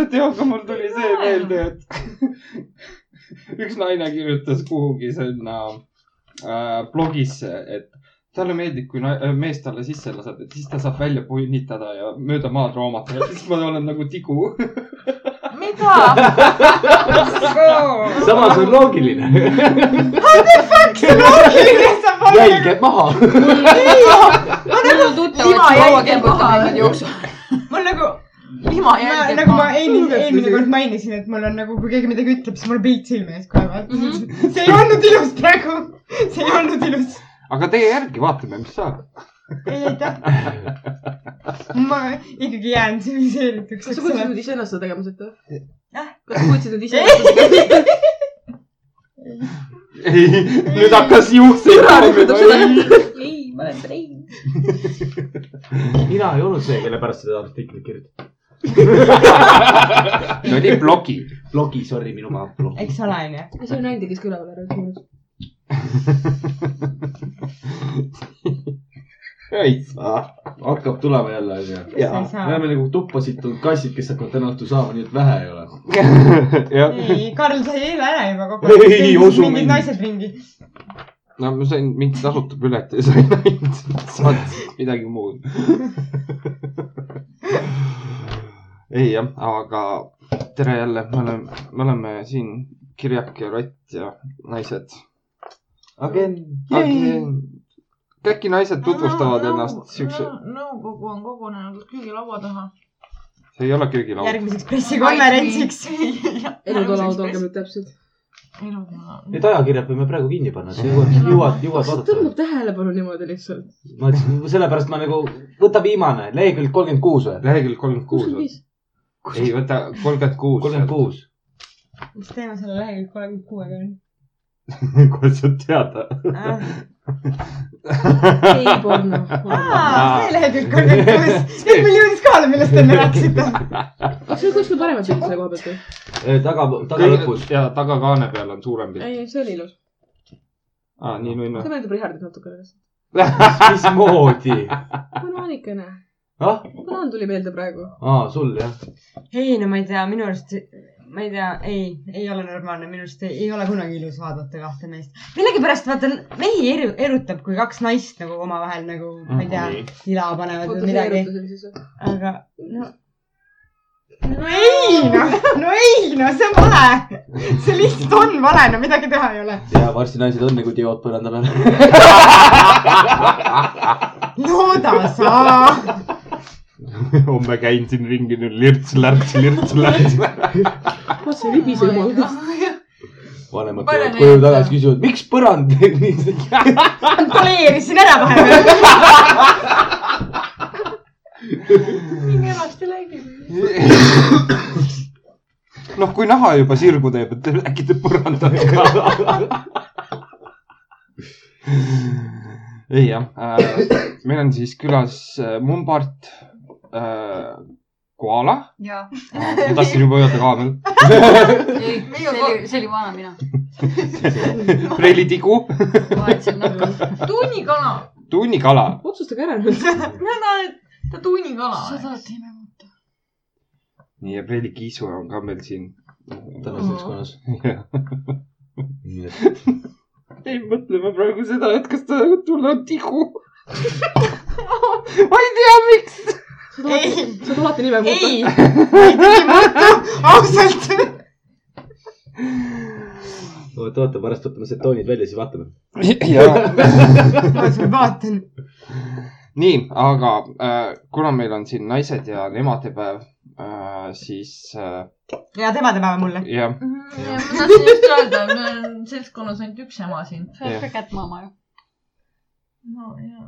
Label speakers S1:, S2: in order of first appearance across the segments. S1: et jah , aga mul tuli see meelde , et üks naine kirjutas kuhugi sinna äh, blogisse , et talle meeldib , kui na- äh, mees talle sisse laseb , et siis ta saab välja punnitada ja mööda maad roomata ja siis ma olen nagu tigu .
S2: mida ?
S3: samas on loogiline . jälged maha .
S4: nagu
S2: mul
S5: Lima
S2: tuttavad
S5: jälgeb
S2: laua kembud
S5: maha.
S2: niimoodi jooksul .
S5: mul nagu ,
S2: lima jälgeb
S5: nagu ma
S2: maha .
S5: eelmine , eelmine kord mainisin , et mul on nagu , kui keegi midagi ütleb , siis mul on pilt silme ees kohe
S2: Mhm.
S5: vaata . see ei olnud ilus praegu , see ei olnud ilus .
S1: aga teie järgi vaatame , mis saab .
S5: ei aitäh , ma ikkagi jään tsiviliseerituks ,
S4: kas sa
S5: eks
S4: kutsusid
S5: ole .
S4: mind iseennast seda tegema sealt või ?
S5: Jah.
S4: kas sa kutsusid mind iseennast seda tegema ?
S1: ei , nüüd hakkas juukseid
S4: seda. .
S2: ei , ma olen trein .
S3: mina ei olnud see , kelle pärast seda artiklit kirjutati .
S1: see oli blogi .
S3: blogi , sorry , minu maa , blogi .
S5: eks ole , onju .
S4: see on Andi , kes küla peal rääkis .
S1: ei saa .
S3: Ah, hakkab tulema jälle , onju .
S5: sa
S1: Jaa.
S5: ei
S3: me
S5: saa .
S3: oleme nagu tuppa situnud kassid , kes hakkavad täna õhtul saama , nii et vähe ei ole .
S1: jah ,
S5: ei , Karl sai eile ära juba kogu
S3: Ei,
S5: aeg .
S3: ei usu
S5: mingid
S3: mind.
S5: naised ringi .
S1: no ma sain mingi tasuta pileti ja sain ainult saad midagi muud . ei jah , aga tere jälle , me oleme , me oleme siin Kirjak ja Rott ja naised .
S3: agen .
S1: äkki naised tutvustavad ennast siukse ,.
S2: nõukogu on kogunenud köögilaua taha .
S1: see ei ole köögilaud .
S5: järgmiseks pressikonverentsiks .
S4: elud olevad , olgem nüüd täpsed .
S3: Need ajakirjad võime praegu kinni panna , sa jõuad , jõuad ,
S4: kas see
S3: jõuad vaadata
S4: tõmbab . tähelepanu niimoodi lihtsalt ?
S3: ma ütlesin , sellepärast ma nagu , võta viimane , lehekülg kolmkümmend kuus või ?
S1: lehekülg kolmkümmend
S4: kuuskümmend
S1: kuus .
S4: viis .
S1: ei võta kolmkümmend kuus .
S3: kolmkümmend . kuus .
S5: mis teema selle lehekülg kolmkümmend kuuega
S1: kuidas sa tead ?
S5: on ?
S4: ei porno .
S5: Ah, aa , see lehekülg kolmkümmend kuus . nüüd meil jõudis kohale , millest te enne rääkisite .
S4: kas sul kuskil paremat pilti selle koha pealt või ?
S3: Äh, taga , taga lõpus .
S1: ja tagakaane peal on suurem pilt .
S4: ei , see oli ilus .
S1: aa , nii nunnu
S4: see . meenutab Richardit natukene .
S3: mismoodi ?
S4: banaanikene .
S3: ah ,
S4: banaan tuli meelde praegu .
S3: aa , sul jah .
S5: ei , no ma ei tea , minu arust , ma ei tea , ei , ei ole normaalne , minu arust ei, ei ole kunagi ilus vaadata kahte meest . millegipärast vaata , mehi eru, erutab , kui kaks naist nagu omavahel nagu , ma ei tea , ila panevad
S4: oota ,
S5: või
S4: see
S5: midagi ,
S4: erutus oli siis või ?
S5: aga no . no ei noh , no ei noh , see on vale . see lihtsalt on vale , no midagi teha ei ole .
S3: ja varsti naised on nagu diood põranda peal .
S5: looda sa .
S1: homme käin siin ringi nüüd lirts-lärts , lirts-lärts .
S4: vaat see libise jumal .
S3: vanemad
S2: Pane neid
S3: tulevad koju
S2: ära.
S3: tagasi , küsivad , miks põrand nii .
S5: poleerisin ära vahepeal .
S2: minge varsti läinud .
S1: noh , kui naha juba sirgu teeb , et äkki te põrandate ka . ei jah äh, , meil on siis külas äh, Mumbart äh, Koala .
S6: jaa ,
S1: ma tahtsin juba öelda kaamel .
S6: ei , see oli , see oli vana mina .
S1: Reili Tigu ,
S6: vahetasin nahka .
S2: tunnikala .
S1: tunnikala .
S4: otsustage ära nüüd .
S2: mina tahan , et ta
S6: sa
S2: tunnikala .
S6: tahad nime muuta ?
S1: nii ja Reili Kiisu on ka meil siin .
S3: täna seltskonnas . nii et
S1: ei , mõtleme praegu seda , et kas ta tulla on tigu . ma ei tea , miks .
S4: sa tahad , sa tahad alati nime muuta ?
S5: ei , ei muutu , ausalt .
S3: oota , oota , pärast võtame need toonid välja , siis vaatame .
S5: ma sulle vaatan .
S1: nii , aga äh, kuna meil on siin naised ja on emadepäev äh, , siis äh,
S5: ja tema tema mulle .
S1: jah ,
S6: Mm,
S2: ma tahtsin just öelda , meil on seltskonnas ainult üks ema siin .
S6: sa oled ka kättmaama ju .
S2: no ja ,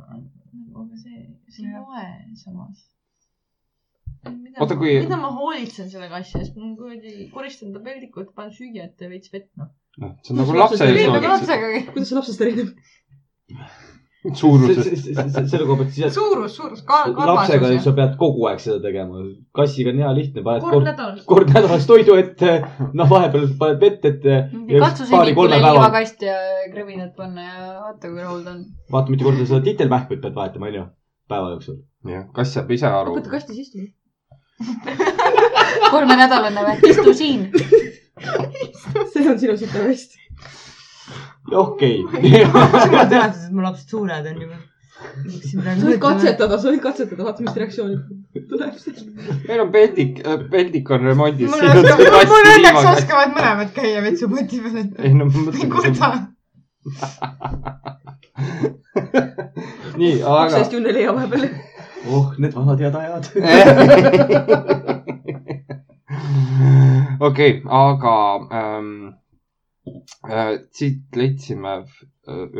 S2: aga see , see ei loe samas .
S1: Oota, kui-
S2: mida ma hoolitsen selle asja eest , ma kuradi koristan ta peldikut , panen süüa ette ja veits vett , noh .
S1: noh , see on nagu lapse ees
S4: Ei,
S6: ei , ma
S1: hoolitsed ,
S6: lapsega .
S4: kuidas see lapsest erineb ?
S1: suuruses .
S3: selle koha pealt siis ,
S2: suurus , suurus , kaal ,
S3: et lapsega
S2: kalvasus .
S3: sa pead kogu aeg seda tegema . kassiga on hea lihtne , paned
S2: kord
S3: kord ,
S2: nädalas .
S3: kord nädalas toidu ette , noh , vahepeal paned vett ette .
S6: katsu
S3: paari-kolme
S6: sinikule
S3: päeva-
S6: liivakast ja krõbinad panna ja vaata , kui rahul ta on .
S3: vaata , mitu korda sa titelmähkmeid pead vahetama , onju , päeva jooksul .
S1: jah , kass saab ise aru .
S4: hakata kastis istuma .
S6: kolmenädalane või ? istu siin .
S4: see on sinu südameist .
S3: okei .
S5: jumal tänatud , et mu lapsed suured on juba .
S4: sa võid . katsetada , sa võid katsetada , vaata , mis reaktsioon tuleb .
S1: meil on peldik , peldik on remondis .
S5: mul oskab , mul õnneks oskavad mõlemad käia vetsupoti peal , et
S1: ei no ma
S5: ei
S1: mõtlen ,
S5: kurda .
S1: nii , aga
S4: kaksteist kümne leia vahepeal .
S3: oh , need vanad head ajad .
S1: okei , aga ähm, äh, siit leidsime äh,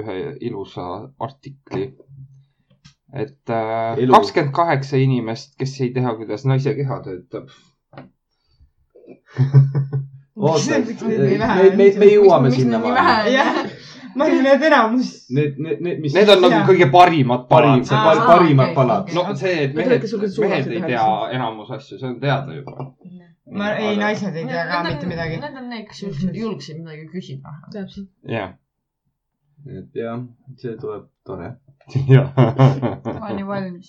S1: ühe ilusa artikli , et äh,
S3: Elu.
S1: kakskümmend kaheksa inimest , kes ei tea , kuidas naise keha töötab .
S3: oota , me , me , me jõuame sinnamaani .
S5: ma arvan , et enamus .
S3: Need , need , need , mis .
S1: Need on nagu
S5: Jaa.
S1: kõige parimad
S3: parim ,
S1: parim .
S3: see
S6: Aa,
S3: par- parimad
S6: okei.
S3: palad .
S1: no see , et
S4: Need
S1: mehed
S4: olid ka , sulgudes
S1: mehed
S4: suured,
S1: ei
S4: need
S1: tea
S4: üheksased.
S1: enamus asju , see on teada juba .
S5: ma , ei , naised ei tea ka mitte midagi .
S2: Need on need , kes julgesid , julgesid midagi küsida .
S4: täpselt .
S1: jah ,
S3: et jah , see tuleb tore .
S1: jah .
S6: ma olen ju valmis .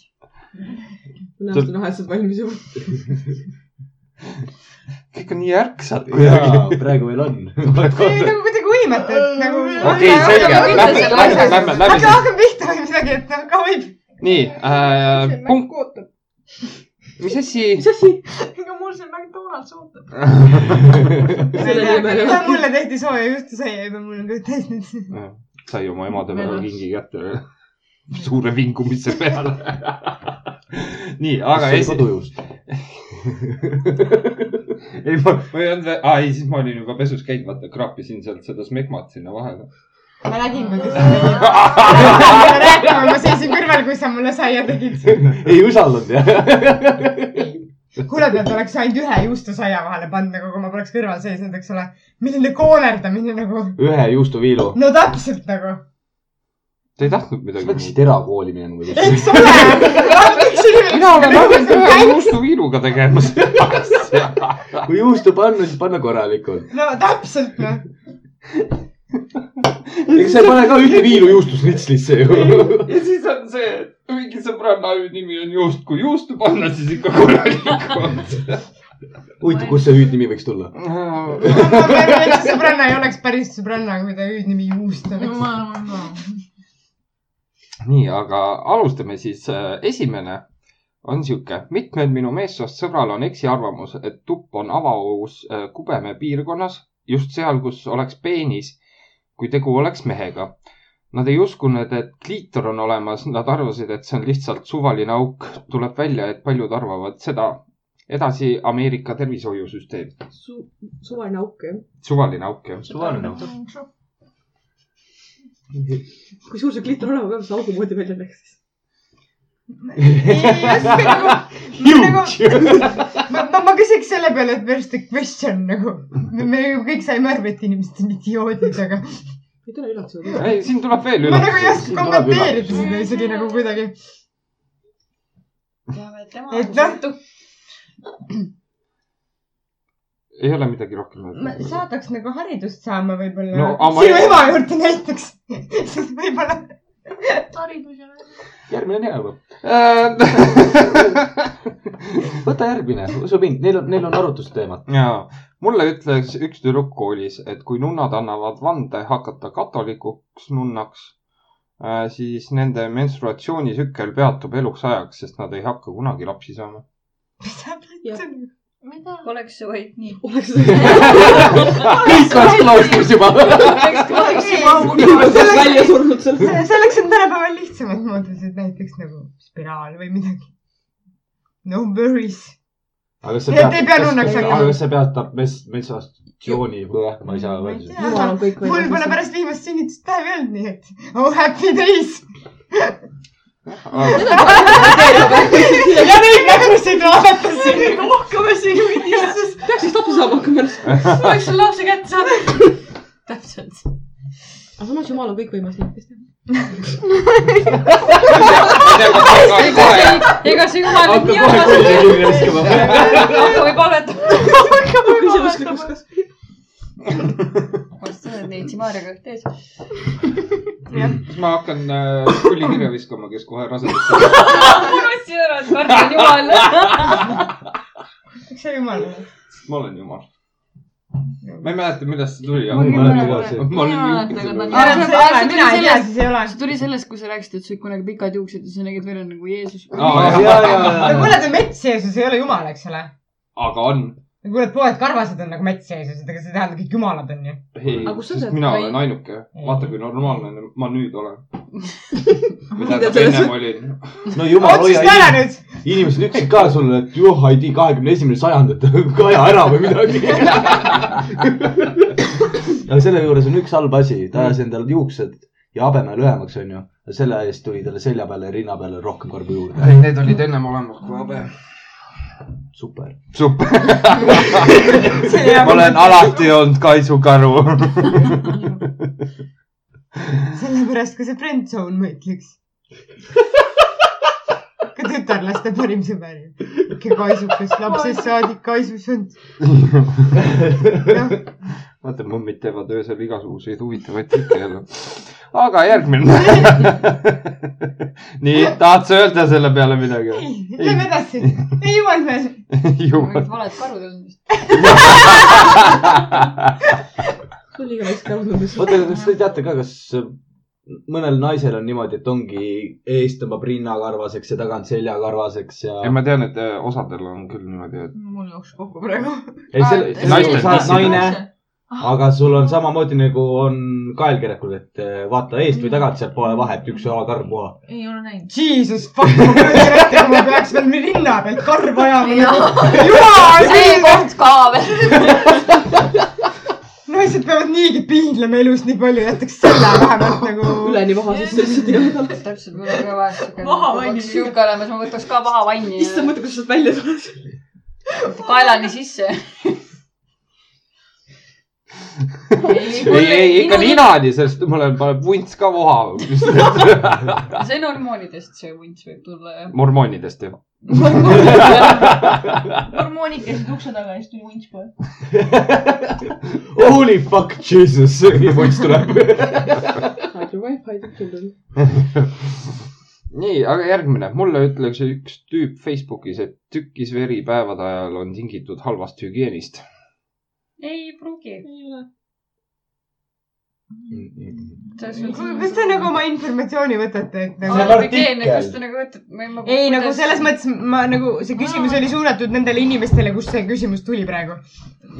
S4: näost on vahetused valmis juba .
S1: kõik on nii ärksad
S3: jaa , praegu veel on .
S5: see oli nagu kuidagi uimatu , et nagu .
S1: okei , selge , lähme , lähme , lähme , lähme
S5: hakka ,
S1: siis .
S5: hakka pihta või midagi , et noh , ka võib .
S1: nii äh, , punkt ,
S4: ootab .
S1: mis asi ?
S4: mis asi ?
S2: ega mul see McDonalds ootab .
S4: Selle nimel
S5: seda
S4: elab.
S5: mulle tehti sooja juustu sai , aga mul on ka täiesti .
S1: sai oma emadepäeva kingi kätte suure vingumise peale . nii , aga esi- ,
S3: kodujust .
S1: ei ma , ma ei olnud , aa ei , siis ma olin juba pesus käinud , vaata kraapisin sealt seda smegmat sinna vahele .
S5: ma nägin , kuidas sa tegid . rääkima , ma seisin kõrval , kui sa mulle saia tegid .
S3: ei usaldanud jah ?
S5: kuule , pead oleks ainult ühe juustu saia vahele pannud , nagu kui ma poleks kõrval seisnud , eks ole . milline koonerdamine nagu .
S3: ühe juustuviilu .
S5: no täpselt nagu .
S1: ta ei tahtnud
S3: sa
S1: midagi
S3: peaksid
S1: muud .
S3: erakooli minema muidu .
S5: eks ole .
S1: mina olen ainult ühe juustuviiluga tegemas .
S3: kui juustu panna , siis panna korralikult .
S5: no täpselt noh .
S3: ega sa ei pane ka ühte viilu juustust litslisse ju .
S1: ja siis on see , mingi sõbranna nimi on Juust , kui Juustu panna , siis ikka korralikult .
S3: huvitav , kust see hüüdnimi võiks tulla ?
S5: ma arvan , et see sõbranna ei oleks päris sõbranna , kui ta hüüdnimi juust oleks .
S1: nii , aga alustame siis . esimene on sihuke , mitmed minu meessoost sõbral on eksiarvamus , et tupp on avaaus äh, kubeme piirkonnas , just seal , kus oleks peenis , kui tegu oleks mehega . Nad ei uskunud , et kliitor on olemas , nad arvasid , et see on lihtsalt suvaline auk . tuleb välja , et paljud arvavad seda . edasi Ameerika tervishoiusüsteem ,
S4: su- , suvaline auk jah .
S1: suvaline auk jah .
S3: suvaline .
S4: kui suur see kliitor olema peab , see augu moodi välja läks siis .
S5: nagu-
S3: Huge .
S5: ma , ma , ma küsiks selle peale , et where's the question nagu . me ju kõik saime aru , et inimesed on idioodid , aga
S4: ei tule üllatusega .
S1: ei , siin tuleb veel
S5: ma nagu ei
S1: üllatus .
S5: oska kommenteerida seda isegi nagu kuidagi . Et noh.
S1: ei ole midagi rohkem öelda .
S5: saadaks nagu haridust saama võib-olla
S1: No, aga ma
S5: sinu
S1: ei-
S5: ema juurde näiteks . siis võib-olla .
S3: järgmine on hea juba .
S1: Äh,
S3: võta järgmine , usu mind , neil on , neil on arutlusteemad .
S1: ja mulle ütles üks tüdruk koolis , et kui nunnad annavad vande hakata katolikuks nunnaks , siis nende menstruatsioonitsükkel peatub eluks ajaks , sest nad ei hakka kunagi lapsi saama .
S2: mida ?
S6: oleks see vaid nii .
S4: oleks
S3: kõik oleks klaustris juba .
S4: oleks välja surnud seal .
S5: selleks on tänapäeval lihtsamad moodused , näiteks nagu spiraal või midagi . no worries .
S3: aga kas see
S5: Et ei pea nunnaks
S3: peab ,
S5: hakkama.
S3: aga kas see peatab mes- , mensuatsiooni , ma ei saa
S5: Ma ei
S3: öelda
S5: tea.
S4: jumal on kõik
S5: mul pole
S4: võimalik .
S5: pärast viimast sünnitust päevi olnud , nii et oh happy days . ja neid nägusid vaadates .
S2: rohkem asju ei tea .
S4: peaks siis lapse saama hakkama järsku .
S2: oleks selle lapse kätte saanud . täpselt .
S4: aga samas jumal on kõikvõimas , nii et kes teab .
S6: ega see jumal nüüd
S3: hakka
S6: nii
S3: kohe
S6: armas ei
S3: kurja viskama .
S6: tee . hakka või palvetama .
S4: küsimuslikus kas .
S6: vast sa oled neid Simaariaga üht ees .
S1: kas ma hakkan äh, pullikirja viskama , kes kohe rasedaks saab ?
S6: ma unustasin ära , et Mart on jumal .
S5: miks sa jumal oled ?
S1: ma olen jumal . ma ei mäleta , millest see tuli .
S3: Ma ei mäleta ka seda.
S1: ma olin juukis .
S6: Aa, see- aa, see tuli
S5: mina ei tea ,
S6: sellest-
S5: siis ei ole .
S6: see tuli sellest , kui sa rääkisid , et sul kunagi pikad juuksed ja sa nägid välja nagu Jeesus .
S1: Aa, jah.
S5: no kuule , ta mets Jeesus ei ole jumal , eks ole .
S1: aga on .
S5: kuule , poed karvased on nagu mets Jeesused , aga see tähendab , kõik jumalad on ju .
S1: ei
S4: Aga , kus sa
S1: sest
S4: tead,
S1: mina
S4: ma ei-
S1: olen ainuke . vaata , kui normaalne ma nüüd olen . või
S4: Mida
S1: tähendab ,
S4: sa-
S1: ennem olin .
S3: no jumal hoia
S5: otsusta ära
S3: inimesed ,
S5: nüüd .
S3: inimesed ütlesid ka sulle , et juh , ei tea , kahekümne esimene sajand , et kaja ära või midagi . aga selle juures on üks halb asi , ta ajas endale juuksed ja habeme lühemaks , onju . selle eest tuli talle selja peale ja rinna peale rohkem karbu juurde .
S1: ei , need olid ennem olemas kui habe .
S3: super .
S1: super . ma olen alati olnud kaisukaru .
S6: nagu
S5: sellepärast ka see friendzone mõtleks . ka tütarlaste parim sõber ju . ikka kaisukas , lapsest saadik kaisus on . noh ,
S1: vaata , mummid teevad öösel igasuguseid huvitavaid trikke jälle . aga järgmine . nii , tahad sa öelda selle peale midagi ?
S5: ei , lähme edasi . ei jumal veel .
S1: jumal
S6: mingid . valed karud on vist .
S4: sul liiga väikse karvundumis .
S3: oota , kas te teate ka , kas mõnel naisel on niimoodi , et ongi ees tõmbab rinna karvaseks ja tagant selja karvaseks ja
S1: ja . ma tean , et äh, osadel on küll niimoodi , et
S2: mul jooksis kokku praegu .
S3: ei , selle ,
S6: Ah,
S1: see- Naistel
S3: sa oled
S1: pissid.
S3: naine , aga sul on samamoodi nagu on kaelkirjakul , et eh, vaata eest või tagant , seal pole vahet , üks jalakarv puha .
S2: ei ole näinud .
S5: Jesus fuck , ma kujutan ette , kui ma peaks veel rinna pealt karva ajama . jumal ,
S6: see koht ka veel .
S5: naised peavad niigi piinlema elus nii palju , jätaks selle vähemalt nagu .
S4: üleni maha sisse lihtsalt jäänud .
S6: täpselt , mul on ka vaja siuke .
S2: Maha vanni.
S6: siuke olemas , ma võtaks ka maha vanni
S4: issand ,
S6: ja
S4: mõtle , kuidas sealt välja tuled .
S6: kaelani sisse .
S1: ei , ei ikka . ninani , sest mul on , paneb vunts ka voha .
S6: see on hormoonidest , see vunts võib tulla jah .
S1: mormoonidest ju .
S2: hormoonid käisid ukse taga ja siis tuli vunts kohe .
S3: Holy fuck jesus , ja poiss tuleb .
S4: Hide your wife , hide your children .
S1: nii , aga järgmine . mulle ütleks üks tüüp Facebookis , et tükkis veri päevade ajal on tingitud halvast hügieenist .
S6: ei pruugi .
S4: ei ole .
S5: Kuule, kas te nagu oma informatsiooni võtate , et
S3: See on
S5: nagu ?
S3: artikkel.
S6: kas te nagu võtate , ma ei .
S5: ei nagu selles . mõttes ma nagu see küsimus oli suunatud nendele inimestele , kust see küsimus tuli praegu .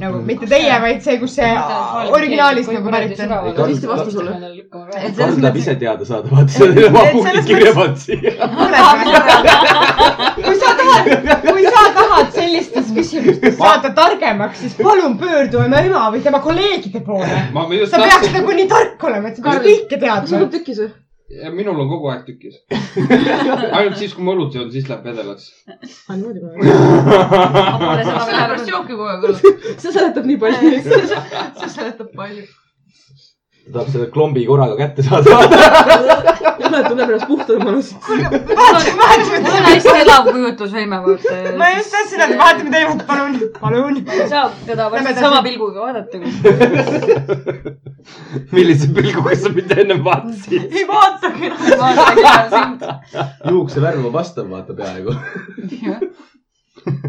S5: nagu mitte teie , vaid see , kus see originaalist nagu pärit on .
S3: Ei, Karl-
S4: vastus ole.
S5: Et selles
S3: Karl tahab
S5: mõttes-
S3: ise teada saada , vaata selle oma
S5: selles
S3: punkti
S5: mõttes-
S3: kirja pannud siia .
S5: kui sa tahad , kui sa tahad sellistes küsimustes saada targemaks , siis palun pöördu oma ema või tema kolleegide poole .
S1: ma ma just
S5: sa peaks
S1: tahtsin ,
S5: nagu nii tark olema , et sa peaks
S4: Karl-
S5: kõike
S4: kas sul
S5: teadma
S4: on . tükis või ?
S1: minul on kogu aeg tükkis . ainult siis , kui ma õlut joon , siis läheb vedelaks .
S4: aa , niimoodi või ?
S2: sellepärast joobki kogu aeg õlut .
S4: see seletab nii palju , eks .
S2: see seletab palju .
S3: ta tahab selle klombi korraga kätte saada .
S4: Jane tunneb ennast puhtamana .
S6: mul on hästi elav kujutlusvõime , vaata .
S5: ma just tahtsin öelda , vahetame teemat , palun , palun .
S6: saab teda
S5: Lähme
S6: varsti
S5: edasi.
S6: sama pilguga vaadata .
S1: millise pilguga sa mind enne vaatasid ?
S2: ei vaatagi enam .
S3: juukse värv on vastav , vaata peaaegu .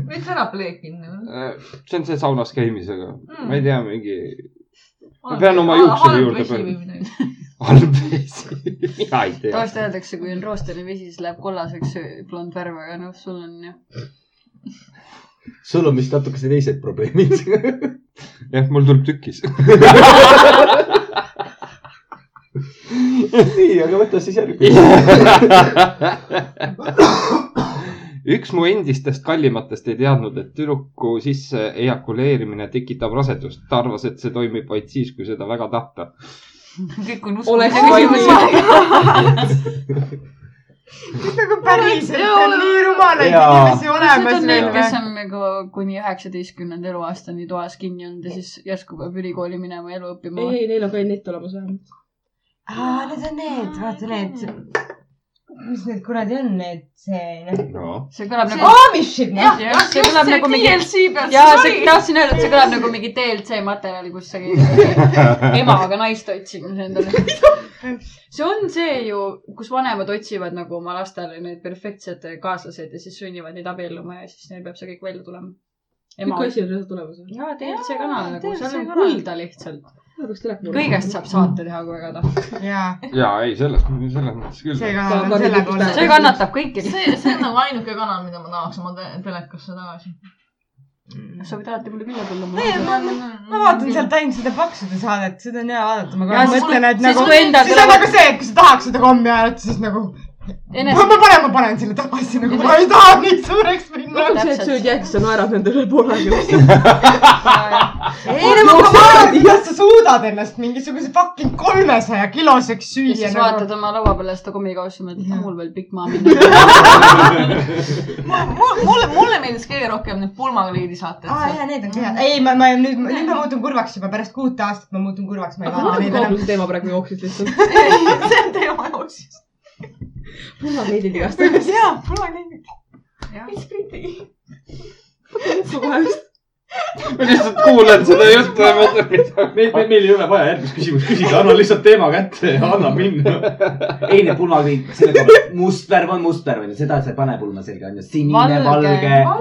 S2: veits ära pleekinud .
S1: see on see saunas käimisega . ma ei tea , mingi Ma pean oma
S4: Ah,
S1: juuksuri juurde põlema.
S2: põlema .
S1: halb vesi . mina ei tea .
S6: tavaliselt öeldakse , kui on roostene vesi , siis läheb kollaseks blond värv , aga noh , sul on jah .
S3: sul on vist natukese teised probleemid .
S1: jah , mul tuleb tükkis .
S3: nii , aga võta siis järgmine .
S1: üks mu endistest kallimatest ei teadnud , et tüdruku sisse ejakuleerimine tekitab rasedust . ta arvas , et see toimib vaid siis , kui seda väga tahta .
S6: kõik on
S4: Oleks
S6: uskumise küsimus .
S5: nagu päriselt
S2: Jaa.
S5: on nii rumalaid
S3: Jaa.
S5: inimesi
S6: Need on need ,
S5: olemas .
S6: kes on nagu kuni üheksateistkümnenda eluaastani toas kinni olnud ja siis järsku peab ülikooli minema ja elu õppima
S4: ei ,. ei , neil on ka nett olemas vähemalt .
S5: aa , need on need , vaata need . mis need kuradi on need , see noh .
S1: no .
S6: see kõlab nagu .
S5: Amishid , noh .
S6: jah , see kõlab nagu mingi .
S2: DLC pealt
S6: jaa , see , tahtsin öelda , et see kõlab nagu mingi DLC materjal , kus sa käid emaga naist otsimas endale . see on see ju , kus vanemad otsivad nagu oma lastele need perfektsed kaaslased ja siis sunnivad neid abielluma ja siis neil peab see kõik välja tulema . ema
S4: kõik . asjad on sealt tulemas .
S6: jaa , DLC kanal nagu , seal on
S2: DLC kanal.
S6: kulda lihtsalt . kõigest saab saate teha , kui väga tahad .
S5: jaa ,
S1: jaa , ei selles , selles mõttes küll
S5: see . kanal on
S4: Ka-
S5: selle
S4: ka-
S5: poole
S6: see
S5: pealt .
S6: kannatab kõiki .
S2: see , see on nagu ainuke kanal , mida ma tahaks oma te- telekasse tagasi .
S6: sa võid alati mulle külla
S5: ei ,
S6: tulla .
S5: ma ,
S6: mm,
S5: ma vaatan sealt ainult seda paksude saadet , seda on hea vaadata , ma kogu
S6: Ja
S5: aeg
S6: siis-
S5: mõtlen , et
S6: siis
S5: nagu ,
S6: kui endal
S5: siis on
S6: tuleb-
S5: nagu see , et kui sa tahaks seda kommi ajada , siis nagu
S6: Enes-
S5: ma ma panen , ma panen selle tagasi , nagu ma ei taha nii suureks minna .
S4: see , et sööd jäätist ja naerad nende üle poole peal .
S5: ei no ma vaatan , kuidas nagu sa suudad ennast mingisuguse fucking kolmesaja kiloseks
S6: ja
S5: süüa nagu-
S6: siis . vaatad oma laua peale seda kommikaussi , mõtled , et mul veel pikk maa minna .
S2: mulle , mulle meeldis kõige rohkem need pulmakliidi saated .
S5: aa jaa , need on head . ei , ma , ma nüüd , nüüd ma muutun kurvaks juba pärast kuut aastat ma muutun kurvaks , ma ei vaata neid enam .
S4: kaabluse teema praegu jooksis lihtsalt .
S2: see on teema jooksis .
S4: punamleidid igast .
S2: jaa , pulmakliidid .
S4: kohe vist .
S1: ma lihtsalt kuulen seda juttu ja mõtlen , mida .
S3: meil , meil , meil ei ole vaja järgmist küsimust küsida , anna lihtsalt teema kätte ja anna minna .
S7: teine punakliit , sellega must värv on must värv onju , seda sa ei pane pulma selga onju , sinine , valge .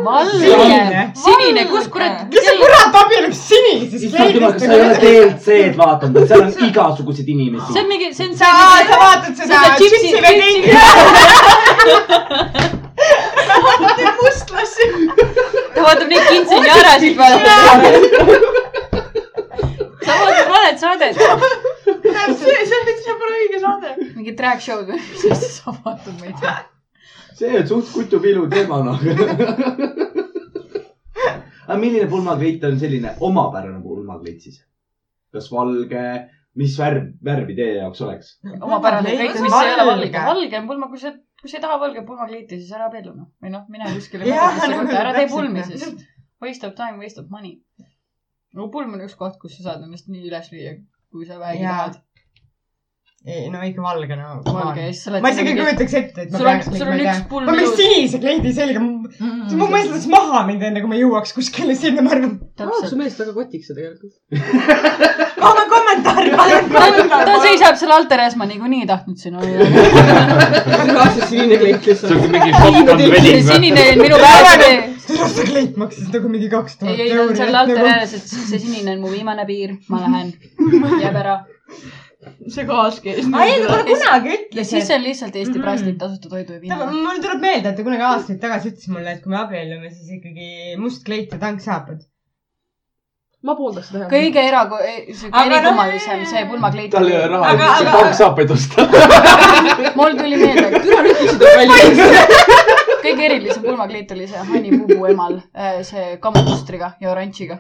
S6: valge
S5: Sinine. ,
S6: sinine , kus kurat ,
S5: kes see kurat abiellub sinises
S7: issand jumal , kas sa ei ole
S5: kleidis ?
S7: DLC-d vaadanud , seal on igasuguseid
S6: see
S7: inimesi .
S6: on mingi , see on
S5: aa ,
S6: see
S5: sa . vaatad seda
S6: Seda Gypsy-
S5: Gypsy Weddingi .
S2: mustlasi .
S6: ta vaatab neid kintsini ära , siis vaatab . sa vaatad valet saadet ,
S2: see , see , see pole õige saade .
S6: mingi track show'd või mis asja sa vaatad , ma ei tea .
S3: see on suht kutupilu noh. teemana .
S7: aga milline pulmakliit on selline omapärane pulmakliit siis ?
S3: kas valge , mis värv , värvi teie jaoks oleks ?
S6: omapärane kõik , mis ei ole valge .
S5: Valge.
S6: valge on pulma , kui sa , kui sa ei taha valge pulmakliiti , siis ära abiellu noh . või noh , mine kuskile
S5: Jaa,
S6: pädevusse
S5: nagu
S6: kohta , ära tee
S5: täpselt,
S6: pulmi
S5: jah.
S6: siis . Waste of time , waste of money . no pulm on üks koht , kus sa saad ennast nii üles lüüa , kui sa vähegi
S5: Jaa.
S6: tahad .
S5: ei no ikka valge no .
S6: valge ja siis sa oled .
S5: ma isegi ei . kujutaks ette , et ma
S6: sul on
S5: peaks ,
S6: sul on üks . Mm. pulm
S5: ma panen . sinise kleidi selga , ma mõtlen , et maha mind enne , kui ma jõuaks kuskile sinna , ma arvan .
S4: vaata , Ah, su mees väga kotiks see tegelikult .
S5: anna kommentaar , palun
S6: ta, ta
S5: kommentaar .
S6: seisab seal altares , ma niikuinii ei tahtnud sinu olla .
S4: ühe asja sinine kleit
S1: see
S4: lihtsalt .
S1: on mingi popkorn
S6: see
S1: väli .
S6: sinine on minu päästja .
S5: tere , see kleit maksis nagu mingi kaks
S6: ei ,
S5: tuhat
S6: ei , ta
S5: euri .
S6: on
S5: nagu-
S6: seal altari ääres , et see sinine on mu viimane piir , ma lähen , jääb ära .
S2: see kaas käis .
S5: aa ei , ta pole kunagi
S6: ja
S5: ütles ,
S6: siis
S5: et
S6: on lihtsalt Eesti
S5: Mm-hmm.
S6: praestid tasuta toidu ja
S5: Tema-
S6: viina .
S5: mul tuleb meelde , et ta kunagi aastaid tagasi ütles mulle , et kui me abiellume , siis ikkagi must kleit ja tanksaapad .
S4: ma pooldaks seda .
S6: kõige e- eraku- , sihuke
S5: Aga no-
S6: erikummalisem , see pulmakleit .
S3: tal ei ole raha ,
S5: Aga-
S3: et üldse
S5: aga-
S3: tanksaapaid osta .
S6: mul tuli meelde ,
S4: türa nüüd küsida välja .
S6: kõige erilisem pulmakleit oli see Hani Pubu emal , see kamustriga ja oranžiga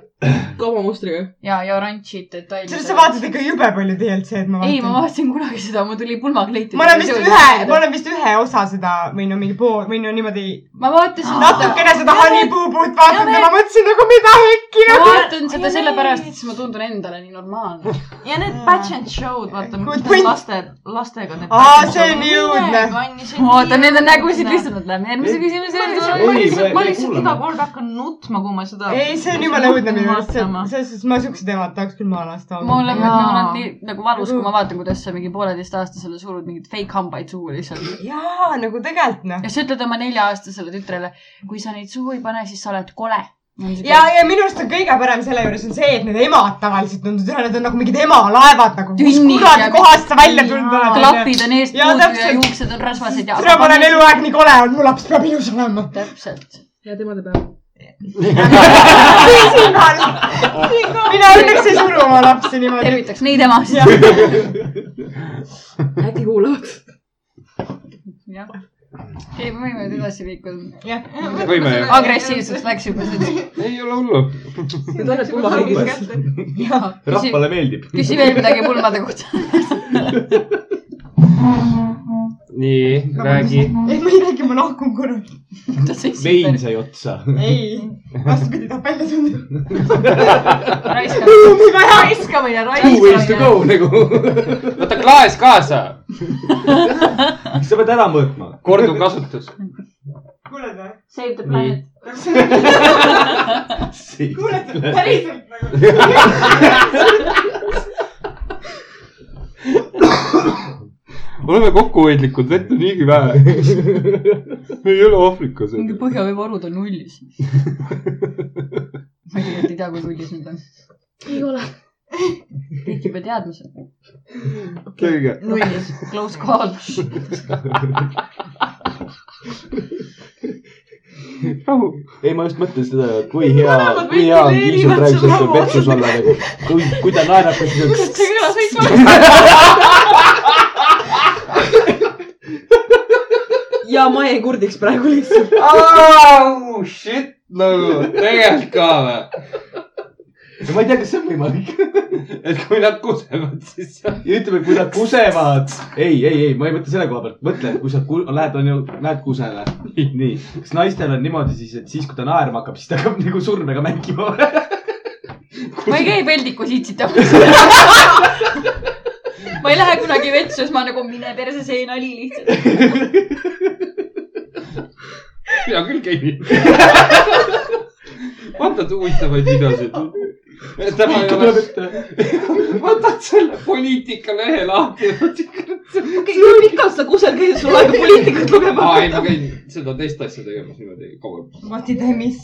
S4: kaubamustriga .
S6: ja , ja oranžid detailid .
S5: selles sa vaatad ikka jube palju DLC-d , ma
S6: ei , ma
S5: vaatan .
S6: vaatasin kunagi seda , mul tuli pulmakleiti .
S5: ma olen vist ühe , ma . olen vist ühe osa seda või no mingi pool või no niimoodi
S6: ma vaatasin seda
S5: natukene seda hanipuuput
S6: Ja
S5: vaadanud
S6: me-
S5: ja ma mõtlesin nagu mida hekki
S6: ma
S5: nagu .
S6: vaatan seda sellepärast , et siis ma tundun endale nii normaalne .
S2: ja need patch and show'd , vaata ,
S5: Good
S2: mis need
S5: point.
S2: laste , lastega need .
S5: Aa, see on nii õudne. .
S6: oota , need on nägusid . lihtsalt , nad läheme järgmise küsimuse
S2: ma
S6: juurde .
S2: lihtsalt , ma
S3: Ei, me-
S2: lihtsalt ,
S3: me
S2: ma lihtsalt
S3: kuulame.
S2: iga kord hakkan nutma , kui ma seda .
S5: ei , see on jumala õudne minu arust , selles suhtes ma siukse teema tahaks küll maha lasta .
S6: mulle ,
S2: Jaa.
S6: ma olen nii nagu valus , kui ma vaatan , kuidas sa mingi pooleteistaastasele surud mingeid fake hambaid suhu lihtsalt .
S5: jaa , nagu tegelikult noh .
S6: ja sa ütled oma nelja-aastasele tütrele , kui sa neid suhu ei pane , siis sa oled kole .
S5: ja , ja minu arust on kõige parem selle juures on see , et need emad tavaliselt tunduvad üle , need on nagu mingid emalaevad nagu , kus
S6: Tünnid
S5: kuradi
S6: ja-
S5: kohast sa välja tulnud
S2: Jaa.
S5: oled .
S6: klapid on eest
S5: Jaa,
S6: puudu ja
S5: täpselt.
S6: juuksed on rasvased ja .
S5: täna ma olen . eluaeg nii kole olnud , mu laps peab ilus olema .
S6: täpselt .
S4: ja tema teeb ära .
S5: mina õnneks ei suru oma lapsi niimoodi .
S6: tervitaks neid emasid .
S4: äkki kuulavad .
S6: jah . okei , me võime nüüd edasi liikuda .
S1: võime ju .
S6: agressiivseks läks juba see .
S1: ei ole hullu .
S4: Need on need pulmakleidid .
S6: küsi ,
S3: rahvale meeldib .
S6: küsi veel midagi pulmade kohta .
S1: nii , räägi .
S5: ei , ma ei räägi , ma lahkun korra .
S3: vein sai otsa .
S5: ei , vastupidi , tahab välja tulla .
S2: raiskamine ,
S6: raiskab .
S3: Two ways to
S2: raiskamine .
S3: go nagu .
S1: võta klaas kaasa ,
S3: sa pead ära mõõtma .
S1: korduvkasutus .
S5: kuuled või ?
S6: Save the
S1: planet.
S6: planet .
S5: kuuled või ? päriselt nagu .
S1: oleme kokkuhoidlikud , vett on niigi vähe . me ei ole Aafrikas .
S6: mingi põhjavee varud on nullis . ma tegelikult ei tea , kui puldis nüüd on .
S4: ei ole .
S6: tekib ju teadmised .
S1: selge .
S6: nullis , close call .
S1: rahu .
S3: ei , ma just mõtlen seda , kui hea , kui hea on Kiisul praegu selles vetsus olla nagu , kui , kui ta naerab , siis
S6: see kõlas veits vale .
S4: ja ma jäin kurdiks praegu lihtsalt .
S1: Oh, shit nagu , tegelikult ka vä ?
S3: on , ma ei tea , kas see on võimalik .
S1: et kui nad kusevad , siis see
S3: ja ütleme , kui nad kusevad , ei , ei , ei , ma ei mõtle selle koha pealt , mõtle , kui sa ku- lähed , on ju , lähed kusele . nii , kas naistel on niimoodi siis , et siis , kui ta naerma hakkab , siis ta hakkab nagu surmega mängima või ?
S6: ma ei käi peldiku siitsitamas . ma ei lähe kunagi vetsu , siis ma nagu mine perse , see nali lihtsalt .
S1: hea küll käib . vaatad huvitavaid videosid . tema ei ole , võtad selle poliitikalehe lahti .
S4: pikalt sa kusagil käisid , sul aega poliitikat lugema .
S1: aa , ei ma käin seda teist asja tegemas niimoodi kauem .
S5: What did I miss ?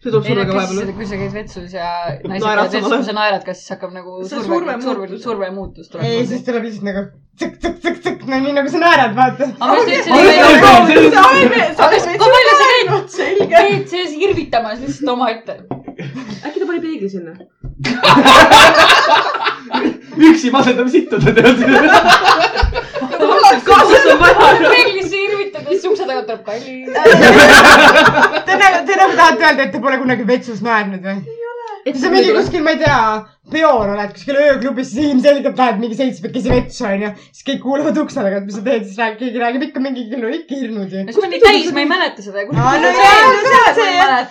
S4: see tuleb
S6: ei
S4: sulle
S6: no
S4: ka vahepeal
S6: kas ,. kui sa käid vetsus ja naised
S4: Naerad
S6: käivad vetsus ,
S4: samale.
S6: kui sa naerad , kas siis hakkab nagu
S4: See on surve
S6: surve , surve ,
S4: muutus.
S6: surve muutus
S5: ei , siis tuleb lihtsalt nagu tsõkk-tsõkk-tsõkk-tsõkk , no nii nagu sa naerad , vaata .
S6: aga ma just
S3: Aga
S6: ütlesin ,
S3: see
S6: et
S3: on-
S5: nagu-
S6: kui palju sa käid , käid sees irvitamas lihtsalt omaette .
S4: äkki ta pani peegli sinna ?
S3: üksi masendab sittu , ta teab .
S4: kaasas on vaja .
S6: peeglisse irvitades ukse tagant tuleb kalli .
S5: Te nagu , te nagu tahate öelda , et te pole kunagi vetsus naernud või ?
S4: et
S5: sa mingi kuskil , ma ei tea , peol oled kuskil ööklubis , siis ilmselgelt lähed mingi seitsmekesi vetsu onju , siis kõik kuulavad ukse taga , et mis sa teed , siis räägib , keegi räägib ikka mingi , no ikka hirmud ju .
S6: no siis ma nii täis , ma ei mäleta seda .
S5: Aa, no jaa, no see on see, jah.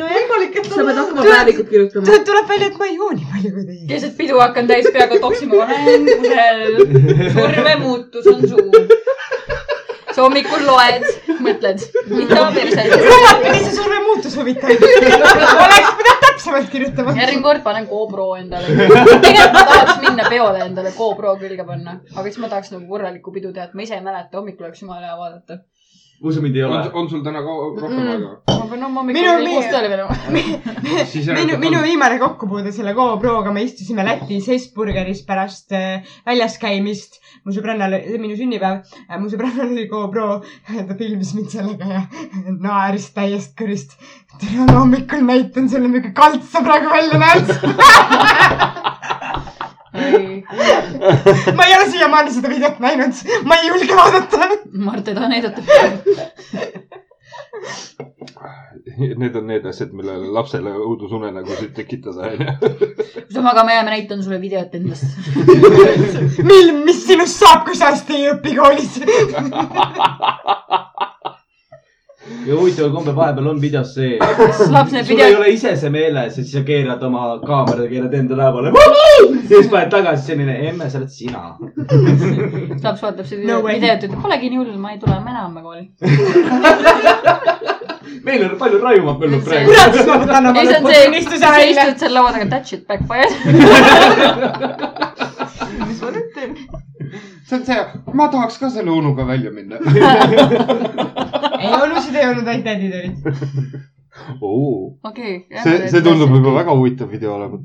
S5: nojah ,
S4: sa pead hakkama päevikut kirjutama .
S5: tuleb välja , et ma ei jooni palju kui teie .
S6: keset pidu hakkan täis peaga toksima , olen kusagil , survemuutus on suur . sa hommikul loed , mõtled , mida perset .
S5: alati see surve muutus huvitav . oleks pidanud täpsemalt kirjutama .
S6: järgmine kord panen GoPro endale . tegelikult ma tahaks minna peole endale GoPro külge panna , aga siis ma tahaks nagu korralikku pidu teha , et ma ise ei mäleta , hommikul oleks jumala hea vaadata .
S3: usu mind ei ole
S1: on , on sul täna ka rohkem aega ?
S6: ma pean homme hommikul
S5: Minu-
S6: veel
S5: meie-
S6: koos tööle minema .
S1: siis
S5: minu , minu viimane kokkupuude selle GoProga , me istusime Lätis Hesburgeris pärast äh, väljas käimist . mu sõbrannal , see on minu sünnipäev , mu sõbrannal oli GoPro , ta filmis mind sellega ja naeris täiest kõrist . tere hommikul näitan sulle , milline kalt sa praegu välja näed . ma ei ole siiamaani seda videot näinud , ma ei julge vaadata .
S6: Mart ei taha näidata .
S1: Need on need asjad , millele lapsele õudusunenägusid tekitada , onju .
S6: kui sa magama jääme , näitan sulle videot endast .
S5: mil , mis sinust saab , kui sa hästi ei õpi koolis ?
S3: ja huvitaval kombel vahepeal on videos see ,
S6: kas laps näeb
S3: sul ei
S6: videot ?
S3: ole ise see meeles ja siis sa keerad oma kaamera , keerad enda näole . ja siis paned tagasi selline , emme , sa oled sina .
S6: laps vaatab seda
S5: No
S6: videot
S5: way.
S6: videot , ütleb , polegi nii hull , ma ei tule enam homme kooli .
S3: meil on palju rajumad põllud praegu .
S5: kurat , siis ma võtan
S6: ei , see on
S5: oma
S6: see , kui
S5: unistuse
S6: sa
S5: välja .
S6: istud seal laua taga , that shit backfired .
S1: see on see , ma tahaks ka selle unuga välja minna .
S5: ei , onusid ei olnud , ainult tädid olid .
S1: see ,
S6: okei .
S1: see tundub . juba väga huvitav video olevat .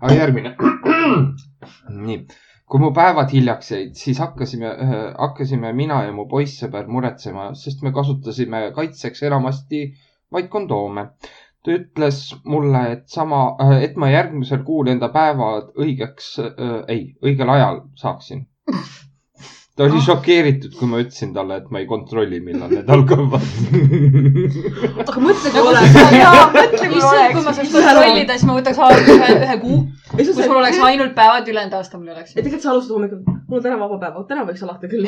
S1: aga järgmine . nii , kui mu päevad hiljaks jäid , siis hakkasime , hakkasime mina ja mu poissõber muretsema , sest me kasutasime kaitseks enamasti vaid kondoome . ta ütles mulle , et sama , et ma järgmisel kuul enda päevad õigeks , ei , õigel ajal saaksin . ta oli šokeeritud , kui ma ütlesin talle , et ma ei kontrolli , millal need algavad .
S4: aga mõtle , kui
S6: nagu
S4: oleks .
S6: sa , jaa , mõtle , kui oleks . kui ma saaks
S4: Ühel
S6: kontrollida , siis ma võtaks alati ühe , ühe kuu ,
S4: ei ,
S6: kus mul oleks ainult päevad , ülejäänud aasta mul ei oleks .
S4: ei , tegelikult sa alustad hommikul . mul on täna vaba päev , täna võiks alata küll .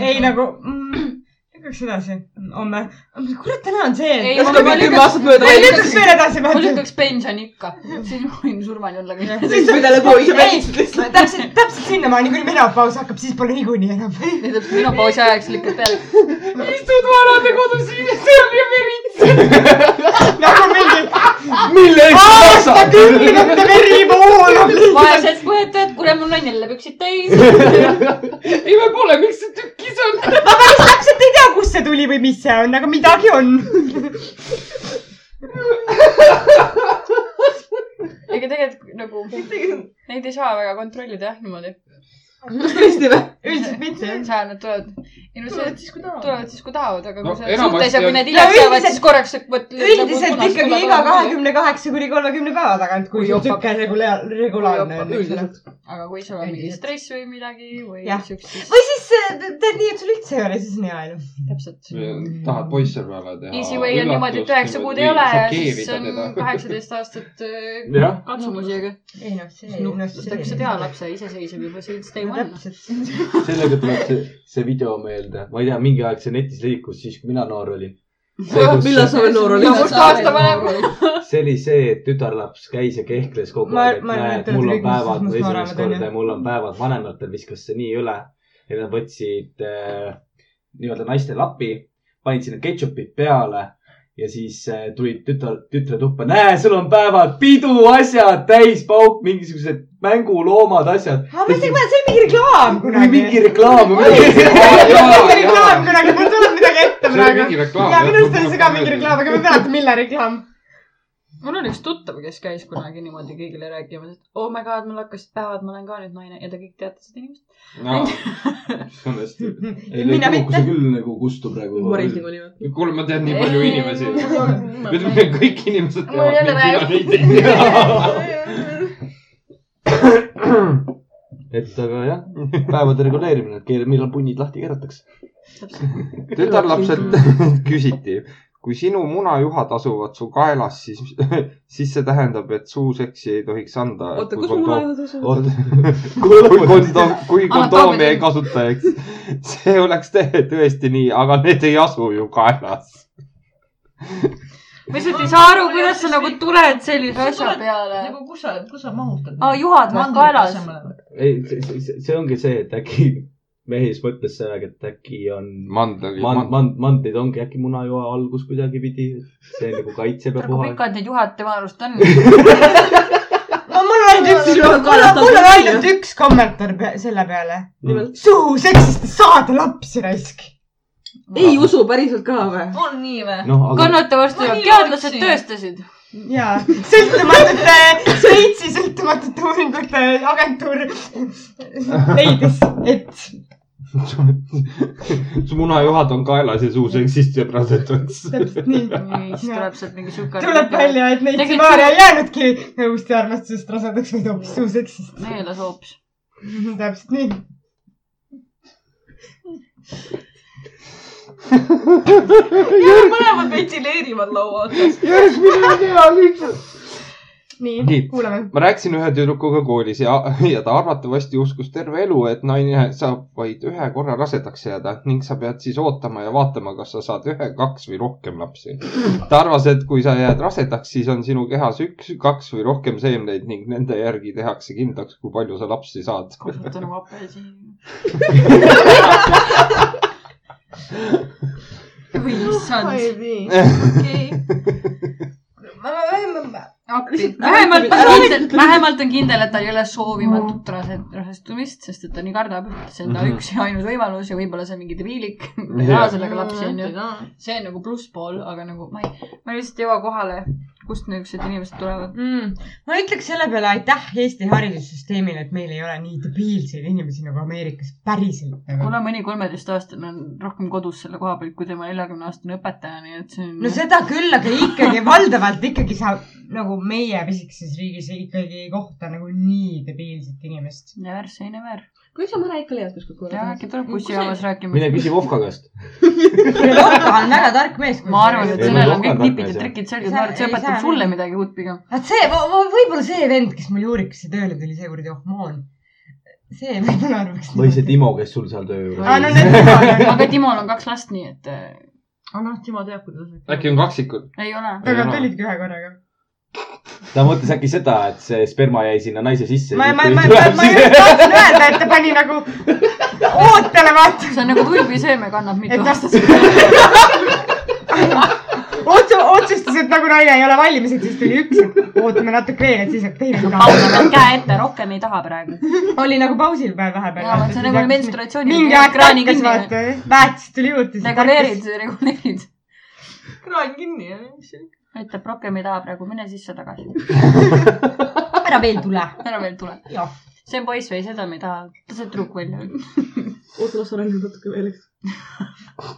S5: ei nagu mm, , lükkaks edasi , homme . kurat , täna on see .
S6: Ei,
S4: kas me
S6: ma
S4: veel kümme
S6: lükkan-
S4: aastat mööda
S5: ei
S6: ei,
S4: läinud ?
S5: lükkaks veel edasi ,
S6: ma
S5: vaata .
S6: lükkaks pensioni ikka , siis ma võin surmani olla kõik .
S4: mida lõbu ise välistasid lihtsalt .
S5: täpselt , täpselt sinnamaani , kui menopausi hakkab , siis pole niikuinii enam .
S6: minu pausi ajaks lükkad peale .
S5: nagu mingi
S3: mille
S5: Ah!
S3: eest sa maksad ?
S5: aastakümnete verivool on lihtsalt .
S6: vaesed põetajad , kuule , mul on jälle püksid täis .
S5: ma päris nagu täpselt ei tea , kust see tuli või mis see on , aga midagi on .
S6: nagu , neid ei saa väga kontrollida jah , niimoodi .
S4: tõesti või ?
S5: üldiselt mitte .
S6: seal nad tulevad , ei no see
S2: tulevad siis , kui tahavad .
S6: tulevad siis , kui tahavad , aga
S1: No
S6: kui sa
S1: enamasti
S6: suhtes ja
S1: on-
S6: kui need hiljaks
S5: No
S6: jäävad ,
S5: üldiselt-
S6: siis korraks sa nagu vot .
S5: üldiselt ikkagi iga kahekümne kaheksa kuni kolmekümne päeva tagant , kui
S6: Kui
S5: sul
S6: jopab.
S5: sihuke regula- , regulaarne on , eks ole .
S4: üldiselt .
S6: aga kui sul on mingi
S5: Üldiselt.
S6: stress või midagi või
S5: Jah.
S6: siukseid ,
S5: või siis äh, te- teed nii , et sul üldse ei ole , siis on hea elu .
S6: täpselt .
S1: tahad poissõbrale teha .
S6: Mm. Easy way on niimoodi , et üheksa kuud ei ole ja siis on kaheksateist aastat äh,
S5: Noh,
S3: jah ,
S6: katsumusi , aga
S5: ei noh , see , noh , see .
S6: nuhtlustaks hea . lapse iseseisev juba siin
S5: no
S6: Stay-One .
S5: täpselt .
S3: sellega tuleb see , see video meelde . ma ei tea , mingi aeg see netis liikus siis , kui mina noor olin . see
S4: millal sa veel noor
S6: Ja must
S4: olid ?
S6: aasta vanem .
S3: see oli see , et tütarlaps käis ja kehkles kogu
S5: Ma-
S3: aeg , et
S5: ma arvan, et
S3: näed ,
S5: te
S3: mul on
S5: olete kõik
S3: päevad ,
S5: must- must
S3: esimest
S5: nooremad, onju.
S3: korda ja mul on päevad , vanematel viskas see nii üle . ja nad võtsid äh, nii-öelda naiste lapi , panid sinna ketšupit peale ja siis äh, tulid tütar , tütre tuppa . näe , sul on päevad , pidu , asjad , täispauk , mingisugused mänguloomad , asjad .
S5: aga ma ei tea , see oli mingi reklaam
S3: mingi
S5: kunagi .
S3: reklaam .
S5: mingi reklaam kunagi , mul tuleb midagi ette
S1: see oli
S5: praegu .
S1: mingi reklaam .
S5: ja minu arust oli see ka mingi reklaam , aga ma ei mäleta , mille reklaam .
S6: mul on üks tuttav , kes käis kunagi niimoodi kõigile rääkimas , et oh my god , mul hakkasid päevad , ma olen ka nüüd naine ja te kõik teate seda inimest .
S1: õnnesti .
S5: mina mitte .
S3: küll nagu kustu praegu
S4: Maris niikuinii või ?
S1: kuule , ma tean nii palju inimesi . nüüd me kõik inimesed
S6: Mul ei ole vaja-
S1: teavad , mida neid ei tea .
S3: et aga jah , päevade reguleerimine , millal punnid lahti keeratakse .
S1: tütarlapselt küsiti , kui sinu munajuhad asuvad su kaelas , siis , siis see tähendab , et suuseksi ei tohiks anda .
S4: oota , kus mul ajad asuvad ?
S1: oota , kui kondoom , kui kondoomi ei
S6: Anatoomiline.
S1: kasuta , eks . see oleks tõ- tõesti nii , aga need ei asu ju kaelas .
S6: ma lihtsalt ei saa aru , kuidas sa nagu tuled sellise asja peale .
S2: nagu kus sa , kus sa mahutad ?
S6: aa , juhad või kaelas ?.
S3: ei , see ongi see , et äkki mees mõtles sellega , et äkki on
S1: mandlid ,
S3: mand- , mand- , mandlid ongi äkki munajoa algus kuidagipidi . see nagu kaitseb ja
S6: kui
S3: puhab .
S6: pikad need juhad tema arust on ?
S5: no mul on ainult üks ,
S4: Mul on-
S5: mul on , mul on ainult üks kommentaar pe- selle peale .
S4: nimelt .
S5: suhu seksist ei saada lapsi raisk .
S4: ei usu päriselt ka või ?
S2: on nii või ?
S3: noh , aga
S6: kannatavasti
S2: Ma
S6: ju
S2: nii
S6: teadlased
S2: mõtlesin.
S6: tõestasid .
S5: jaa , sõltumatute , Šveitsi sõltumatute uuringute agentuur leidis , et
S1: su munajuhad on kaelas ja suuseksist jääb rasedaks .
S5: täpselt nii .
S6: siis tuleb sealt mingi siuke .
S5: tuleb . välja , et neid
S6: Tegid
S5: Simaria ei jäänudki õhust ja armastusest rasedaks , vaid hoopis suuseksist .
S6: meeles hoopis .
S5: täpselt nii .
S2: mõlemad ventileerivad laua otsas .
S1: järgmine tea lihtsalt .
S5: nii
S1: Nii. ,
S5: kuulame .
S1: ma rääkisin ühe tüdrukuga koolis ja , ja ta arvatavasti uskus terve elu , et naine saab vaid ühe korra rasedaks jääda ning sa pead siis ootama ja vaatama , kas sa saad ühe , kaks või rohkem lapsi . ta arvas , et kui sa jääd rasedaks , siis on sinu kehas üks , kaks või rohkem seemneid ning nende järgi tehakse kindlaks , kui palju sa lapsi saad .
S6: kasutan oma apelsini . või issand . vähemalt on kindel , vähemalt on kindel , et tal ei ole soovimatut rased , rasestumist , sest et ta nii kardab , see on ta
S1: Mhm.
S6: üks ja ainus võimalus ja võib-olla see on mingi debiilik ,
S1: Jah.
S6: ei saa sellega lapsi onju . see on nagu plusspool , aga nagu ma ei , ma lihtsalt ei jõua kohale , kust niisugused inimesed tulevad .
S5: Mm. ma ütleks selle peale aitäh Eesti haridussüsteemile , et meil ei ole nii debiilseid inimesi nagu Ameerikas päriselt .
S6: kuna mõni kolmeteistaastane on rohkem kodus selle koha pealt kui tema neljakümneaastane õpetaja , nii et see on
S5: no seda küll , aga ikkagi valdavalt ikkagi sa nagu meie pisikeses riigis ikkagi ei kohta nagu nii debiilset inimest .
S6: never say never .
S4: kui sa mõne ikka leiad kuskilt
S6: ja
S4: korra .
S6: äkki tuleb bussijaamas rääkima
S3: mine . küsi Vovka käest .
S5: Lotta on väga tark mees .
S6: ma arvan , et
S3: Ei,
S6: sellel
S3: ma
S6: on kõik
S3: rohkem
S6: nipid ja
S3: tarkmees,
S6: trikid selged ,
S5: Ei
S6: ma
S5: saa-
S6: arvan , et see
S5: ei saa
S6: õpetab
S5: nii.
S6: sulle midagi uut pigem .
S5: vaat see , võib-olla see vend , kes mul juurikasse tööle tuli , see kuradi Ohmoon . see võib-olla arvaks .
S3: või see Timo , kes sul seal töö
S5: aa , Ah, no
S3: juures .
S5: need Timod on .
S6: aga Timol on kaks last , nii et äh,
S2: aga noh , Timo teab , kuidas .
S1: äkki on kaksikud ?
S6: ei ole .
S5: aga nad tulidki ühe korraga .
S3: ta mõtles äkki seda , et see sperma jäi sinna naise sisse .
S5: ma , ma , ma , ma , ma just tahtsin öelda , et ta pani nagu ootele vaata ,
S6: see on nagu tulbiseeme kannab mitu
S5: et
S6: aastat .
S5: vastas . otsu- , otsustas , et nagu naine ei ole valmis , et siis tuli üks , et ootame natuke veel , et siis jääb teine ka .
S6: käe ette , rohkem ei taha praegu .
S5: oli nagu pausil päev vahepeal .
S6: jaa , see on nagu menstratsiooni .
S5: mingi aeg kraanikas vaata , väetist tuli juurde .
S6: reguleerid , reguleerid .
S2: kraan kinni ja mis see .
S6: aitab , rohkem ei taha praegu , mine sisse tagasi .
S5: ära veel tule .
S6: ära veel tule .
S5: Jah.
S6: see on poiss või seda me ei taha , ta see tüdruk välja .
S4: oota , las areneb natuke veel , eks .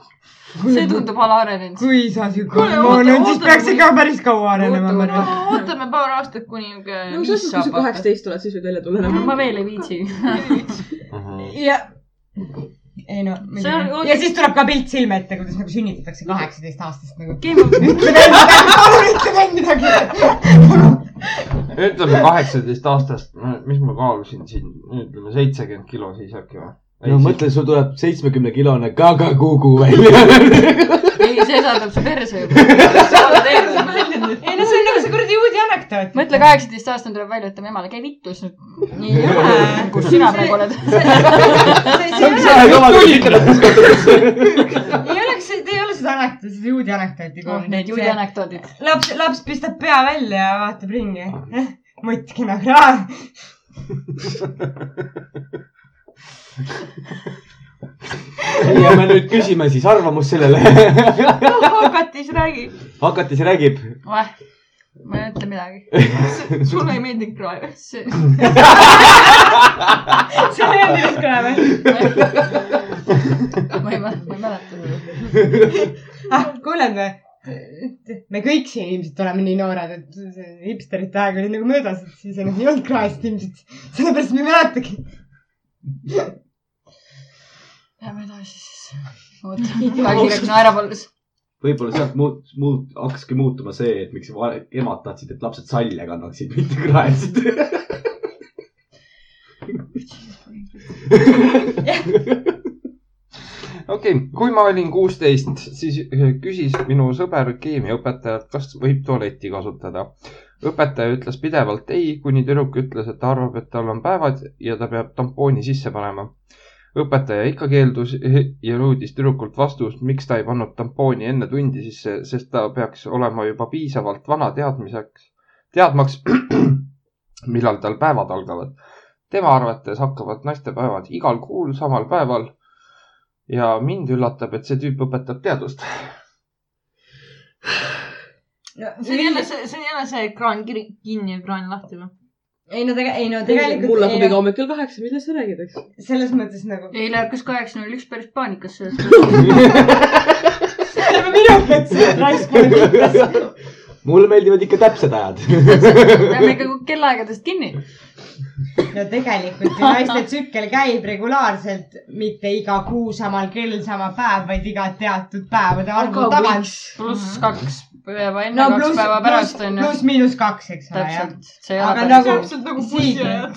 S6: see tundub alaarenenud .
S5: kui sa siuke
S2: Kuule,
S5: hormoon
S2: oota,
S5: on , siis
S2: oota,
S5: peaks ikka päris kaua arenema , ma arvan .
S2: ootame paar aastat , kuni
S4: no nagu mis asjad , kui sa . kaheksateist oled , siis võid välja tulla enam .
S6: ma veel ei viitsi .
S5: ja , ei no
S6: See on-
S5: muidugi . ja siis tuleb ka pilt silme ette , kuidas nagu sünnitatakse kaheksateist aastast nagu .
S6: Game of ,
S5: palun ütle veel midagi .
S1: ütleme kaheksateist aastast , mis ma kaalusin siin , ütleme seitsekümmend kilo siis äkki või ?
S3: no mõtle , sul tuleb seitsmekümne kilone kagakugu välja .
S6: ei , see saadab su perse juba .
S5: ei no see on nagu see kuradi uudi anekdoot .
S6: mõtle , kaheksateist aastane tuleb välja , ütleme emale , käi vittus nüüd .
S5: ei ole .
S6: kus sina praegu oled ?
S5: nagu ei oleks , ei ole seda anekdooti , seda juudi anekdooti .
S6: oh , need juudi . anekdoodid .
S5: laps , laps pistab pea välja ja vaatab ringi . Eh, nagu, mutt kena kraam .
S3: ja me nüüd küsime siis arvamust sellele .
S2: hakatis räägi ,
S3: hakatis räägib .
S6: ma ei ütle midagi .
S2: sulle ei meeldi krae .
S6: see ,
S5: see ei olnud ilus kraam , jah ?
S6: ma ei mäleta , ma ei mäleta .
S5: ah , kuuled või ? me kõik siin ilmselt oleme nii noored , et see hipsterite aeg oli nagu möödas , et siis enam ei olnud kraest ilmselt . sellepärast me ei mäletagi .
S6: Lähme edasi siis . oota , väga kiirelt naerab alles .
S3: võib-olla sealt muut- , muut- , hakkaski muutuma see , et miks va- emad tahtsid , et lapsed salja kannaksid , mitte kraesid .
S1: okei , kui ma olin kuusteist , siis eh, küsis minu sõber keemiaõpetajalt , kas võib tualetti kasutada . õpetaja ütles pidevalt ei , kuni tüdruk ütles , et ta arvab , et tal on päevad ja ta peab tampooni sisse panema . õpetaja ikka keeldus eh, ja nõudis tüdrukult vastust , miks ta ei pannud tampooni enne tundi sisse , sest ta peaks olema juba piisavalt vana teadmiseks , teadmaks , millal tal päevad algavad . tema arvates hakkavad naistepäevad igal kuul samal päeval ja mind üllatab , et see tüüp õpetab teadust .
S2: see on jälle see , see on jälle see kraan kiri- kinni ja kraan lahti noh. või ?
S5: ei no tegelikult , ei no tegelikult .
S4: mul hakkab iga hommik kell kaheksa , millest sa räägid , eks ?
S5: selles mõttes nagu .
S6: eile hakkas kaheksa null üks päris paanikas sellest .
S5: minu mõttes raisk mulle viitas .
S3: mulle meeldivad ikka täpsed ajad .
S6: peame ikka kellaaegadest kinni .
S5: no tegelikult ju naiste tsükkel käib regulaarselt , mitte iga kuu samal kell , sama päev , vaid iga teatud päevade arvu
S4: Aga
S5: tagant .
S6: pluss kaks päeva enne , kaks päeva pärast on ju .
S5: Mhm. pluss miinus kaks , eks ole , jah .
S6: täpselt . see ei
S5: Aga
S6: ole
S5: nagu-
S6: päris .
S2: täpselt nagu
S5: Siigi.
S2: bussiajad .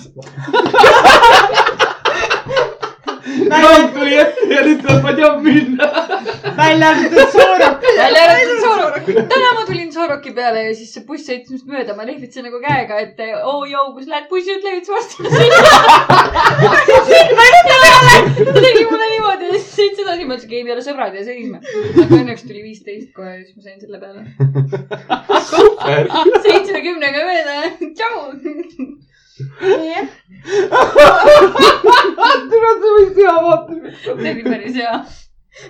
S5: välja
S3: tuli ette ja nüüd tuleb , ma ei tea , minna .
S5: välja arvatud soorok .
S6: välja arvatud soorok . täna ma tulin sooroki peale ja siis see buss sõitis minust mööda , ma lehvitasin nagu käega , et oo oh, joo , kus lähed , buss ütle veits vastu . ta tegi mulle niimoodi ja siis sõits edasi , ma ütlesin , et ei , me ei ole sõbrad ja sõime . aga õnneks tuli viisteist kohe ja siis ma sain selle peale . seitsmekümnega mööda , tšau . see oli päris hea .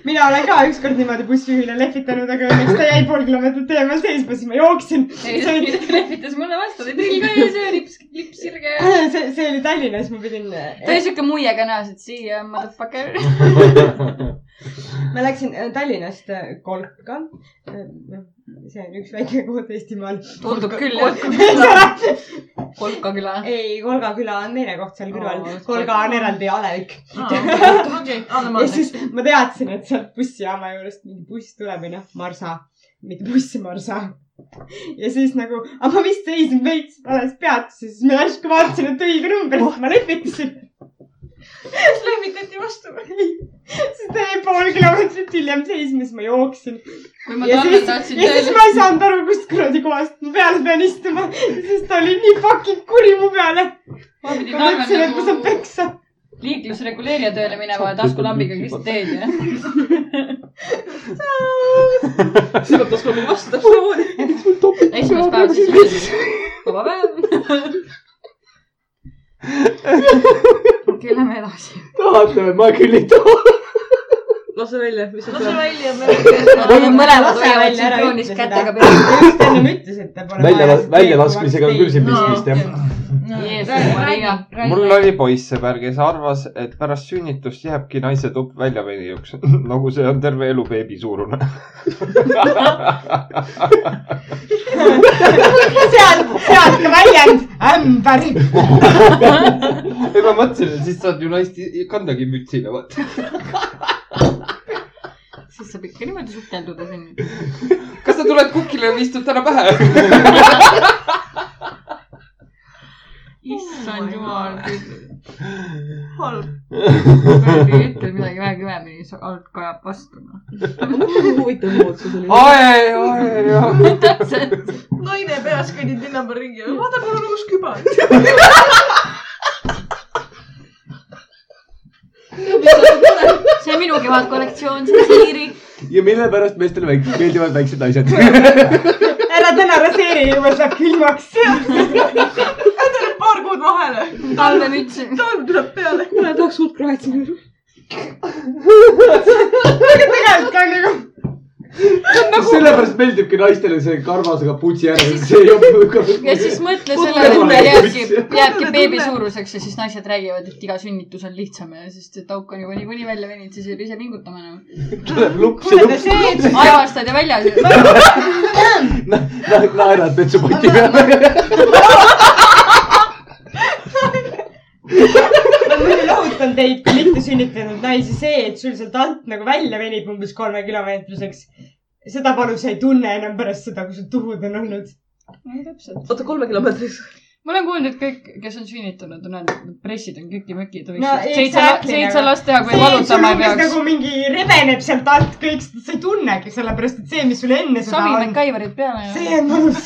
S5: mina olen ka ükskord niimoodi bussijuhile lehvitanud , aga õnneks ta jäi pool kilomeetrit tee peal seisma , siis ma jooksin .
S6: ei ,
S5: see
S6: see
S5: oli ,
S6: lehvitas mulle vastu , ta tegi ka ees öö lips , lips sirge .
S5: see , see oli Tallinnas , ma pidin , eh,
S6: ta oli siuke muiega näos , et siia motherfucker .
S5: ma läksin äh, Tallinnast äh, Kolka . see on üks väike koht Eestimaal .
S6: tundub küll jah .
S5: jah .
S6: Kolka küla .
S5: ei , Kolga küla on teine koht seal kõrval
S6: Aa, .
S5: Kolga on eraldi alevik .
S2: okei , anname
S5: ja siis ma teadsin , et sealt bussijaama juurest mingi buss tuleb või noh , Marsa , mitte buss , Marsa . ja siis nagu , aga ma vist seisin veits alles peatuses , siis ma järsku vaatasin , et õige number , siis ma lehvitasin .
S2: andeks , lehvitati vastu .
S5: siis ta jäi pool kilomeetrit hiljem seisma , siis ma jooksin .
S6: kui ma
S5: ja
S6: talle
S5: siis , ja
S6: tahtsin
S5: siis
S6: tööle ,
S5: ma ei saanud aru , kust kuradi kohast ma peale pean istuma , sest ta oli nii fucking kuri mu peale .
S6: ma pidin
S5: ma mõtlesin ,
S6: talvel
S5: et ma saan
S6: nagu
S5: peksa .
S6: liiklusreguleerija tööle minema ja taskulambiga lihtsalt teed ja .
S4: siis peab tasku minema vastu täpselt samamoodi .
S6: esimest päeva siis ütlesin , vaba päev . okei , lähme edasi .
S3: tahate või ? ma küll ei taha .
S4: lase välja , mis sa
S2: lase
S4: tead .
S2: välja , me võime .
S5: mõlemad
S6: mõlemad
S5: hoiavad
S6: hoiavad
S5: sünkroonis
S6: sünkroonis
S5: kätega
S6: kätega peal .
S5: just ennem ütles , et ta pole
S3: välja , väljalaskmisega on küll siin pistmist jah .
S1: mul oli poissõber , kes arvas , et pärast sünnitust jääbki naise tupp väljavenijuks , nagu see on terve elu beebi suurune .
S5: seal , seal ka väljend ämber .
S1: ei , ma mõtlesin , et siis saad ju naist i- kandagi mütsile , vaata .
S6: siis saab ikka niimoodi sukelduda sinna .
S1: kas sa tuled kukile ja istud täna pähe ?
S6: issand jumal ,
S2: halb .
S6: kuradi ette midagi vähe kõvemini , see alt kajab vastu .
S4: mõtle , kui huvitav mood see oli .
S1: ae , ae , ae .
S6: täpselt .
S2: naine peas kõnnib linna peal ringi , vaata , mul on uus küba .
S6: see on minu kevadkollektsioon , see on siiri .
S3: ja mille pärast meestele väik- meeldivad väiksed naised ?
S5: ära täna raseeri , juba saab külmaks .
S2: endale paar kuud vahele ,
S6: talvemüts .
S2: talv tuleb peale .
S4: kuule , tahaks suurt kraati .
S5: tegelikult ka nagu .
S3: sellepärast meeldibki naistele see karvasega putsi järg , see ei ole
S6: ja
S3: ka .
S6: siis mõtle sellele , et meil jääbki , jääbki beebi suuruseks ja siis naised räägivad , et iga sünnitus on lihtsam ja sest et auk on juba niikuinii välja veninud , siis ei pea ise pingutama enam .
S3: tuleb lups ja
S5: kuule ,
S3: lups ,
S5: see , et
S6: aevastad ja väljas .
S3: naerad vetsupoti peale .
S5: ma muidu lohutan teid , mittesünnitanud naisi , see , et sul sealt alt nagu välja venib umbes kolme kilomeetriseks . seda valu sa ei tunne enam pärast seda , kui sul tuhud on olnud .
S6: täpselt .
S4: oota , kolme kilomeetris .
S6: ma olen kuulnud , et kõik , kes on sünnitanud , on öelnud , et pressid on köki-möki , et
S5: No
S6: võiks seitse
S5: exactly, ,
S6: seitse
S5: aga-
S6: last teha , kui
S5: see , et sul
S6: valutama ei
S5: umbes
S6: peaks .
S5: nagu mingi rebeneb sealt alt kõik , sa ei tunnegi , sellepärast et see , mis sul enne seda
S6: sabi
S5: on ,
S6: MacGyverid peale ja .
S5: see on mõnus .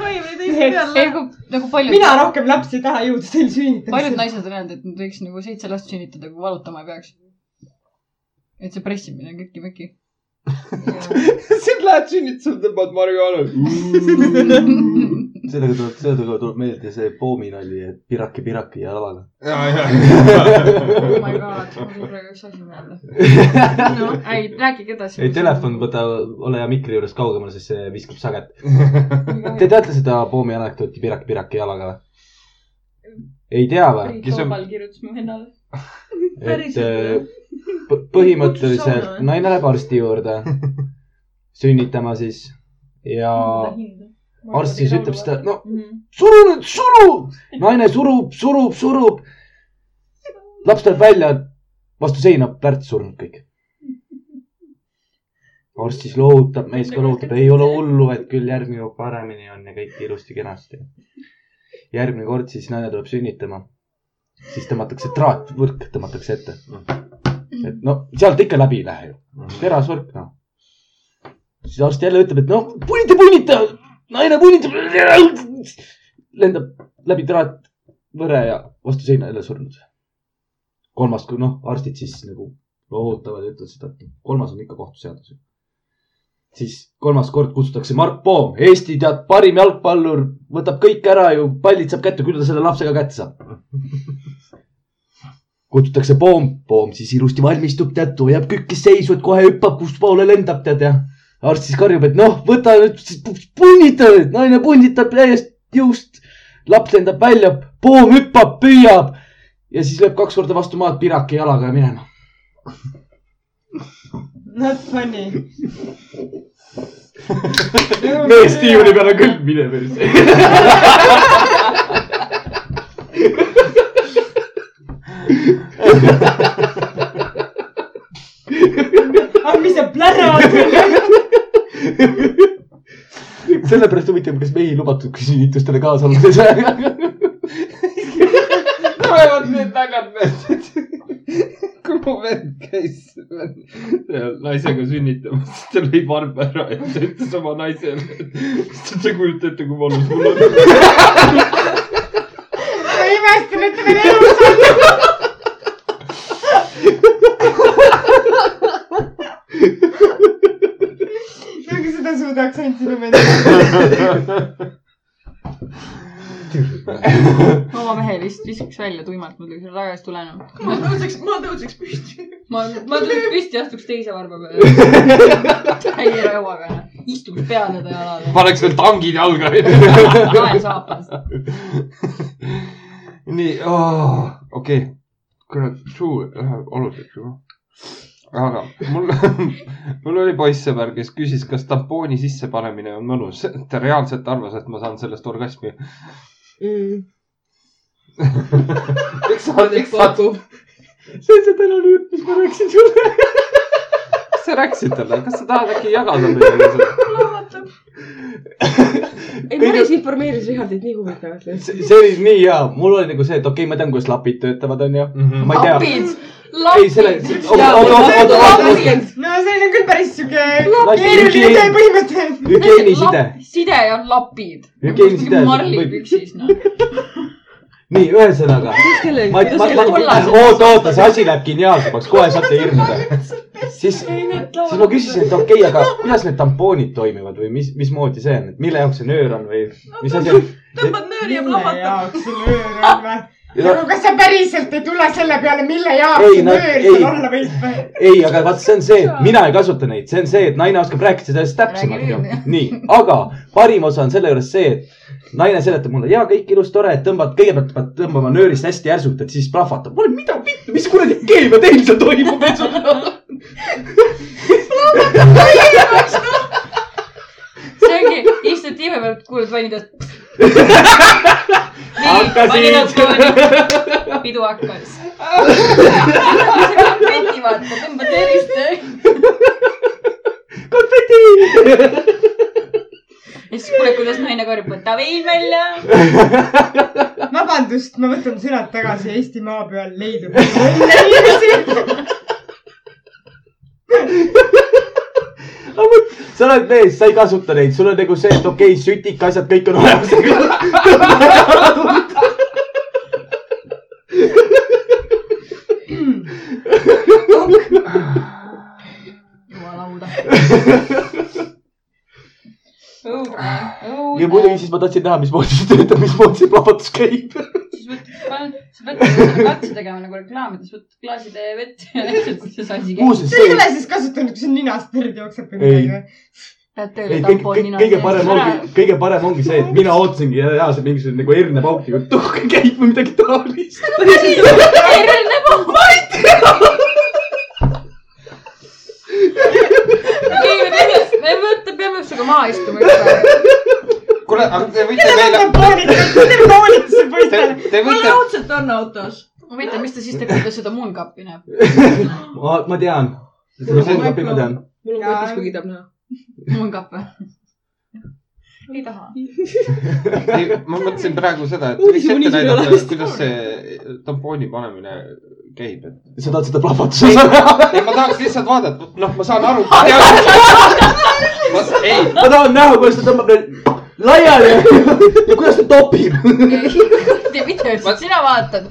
S2: kaimine teise peale
S6: ei , nagu paljud ,
S5: mina rohkem lapsi ei taha jõuda teil
S6: paljud
S5: sünnitamisele .
S6: naised on öelnud , et nad võiks nagu seitse last sünnitada , kui valutama ei peaks . et see pressimine on köki-möki .
S1: siis lähed sünnitusele , tõmbad marihuana .
S3: sellega tuleb , sellega tuleb meelde see poominali , et piraki , piraki ja lavaga .
S1: ja , ja .
S6: oh my god , mul tuli praegu üks asi meelde . no ei , rääkige edasi .
S3: ei , telefon võta , ole hea mikri juures kaugemal , sest see viskab saget . Te teate seda poomi anekdooti Piraki , piraki jalaga või ? ei tea või ?
S1: Kes on-
S4: Toobal kirjutas mu vennale .
S3: et
S4: Päriselt või?
S3: äh, p- põhimõtteliselt
S4: Kutsus sauna või?
S3: naine läheb arsti juurde sünnitama siis ja arst siis ütleb seda , no
S6: Mhm.
S3: suru nüüd , suru . naine surub , surub , surub . laps tuleb välja , vastu seina , plärt surnud kõik . arst siis lohutab , mees ka lohutab , ei ole hullu , et küll järgmine kord paremini on ja kõik ilusti-kenasti . järgmine kord siis naine tuleb sünnitama , siis tõmmatakse traat , võrk tõmmatakse ette . et no sealt ikka läbi ei lähe ju , terasvõrk noh . siis arst jälle ütleb , et no punita , punita , naine punnitab , lendab läbi traatvõre ja vastu seina jälle surnud . kolmas , kui noh , arstid siis nagu ootavad ja ütlevad seda , et kolmas on ikka kohtuseadus . siis kolmas kord kutsutakse Mark Poom , Eesti tead parim jalgpallur , võtab kõik ära ju , pallid saab kätte , küll ta selle lapsega kätte saab . kutsutakse Poom , Poom siis ilusti valmistub , tead , hoiab kükkis seisu , et kohe hüppab , kustpoole lendab , tead ja arst siis karjub , et noh , võta nüüd , punnita nüüd , naine punnitab täiest jõust . laps lendab välja , poom hüppab , püüab ja siis lööb kaks korda vastu maad piraki jalaga ja minema .
S5: Not funny .
S3: mees diivani peal on küll , mine päris .
S5: aga Ah, mis sa plärad ?
S3: sellepärast huvitav , kas mehi lubatud sünnitustele kaasa olla siis või ?
S1: tulevad need naljad meelde . kui mu vend käis seal naisega sünnitamas , siis ta lõi varba ära ja ta ütles oma naisele , et te kujutate ette , kui valus mul on .
S5: ma imestan , et ta veel elus on . nagu seda suudaks ainult sinu meelest .
S6: oh avamehelist viskaks välja tuimalt muidugi selle tagasi tulenevalt .
S4: ma tõuseks , ma tõuseks püsti .
S6: ma , ma tuleks püsti ja astuks teise varba peale . täie rõuaga , istuks peale ta jalale .
S1: paneks veel tangid jalga .
S6: laen saapast .
S1: nii , okei , kurat , suu läheb aluseks juba . aga mul , mul oli poissõber , kes küsis , kas tampooni sissepanemine on mõnus . ta reaalselt arvas , et ma saan sellest orgasmi .
S4: Mm.
S1: eks sa , eks sa ,
S3: see on see tänane jutt , mis ma rääkisin sulle .
S1: kas sa rääkisid talle , kas sa tahad äkki jagada meile seda ?
S4: ei , Maris informeeris Rihardit nii huvitavalt .
S3: see oli nii hea , mul oli nagu see , et okei okay, , ma tean , kuidas lapid töötavad , onju . ma ei tea .
S6: lapid ,
S3: ei , selle ,
S6: lapid .
S3: oota , oota , oota , oota ,
S5: no see on küll päris siuke keeruline
S3: oota
S5: töö . põhimõte .
S3: hügieeniside ,
S6: side ja lapid .
S3: hügieeniside .
S6: marlipüksis , noh .
S3: nii , ühesõnaga . ma , ma , ma ,
S6: nagu
S3: oota , oota , see asi läheb geniaalsemaks , kohe saate hirmuda . siis , siis ma küsisin , et okei okay, , aga kuidas need tampoonid toimivad või mis , mismoodi see on , et mille jaoks see nöör on või mis asi on ?
S4: tõmbad nööri ja
S5: mille
S4: plahvatad .
S5: jaoks sul öör on või ? nagu , kas sa päriselt ei tule selle peale , mille
S3: Ei,
S5: jaoks see
S3: nad-
S5: öör
S3: ei.
S5: sul olla võib või ?
S3: ei , aga vaat see on see , mina ei kasuta neid , see on see , et naine oskab rääkida sellest täpsemalt
S6: Räägi
S3: ju
S6: nüüd, jah. .
S3: nii , aga parim osa on selle juures see , et naine seletab mulle , jaa , kõik ilus , tore , et tõmbad , kõigepealt pead tõmbama nöörist hästi järsult , et siis plahvatab . ma olen , mida , mis kuradi keemia teil seal toimub , et sul .
S6: see ongi , istud tiime peal , kuuled vannidest .
S3: hakkasid .
S6: pidu hakkas . konfeti vaata , tõmbad tervist .
S3: konfeti .
S6: ja siis kuuled , kuidas naine karjub , võta vein välja .
S5: vabandust , ma võtan sõnad tagasi , Eesti maa peal leidub inimesi .
S3: sa oled mees , sa ei kasuta neid , sul on nagu see , et okei okay, , sütik , asjad , kõik on olemas .
S6: jumalauda .
S3: ja muidugi siis ma tahtsin näha , mismoodi see töötab , mismoodi see plahvatus käib .
S6: siis võtad , sa pead katse tegema nagu reklaamides , võtad klaasitäie vett ja näitad , kuidas see asi käib .
S3: muuseas
S5: sa ei ole
S3: see ,
S5: siis kasutanud , kui sul ninast verd jookseb või
S3: Ei.
S5: midagi või ?
S6: Lähed
S3: ei
S6: tööle ,
S3: kõik ,
S6: tampon
S3: kõik ,
S6: nina
S3: kõige parem ongi , kõige parem ongi see , et mina ootasingi reaalselt mingisugune nagu Erne Pauki , kui tuhk käib või midagi taolist .
S6: Erne Paul . keegi teine , me võtame , peame sinuga maha istuma üks päev .
S1: kuule , aga te võite
S5: Te
S1: meile ,
S5: poolite , poolite
S1: te
S5: poistele .,
S1: te
S4: mul
S1: võite ,
S4: raudselt on autos .
S6: huvitav , mis ta siis teeb , kui ta seda munkappi näeb ?
S3: ma , ma tean . seda munkappi ma tean .
S4: mul on kotis , kui kiidab näha .
S6: munkapp või ? ei taha .
S1: ma mõtlesin praegu seda , et võiks
S4: Uudishimu
S1: ette
S4: niisugune
S1: näidata
S4: olemas. ,
S1: kuidas see tampooni panemine käib , et .
S3: sa tahad seda plahvatust näha ?
S1: ei , ma tahaks lihtsalt vaadata , noh , ma saan aru . ei ,
S3: ma tahan näha , kuidas ta tõmbab veel laiali ja, ja kuidas ta topib .
S6: tee mitte , sina vaatad .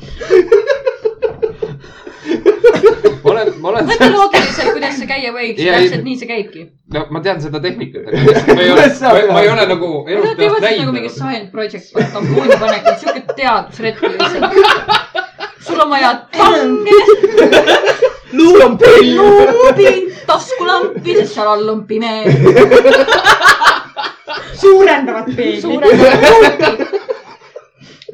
S1: ma olen , ma olen ,
S6: mõtle loogiliselt , kuidas see käia võiks ,
S1: Jaa, ei-
S6: täpselt nii see käibki .
S1: no ma tean seda tehnikat , aga lihtsalt ma ei ole
S3: Kuidas , sa
S1: ma, ma ei
S3: tead?
S1: ole nagu
S6: Nad
S1: elust
S6: teevad
S1: peast
S6: siis nagu mingi
S1: näinud .
S6: science project , tampooni panek , siuke teadusretk lihtsalt . sul on vaja tange ,
S3: luu on pellu .
S6: luubi , taskulampi , sest seal all on pime .
S5: suurendavad peeglit .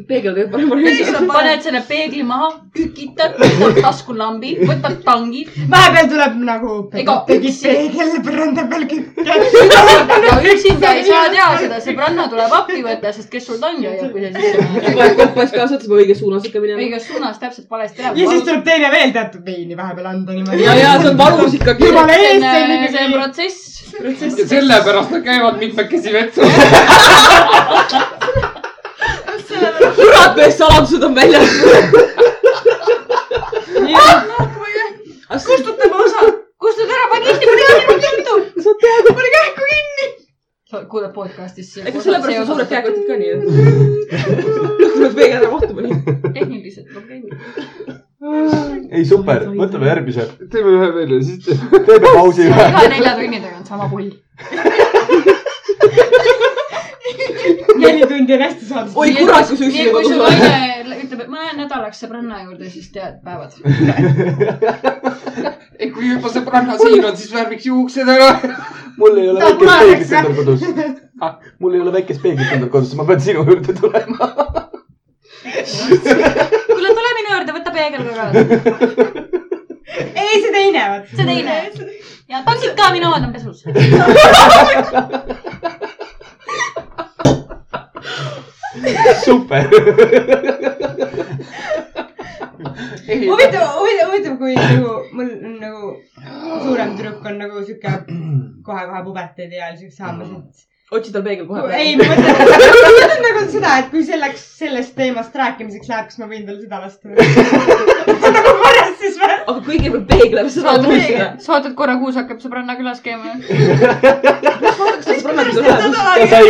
S4: peegel teeb parema
S6: ja siis sa
S4: reisi .
S6: paned selle peegli maha , kükitad , võtad taskulambi , võtad tangid
S5: vahepeal tuleb nagu .
S6: Ega
S5: tegid
S6: üksi-
S5: peegel põranda peal kükke .
S6: ja üksinda ei saa teha seda , sõbranna tuleb appi võtta , sest kes sul tangi hoiab , kui sa sisse lähed .
S4: paned koppas kaasa , et sa pead õiges suunas ikka minema .
S6: õiges suunas täpselt valesti
S5: ja siis
S6: läheb .
S5: tuleb teine veel teatud veini vahepeal anda niimoodi .
S4: ja , ja see on valus ikkagi .
S5: jumala
S6: see
S5: eest , see on
S6: on äh, see
S5: ikkagi .
S6: protsess .
S1: sellepärast nad käivad mitmekesi vetsu .
S4: kurat , meie saladused on väljas . kustutame osa .
S6: kustad ära , pane kinni , pane kinni , pane kinni .
S4: saad teada .
S6: sa kuuled podcast'ist .
S4: ega sellepärast on suured käekotid ka nii . hakkame peegel ära mahtuma nii .
S6: tehnilised probleemid .
S3: ei super , võtame järgmise .
S1: teeme ühe veel ja siis teeme .
S3: teeme pausi
S6: iga
S3: ühe .
S6: nelja tunni tagant sama pull .
S5: jälitundi on hästi saadud .
S4: oi kurat , kus
S6: nii
S4: üksi
S6: et kui su
S4: kodus olen .
S6: naine ütleb , et ma lähen nädalaks sõbranna juurde , siis tead päevad .
S1: ei , kui juba sõbranna siin on , siis värviks juuksed ära .
S3: mul ei ole
S5: Ta punaseks,
S3: väikest peeglit
S5: jah.
S3: endal kodus . mul ei ole väikest peeglit endal kodus , ma pean sinu juurde tulema .
S6: kuule , tule minu juurde , võta peegel korra .
S5: ei , see teine , vot .
S6: see teine . ja pakid ka , minu omad on pesus .
S3: super .
S5: huvitav , huvitav , huvitav , kui nagu mul on nagu suurem tüdruk on nagu sihuke kohe-kohe puberteedi ajal siukse saamas , et .
S4: otsi tal peegel kohe
S5: ei , ma mõtlen , ma mõtlen nagu seda , et kui selleks , sellest teemast rääkimiseks läheb , kas ma võin talle seda lasta . see on nagu korras siis või ?
S4: aga kõigepealt peegli all , siis saad muuta .
S6: sa ootad korra , kuus hakkab sõbranna külas käima .
S4: kas ta sõbrannad ei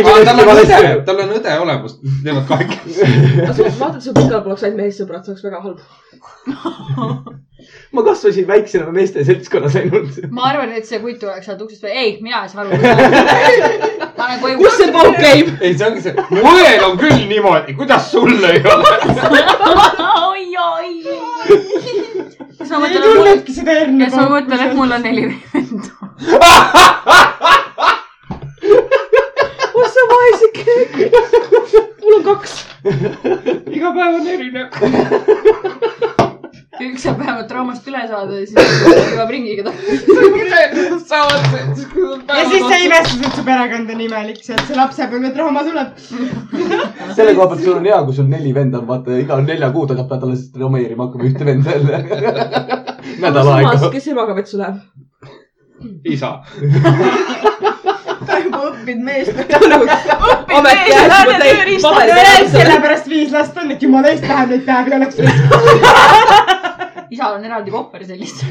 S1: tal
S4: ole ?
S3: ta sai millestki
S1: on õde
S3: valesti , aru .
S1: tal on õde olemas , neil on kahekesi .
S4: vaata , et sul pikal poleks ainult meessõbrad , see oleks väga halb .
S3: ma kasvasin väiksema meeste seltskonnas ainult .
S6: ma arvan , et see kutt tuleks sealt uksest välja . ei , mina ei saa aru . ma olen koju
S4: kus . see pool käib ?
S1: ei , see ongi see , mu õel on küll niimoodi , kuidas sul ei ole ?
S6: oi , oi . kas ma
S5: ei
S6: mõtlen ,
S5: tunnudki seda Erni
S6: kas ma mõtlen , et mul on neli venda ?
S4: oh sa vaesike . mul on kaks .
S1: iga päev on erinev .
S6: üks saab vähemalt traumast üle saada ja siis jõuab ringiga tagasi .
S1: saavad .
S5: ja siis sa imestasid , et su perekond on imelik , sealt see lapsepõlve trauma tuleb .
S3: selle koha pealt sul on hea , kui sul neli venda on , vaata iga nelja kuu tagant pead alles renomeerima hakkama ühte venda jälle . nädal
S4: samas
S3: aega .,
S4: kes emaga vetsu läheb ?
S1: isa .
S4: ta juba õppinud mees . ometi jääb juba täis paberid .
S5: sellepärast viis last on , et jumala eest vähem neid päevi oleks .
S6: isal on eraldi kohver sellist .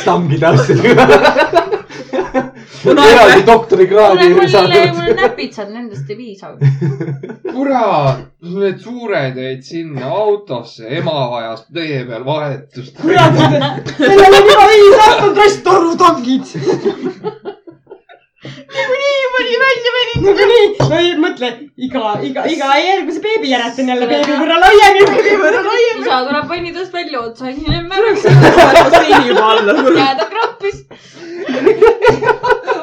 S3: stangi täpselt .
S4: No,
S3: eraldi
S4: näe.
S6: kuule ,
S3: doktorikraadi
S6: mul ,
S3: saanud .
S6: mul näpitsad nendest ei piisa .
S1: kurat , need suured jäid sinna autosse , ema ajas tee peal vahetust .
S5: kurat , sellel on juba viis aastat rastorutangid . niikuinii juba nii välja venitanud . niikuinii , no ei mõtle , iga , iga , iga järgmise beebi järelt on jälle beebi võrra laiem ja beebi võrra laiem .
S6: isa tuleb vannidest välja otsa , onju , märg
S4: juba alla .
S6: jääda krampis .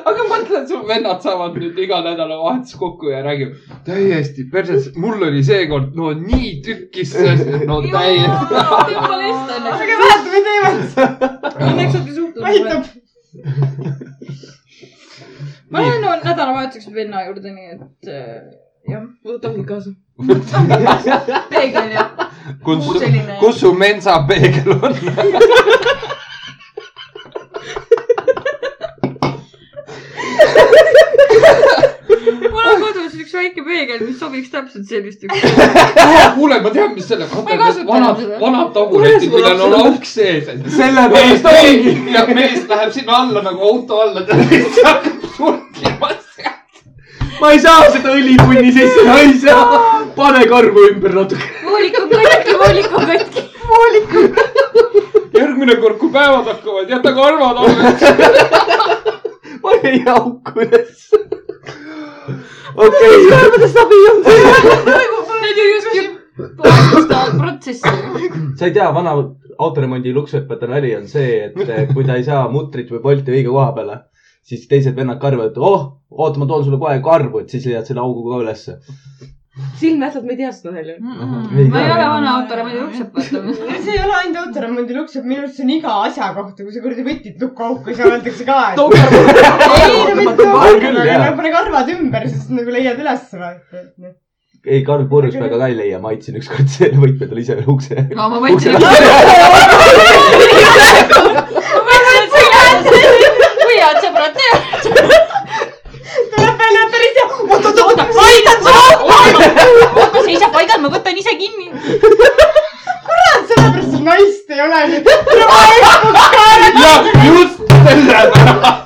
S1: aga mõtle , et su vennad saavad nüüd iga nädalavahetus kokku ja räägivad täiesti perses , mul oli seekord no nii tükkis , no täiesti .
S6: jumala eest õnneks .
S5: aga vahetame teemat ,
S4: Õnneks olete suhtlenud .
S5: aitab .
S4: ma lähen no, nädalavahetuseks venna juurde , nii et äh, jah , võtangi kaasa .
S6: peegel ja
S1: kus
S6: Muu , selline-
S1: kus su mensapeegel on ?
S6: mul on kodus üks väike peegel , mis sobiks täpselt sellisteks .
S1: kuule , ma tean , mis selle ,
S6: Ma ei kasuta
S1: vanad
S6: enam seda. ,
S1: vanad taburetid ,
S4: Kuidas
S1: millel on
S4: mul lapsed on?
S1: auk sees .
S3: sellepärast ongi .
S1: ja mees läheb sinna alla nagu auto alla , ta lihtsalt hakkab surkima seal .
S3: ma ei saa seda õlipunni sisse , ma ei saa . pane karvu ümber natuke .
S6: vooliku katki , vooliku katki .
S1: järgmine kord , kui päevad hakkavad , jäta karvad alla .
S3: pane jauku üles . okei .
S4: kuidas abi on ?
S6: Need ju justkui plaanistavad protsessi .
S3: sa ei tea , vana autoremondi luksuhüppete nali on see , et eh, kui ta ei saa mutrit või polti õige koha peale , siis teised vennad karjuvad , et oh , oota , ma toon sulle kohe karvu , et siis leiad selle augu ka ülesse .
S4: silmnähtad , ma ei tea seda nalja .
S6: Mm. ma ei ole vana autor , ma ei lukse pealt .
S5: see ei ole ainult autoremondi luks , minu arust see on iga asja kohta , kui sa kuradi võtid lukkuauku ja siis öeldakse ka , et ei , no mitte
S3: On küll,
S5: auku ,
S3: jaa.
S5: aga pane karvad ümber , siis nagu leiad ülesse vaata .
S3: ei , Karl purjus väga ka ei leia , ma aitasin ükskord selle võtme talle ise veel ukse .
S6: no ma mõtlesin , ma mõtlesin , et sa lähed . kui head sõbrad teevad .
S5: tuleb välja , et ta oli seal , oot-oot-oot ,
S6: paigan sa . oota , seisa paigal , ma võtan ise kinni .
S5: sellepärast sul naist ei ole .
S1: jah , just sellepärast .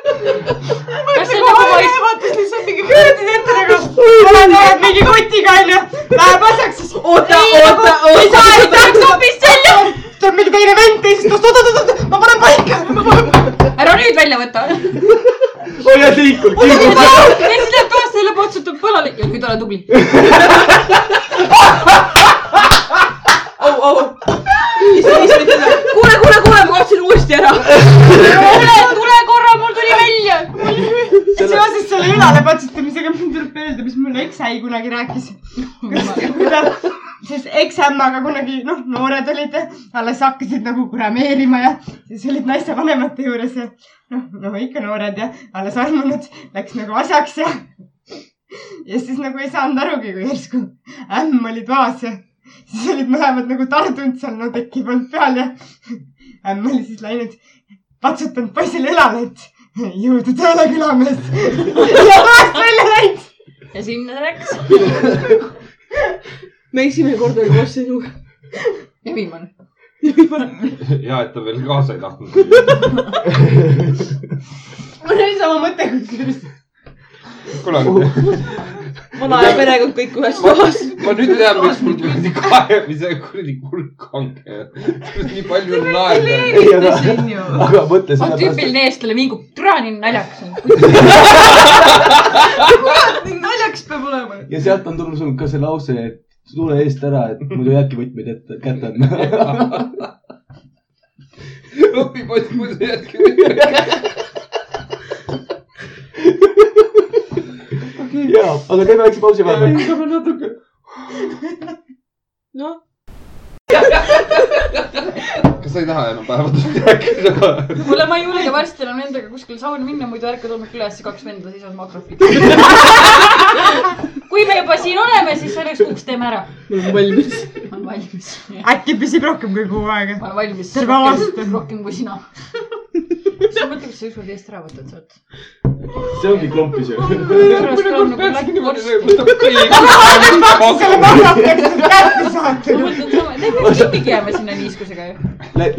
S6: kas see on nagu poiss ,
S5: vaatas lihtsalt mingi köödi ette nagu , ära näed mingi kotiga onju , läheb asjaks siis . oota , oota , oota . nagu ei saa , ei saa hoopis selja . tuleb mingi teine vend teisest toast , oot-oot-oot , ma panen paika .
S6: ära nüüd välja võta .
S3: hoia liikult , kiirelt .
S6: mees läheb pärast selle potsutab põlale ja nüüd ole tubli .
S4: au , au . kuule , kuule , kuule , ma kaotasin uuesti ära .
S6: tule , tule korra , mul tuli välja .
S5: seoses selle ülale patsutamisega mul tuleb meelde , mis mul eksäi kunagi rääkis . siis eksämmaga kunagi , noh , noored olid , alles hakkasid nagu kurameerima ja siis olid naistevanemate juures ja noh , noh ikka noored ja alles armunud , läks nagu asjaks ja . ja siis nagu ei saanud arugi , kui järsku ämm oli toas ja siis olid mõlemad nagu tardunud seal , no teki polnud peal ja ämm oli siis läinud , patsutanud poisile õlale , et jõudu tööle külamees . ja toast välja läinud .
S6: ja sinna ta läks .
S4: me esimene kord oli koos sinuga .
S6: ja viimane .
S1: hea , et ta veel kaasa ei tahtnud .
S5: mul oli sama mõte kusjuures .
S1: kuule , aga
S4: vana ja perekond kõik ühes kohas .
S1: ma nüüd tean , miks mul tuli kaemise kuradi kulk hange . nii palju on naerda .
S3: aga mõtle
S6: on
S3: selle peale ,
S6: tüüpiline eestlane vingub , türa nii naljakas on .
S4: naljakas peab olema .
S3: ja sealt on tulnud sul ka see lause , et tule eest ära , et muidu ei äkki võtmed ette , kätte on .
S1: õpipoiss muidu jätkab .
S3: jaa , aga teeme väikse pausi vahepeal .
S4: noh ,
S1: kas sa ei taha enam päevadest rääkida ?
S6: kuule , ma ei julge varsti enam nendega kuskile sauni minna , muidu ärkad hommikul üles ja kaks venda seisavad makrofiilis . kui me juba siin oleme , siis selleks kuuks teeme ära .
S4: me oleme valmis .
S6: ma olen valmis . ma
S5: äkki püsib rohkem kui kuu aega .
S6: olen valmis .
S5: Terve aasta.
S6: rohkem kui sina . mis sa mõtled , kui sa ükskord eest ära võtad sealt ?
S3: see ongi klompis ju .
S1: nagu
S6: ma mõtlen sama , teeme kippigi jääme sinna niiskusega ju .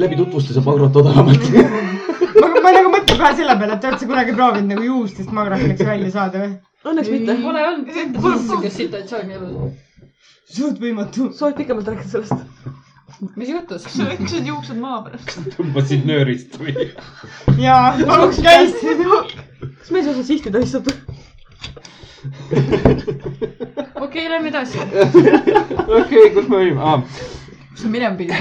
S3: läbi tutvustuse pagrot odavamalt .
S5: ma, ma nagu mõtlen kohe selle peale , et oled sa kunagi proovinud nagu juustest magrafiks välja saada või ?
S4: õnneks mitte .
S6: Pole olnud niisugust situatsiooni elus .
S5: suht võimatu .
S4: sa oled pikemalt rääkinud sellest .
S6: mis juhtus ?
S4: lõikasid juuksed maha pärast .
S1: tõmbasid nöörist või ?
S5: jaa , paluks käis .
S4: kas mees osas sihti tähistab ?
S6: okei , lähme edasi .
S1: okei , kus me olime ah, ?
S6: kus me minema pidime ?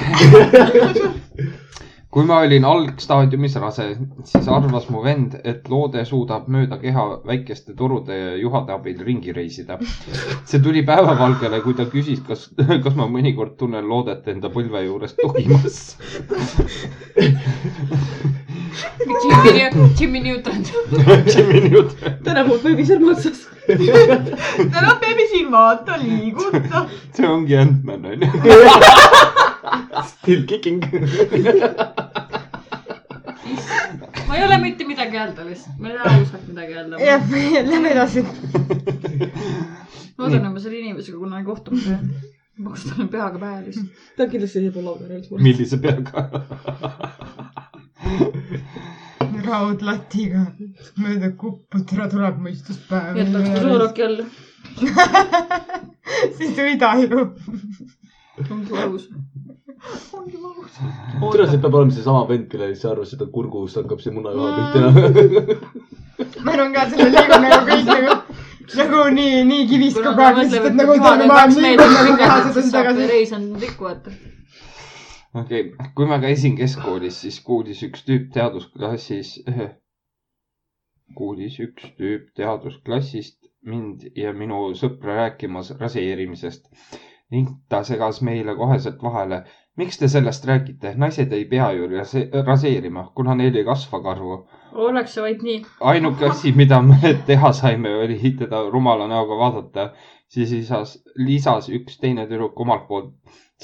S1: kui ma olin algstaadiumis rase , siis arvas mu vend , et loode suudab mööda keha väikeste torude ja juhade abil ringi reisida . see tuli päevavalgele , kui ta küsis , kas , kas ma mõnikord tunnen loodet enda põlve juures tohimas .
S6: Jimmy , Jimmy Newton .
S1: Jimmy Newton ,
S4: täna mul beebi sõrme otsas . täna beebi silma all , ta liigutab .
S1: see ongi Ant-Man onju .
S3: Still kicking .
S6: ma ei ole mitte midagi öelda lihtsalt , ma ei ole ausalt midagi öelda .
S5: jah , lähme edasi .
S6: ma loodan , et ma selle inimesega kunagi kohtuma saan . ma kostan talle peaga pähe lihtsalt .
S4: ta kindlasti teeb mulle auga nüüd .
S1: millise peaga ?
S5: raudlatiga mööda kuppu , tere , tuleb mõistuspäev .
S6: jätan selle sooroki alla .
S5: siis õidailu .
S6: ongi valus .
S3: tead , see peab olema seesama vend , kellele sa arvasid , et kurgust hakkab see munajuha pilt enam .
S5: ma arvan ka , et selle liigub nagu kõik nagu , nagu nii , nii kivist
S6: kui nad
S5: kogu aeg ,
S6: mõtlevad,
S5: lihtsalt
S6: et
S5: nagu
S6: kui
S5: ütleme ,
S6: kohad on kaks
S5: maailm liigub
S6: meetrit
S5: nagu kohe
S6: pikemad, siis
S5: sedasi
S6: saab
S5: tagasi .
S6: reis on pikk , vaata .
S1: okei okay. , kui ma käisin keskkoolis , siis kuulis üks tüüp teadusklassis , kuulis üks tüüp teadusklassist mind ja minu sõpra rääkimas raseerimisest ning ta segas meile koheselt vahele . miks te sellest räägite , naised ei pea ju rase- raseerima , kuna neil ei kasva karvu .
S6: oleks see vaid nii .
S1: ainuke asi , mida me teha saime , oli teda rumala näoga vaadata . siis lisas , lisas üks teine tüdruk omalt poolt .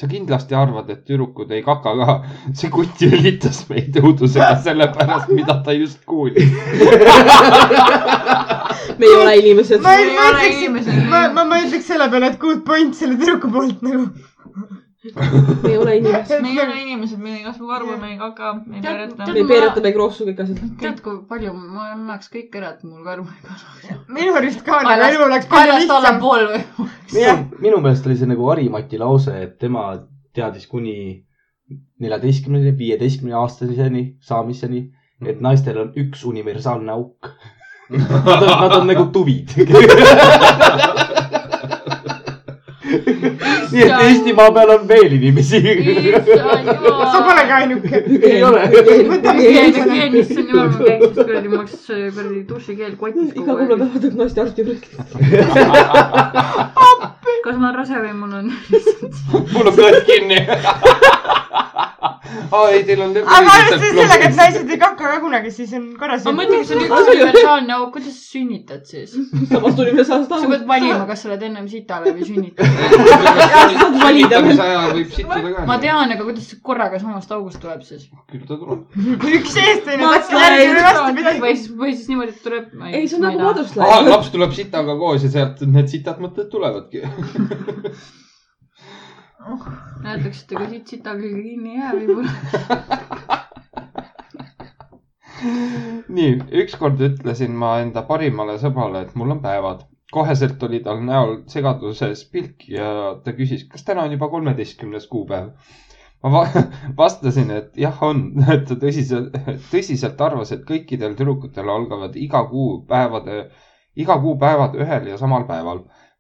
S1: sa kindlasti arvad , et tüdrukud ei kaka ka . see kutt lülitas meid õudusega selle pärast , mida ta just kuulis .
S4: me ei ole inimesed .
S5: ma ei ,
S2: ei
S5: ma
S2: ole
S5: ütleks
S2: inimesed. ,
S5: ma , ma , ma ütleks selle peale , et good point selle tüdruku poolt nagu .
S4: me ei ole inimesed .
S2: me ei ole inimesed , meil ei kasva karvu , me ei kaka , me ei
S6: Tead-
S2: pöörata
S6: tead- .
S4: me ei peereta , me ei kroossu , kõik asjad .
S6: tead , kui palju ma annaks kõik ära , et mul karv ei kasva .
S5: minu arust ka nagu
S6: Kaelast-
S5: elu oleks palju
S6: kaelast
S5: lihtsam .
S6: allapool või ?
S3: minu , minu meelest oli see nagu Harimati lause , et tema teadis kuni neljateistkümneni , Mm. viieteistkümne aastaseni saamiseni , et naistel on üks universaalne auk . Nad on , nad on nagu tuvid . nii et Eestimaa peal on veel inimesi .
S6: issand
S4: sa
S6: jumal .
S4: pole ka ainuke .
S3: ei ole .
S4: võtame
S6: keegi ,
S4: teise .
S6: keegi , issand jumal , ma käin siis kuradi , mul läks äh, kuradi dušikeel kotis
S4: iga
S6: kogu
S4: kulla
S6: aeg .
S4: tahab naistearsti juurde .
S6: kas ma olen rase või mul on ?
S1: mul on plats kinni . aa , ei , teil on .
S5: aga arvestades sellega , et naised ei kakka ka kunagi , siis on korras .
S6: ma mõtlen , kas see on üks universaalne auk , kuidas sa sünnitad siis ?
S4: samas tuli üle saast
S6: sa
S4: aru
S6: pead . valima , kas sa oled ennem sitale või sünnitad .
S1: saad
S4: valida.
S1: sünnitamise ajal võib sittuda ka .
S6: ma . tean , aga kuidas see korraga samast august tuleb siis ?
S1: küll ta tuleb .
S5: üks eestlane
S4: Ma
S5: mõtleb
S4: sain
S5: järgmine vastupidi .
S6: või siis , või siis niimoodi , et tuleb .
S4: ei , see on nagu .
S1: aa ,
S4: madrusläinud .
S1: laps tuleb sitaga koos ja sealt need sitad mõtted tulevadki .
S6: näitaksite , kui siit sita külge kinni ei jää võib-olla .
S4: Nagu
S1: nii , ükskord ütlesin ma enda parimale sõbrale , et mul on päevad . koheselt oli tal näol segaduses pilk ja ta küsis , kas täna on juba kolmeteistkümnes kuupäev . ma va vastasin , et jah , on . ta tõsiselt , tõsiselt arvas , et kõikidel tüdrukutel algavad iga kuu päevade , iga kuu päevad ühel ja samal päeval .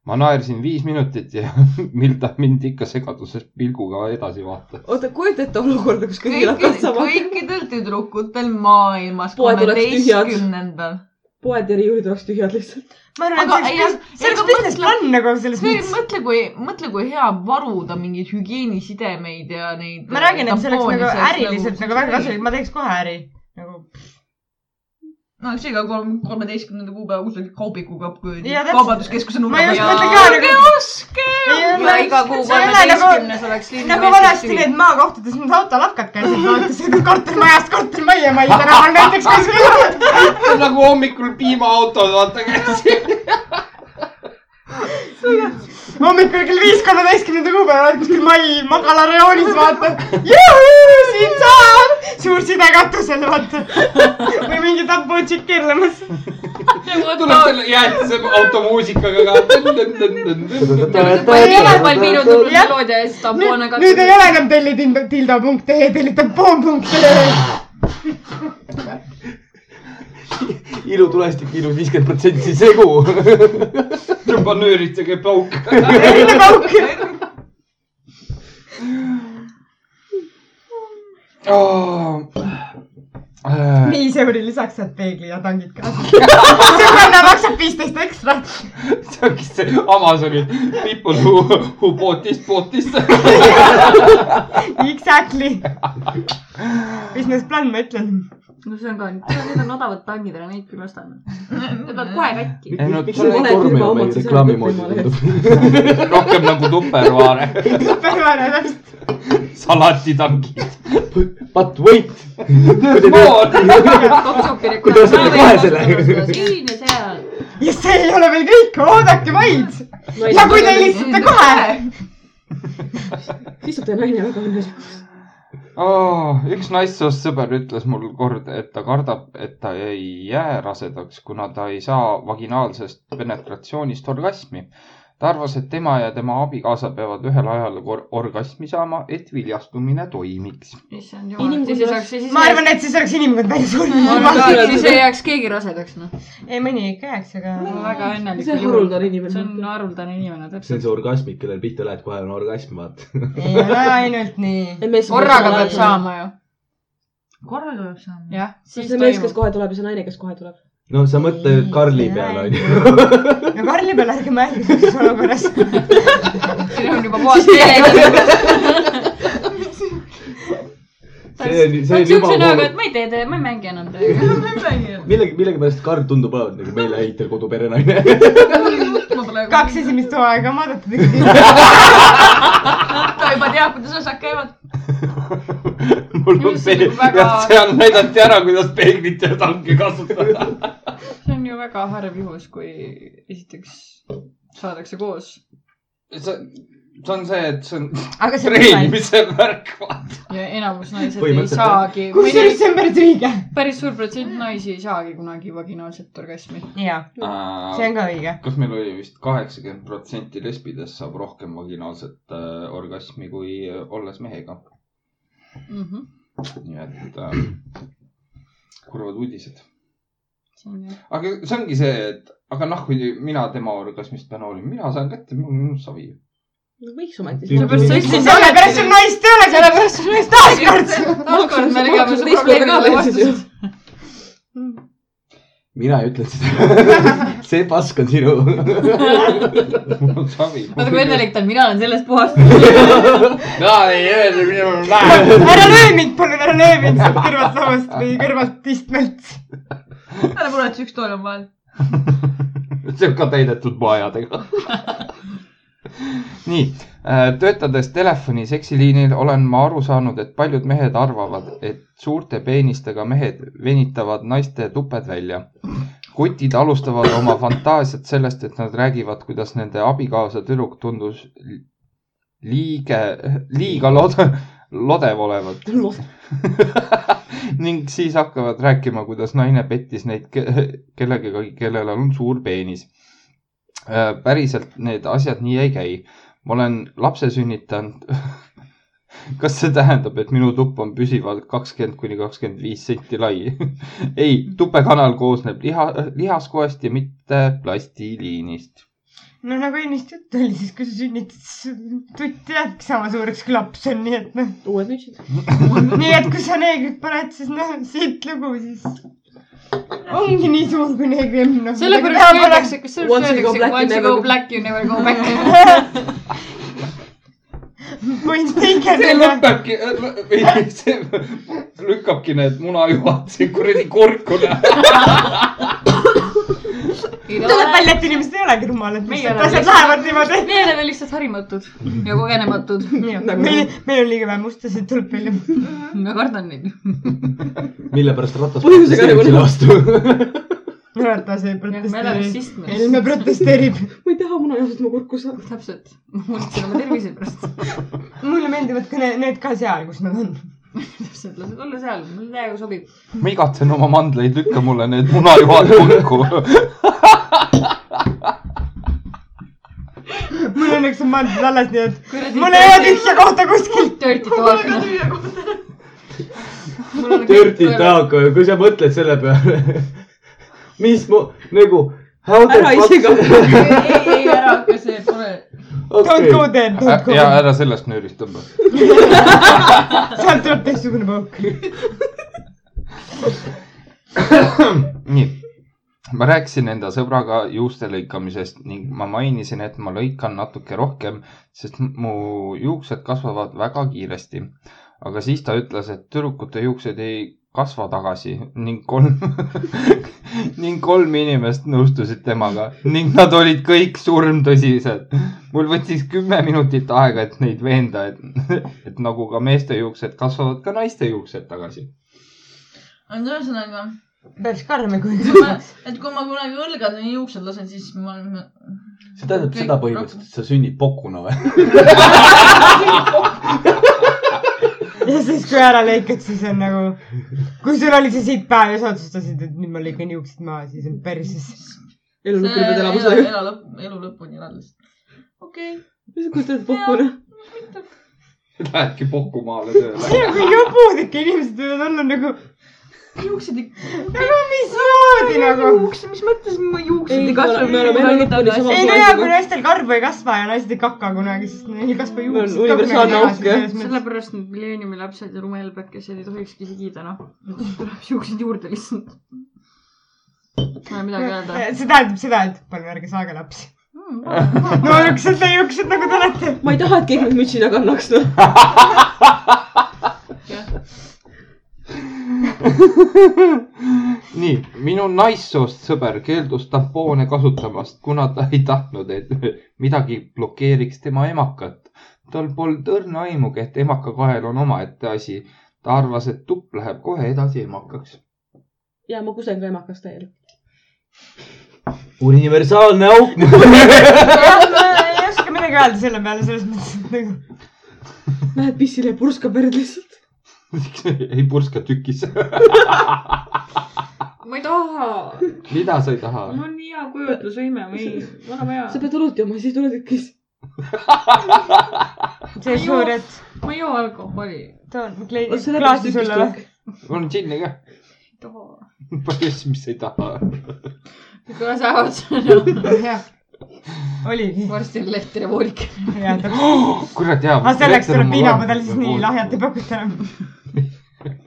S1: ma naersin viis minutit ja mil ta mind ikka segaduses pilguga edasi vaatas .
S4: oota , kujuta ette olukorda , kus kõigil hakkavad
S2: kõikidel ,
S4: sama .
S2: kõikidel tüdrukutel maailmas
S4: Poed oleks tühjad.
S2: kolmeteistkümnendal .
S4: poed ja riiulid oleks tühjad lihtsalt .
S5: ma arvan ,
S2: Aga
S5: et see
S2: jah,
S5: oleks , see oleks
S2: ega
S5: business
S2: mõtle-
S5: plan nagu selles mõttes .
S2: mõtle , kui , mõtle , kui hea varuda mingeid hügieenisidemeid ja neid .
S5: ma räägin , et see oleks nagu äriliselt nagu väga kasulik , ma teeks kohe äri . nagu ,
S2: no seega kolm , kolmeteistkümnenda kuupäeva kusagil kaubikuga
S5: Jaa, täpselt.
S2: kaubanduskeskuse
S5: ma just
S6: jaa.
S5: mõtlen ka nagu .
S2: oska .
S6: ja iga kuu
S5: see ei ole nagu ,
S6: kolmeteistkümnes oleks linn .
S5: nagu vanasti need maakohtades need autolapkad käisid , vaata sõidad kortermajast kortermajja , ma ei tea , tänaval näiteks kuskil .
S1: nagu hommikul piimaautod , vaata käisid .
S5: hommikul kell viis kolmeteistkümnenda kuupäeval oled kuskil mai magalarajoonis , vaatad . juhuu , siin saab , suur side katusel , vaata . või mingi tampotšik keerlemas .
S1: tuleb selle jäätise automuusikaga ka .
S6: meloodia ja
S5: nüüd
S6: siis tampoone ,
S5: nüüd ei ole enam tellitildo.ee , tellitampoon.ee .
S3: ilutulestik miinus viiskümmend protsenti segu .
S1: juba nööritsege pauk .
S5: erine pauk . viis euri lisaks saad peegli ja tangid ka . sõbranna maksab viisteist ekstra .
S1: see ongi see Amazoni people who , who bought this , bought this .
S5: Exactly . business plan , ma ütlen .
S6: no see on ka , need on odavad tangid , ära neid küll ostame . Need on kohe katki .
S1: ei no
S4: Miks
S1: see on
S4: vale firma omad seal
S3: reklaami moodi
S4: Õhtumaalehes?
S3: tundub .
S1: rohkem nagu tupperware ,
S5: päevane täpselt .
S1: salatitangid .
S3: But wait .
S6: kaks soppi
S3: Kuidas sa tegid vahe selle?
S6: siin ja seal .
S5: ja see ei ole veel kõik , oodake vaid . ja kui te helistate kohe .
S4: siis saab teie naine väga õnnelikuks .
S1: oh, . üks naissoost sõber ütles mul kord , et ta kardab , et ta ei jää rasedaks , kuna ta ei saa vaginaalsest penetratsioonist orgasmi . ta arvas , et tema ja tema abikaasa peavad ühel ajal kor- orgasmi saama , et viljastumine toimiks .
S6: issand jumal ,
S4: Inimkond
S6: siis ei
S4: oleks-
S6: saaks , siis
S5: ma arvan , et siis oleks inimkond välja
S6: ma
S5: surnud .
S6: arvan , et siis ei jääks keegi rasedaks , noh .
S5: ei , mõni ikka jääks , aga
S6: ma olen väga õnnelik .
S4: see on haruldane inimene.
S6: see on noh, haruldane inimene ,
S3: see on
S6: täpselt .
S3: see orgasmik , kellel pihta lähed , kohe on orgasm , vaata .
S5: ei ole ainult nii .
S6: korraga peab . saama ju .
S2: korraga peab saama .
S6: jah ,
S4: see on
S6: siis
S4: see mees , kes
S6: toimub .
S4: kohe tuleb ja see naine , kes kohe tuleb .
S3: no sa mõtle nüüd Karli peale , onju .
S5: no Karli peale ärge mõelge selles olukorras .
S6: siin on juba puhas tee .
S3: see on ,
S6: ta
S3: see
S6: on
S3: on juba
S6: siukse näoga ,
S3: hull
S6: et . ma ei tee tee , ma ei mängi enam teiega .
S3: millegi , millegipärast Karl tundub olevat nagu meile ehitel koduperenaine .
S5: kaks esimest hooaega on vaadatud .
S6: ta juba teab , kuidas asjad käivad .
S1: mul on
S6: Just
S1: see ,
S6: väga-
S1: jah , seal näidati ära , kuidas peeglit ja tanki kasutada .
S6: see on ju väga harv juhus , kui esiteks saadakse koos .
S1: see , see on see , et see on
S5: aga see on võimalik .
S1: treenimise värk , vaata .
S6: ja enamus naised ei
S3: Põhimõtteliselt,
S6: saagi ,
S5: kusjuures see on päris õige .
S6: päris suur protsent naisi ei saagi kunagi vaginaalset orgasmi .
S5: ja , see on ka õige .
S1: kas meil oli vist kaheksakümmend protsenti lesbidest saab rohkem vaginaalset äh, orgasmi kui äh, olles mehega ,
S6: Mhm.
S1: nii et äh, kurvad uudised .
S6: onju .
S1: aga see ongi see , et aga noh , kui mina tema orgasmist pean hoolima , mina saan kätte , mul on savi .
S4: võiks ometi .
S6: sellepärast sa ütlesid
S5: sellepärast sul naist ei ole , sellepärast sul naist taaskord .
S6: taaskord me leiame su probleemi kohe vastuse .
S3: mina ei ütle seda . see pask on sinu .
S1: mul on savi .
S6: vaata kui õnnelik Nagu ta on , mina olen sellest puhast .
S1: mina ei öelnud , minul on vähe .
S5: ära löö mind , palun ära löö mind sealt kõrvalt lauast või kõrvalt istmelt .
S2: ära muretse , üks tool on vahel .
S1: see on ka täidetud maajadega . nii , töötades telefoni seksiliinil olen ma aru saanud , et paljud mehed arvavad , et suurte peenistega mehed venitavad naiste tuped välja . kutid alustavad oma fantaasiat sellest , et nad räägivad , kuidas nende abikaasa tüdruk tundus li- liige , liiga lode , lodev olevat . ning siis hakkavad rääkima , kuidas naine pettis neid ke- kellegagi , kellel on suur peenis . päriselt need asjad nii ei käi . ma olen lapse sünnitanud . kas see tähendab , et minu tupp on püsivalt kakskümmend kuni kakskümmend viis senti lai ? ei , tupekanal koosneb liha , lihaskoest ja mitte plastiliinist .
S5: no nagu ennist juttu oli , siis kui sa sünnitad , siis tutt jääbki sama suureks kui laps on , nii et noh .
S4: uued mütsid .
S5: nii et kui sa neegrit paned , siis noh , siit lugu siis ongi nii suur kui noh. neegrim no, .
S6: sellepärast öeldakse , kas
S4: Once
S6: sellepärast
S4: you go
S6: öeldakse ,
S4: black, you
S6: once you go
S4: never go-
S6: black you never go back .
S5: võin teha
S1: see . lõpebki , või see lükkabki need munajuhad siin kuradi kurku .
S5: tuleb välja , et inimesed ei olegi rumalad ,
S6: Meie
S5: lihtsalt
S6: oleme
S5: asjad lähevad niimoodi .
S6: meie oleme lihtsalt harimatud ja kogenematud .
S4: Nagu
S6: Nagu-
S5: meil , meil on liiga vähe mustasid , tuleb välja .
S6: ma kardan neid .
S3: mille pärast ratas .
S4: Põhjusega nagu-
S3: vastu .
S5: Ratas ei
S6: me elame
S5: protesteeri .
S6: sistmes .
S5: Helme protesteerib .
S4: ma ei taha munajahust oma kurku saada .
S6: täpselt , muretsen oma tervise pärast .
S5: mulle meeldivad ka need, need ka seal , kus nad on .
S6: täpselt , lased olla seal , mulle täiega sobib .
S1: ma igatsen oma mandleid , lükka mulle need munajuhad kurku
S5: mul õnneks on mandlad alles , nii et
S6: kuradi
S5: mul ei olnud ühtse kohta kuskil .
S6: dirty toakene . mul on
S3: Dirty . talk , kui sa mõtled selle peale . mis mu nagu .
S4: Ära isega.
S2: ei , ei , ei ära hakka , see pole .
S5: Don't go there , don't go
S1: ja
S5: there .
S1: ära sellest nöörist tõmba .
S5: sealt tuleb teistsugune pauk .
S1: nii , ma rääkisin enda sõbraga juuste lõikamisest ning ma mainisin , et ma lõikan natuke rohkem , sest mu juuksed kasvavad väga kiiresti . aga siis ta ütles , et tüdrukute juuksed ei kasva tagasi ning kolm ning kolm inimest nõustusid temaga ning nad olid kõik surmtõsised . mul võttis kümme minutit aega , et neid veenda , et , et nagu ka meeste juuksed kasvavad ka naiste juuksed tagasi .
S2: no ühesõnaga ,
S5: päris karm , kui .
S2: et kui ma kunagi õlgad ja juuksed lasen , siis ma olen .
S3: see tähendab seda põhimõtteliselt , et sa sünnid pokuna või ?
S5: ja siis , kui ära lõikad , siis on nagu , kui sul oli see siit päev ja sa otsustasid , et nüüd ma lõikan juuksed maha , siis on päris siis .
S4: elu lõpuni pead elama
S2: elu
S4: sellega .
S2: elu lõpp , elu lõpuni elad lihtsalt . okei okay. ,
S4: mis sa kujutad ette puhkuna ?
S1: Lähedki Pokku maale tööle .
S5: see on kui jobud ikka inimesed võivad olla nagu ,
S2: juuksed ikka .
S5: nagu mismoodi nagu .
S2: juuksed , mis mõttes ma juuksed
S4: ei
S2: ei
S4: kasva ,
S2: kasva
S4: me oleme elu lõpuni .
S5: ei no jaa , kui
S4: samas .
S5: naistel karvu ei kasva ja naised ei kaka kunagi , sest neil ei kasva
S4: No,
S5: juuksed .
S4: universaalne
S5: Noh,
S4: auk, jah.
S6: sellepärast need milleeniumi lapsed ja rumelbekesed ei tohikski sigida , noh . tuleb siuksed juurde lihtsalt . ma ei midagi öelda .
S5: see tähendab seda , et palun ärge saage lapsi .
S6: Mm,
S5: no juuksed , te juuksed nagu te olete .
S4: ma ei taha , et keegi mind mütsi taga annaks , noh .
S1: nii , minu naissoost sõber keeldus tampoone kasutamast , kuna ta ei tahtnud , et midagi blokeeriks tema emakat . tal polnud õrna aimugi , et emakakael on omaette asi . ta arvas , et tupp läheb kohe edasi emakaks .
S4: ja ma kusen ka emakas täielik .
S3: universaalne auk .
S5: ma ei oska midagi öelda selle peale selles mõttes , et nagu
S4: Lähed pissile ja purskab verd lihtsalt .
S1: ei purska tükis .
S6: ma ei taha .
S1: mida sa ei taha ?
S6: mul on nii hea kujutlusvõime , ma ei , väga
S4: sa
S6: hea .
S4: pead õlut jooma , siis tuled ükkis .
S5: see suur , et
S6: ma ei joo alkoholi .
S5: toon kleidi klaasi sulle või ?.
S1: mul on džinni ka .
S6: ei taha .
S1: palju asju , mis sa ei taha .
S6: kohe saavad sõna .
S5: jah , oligi .
S6: varsti on lehter ja voolik .
S5: jah , täpselt .
S1: kurat jaa .
S5: aga selleks Ah, tuleb viinamudel siis nii lahjalt ei pakuta enam .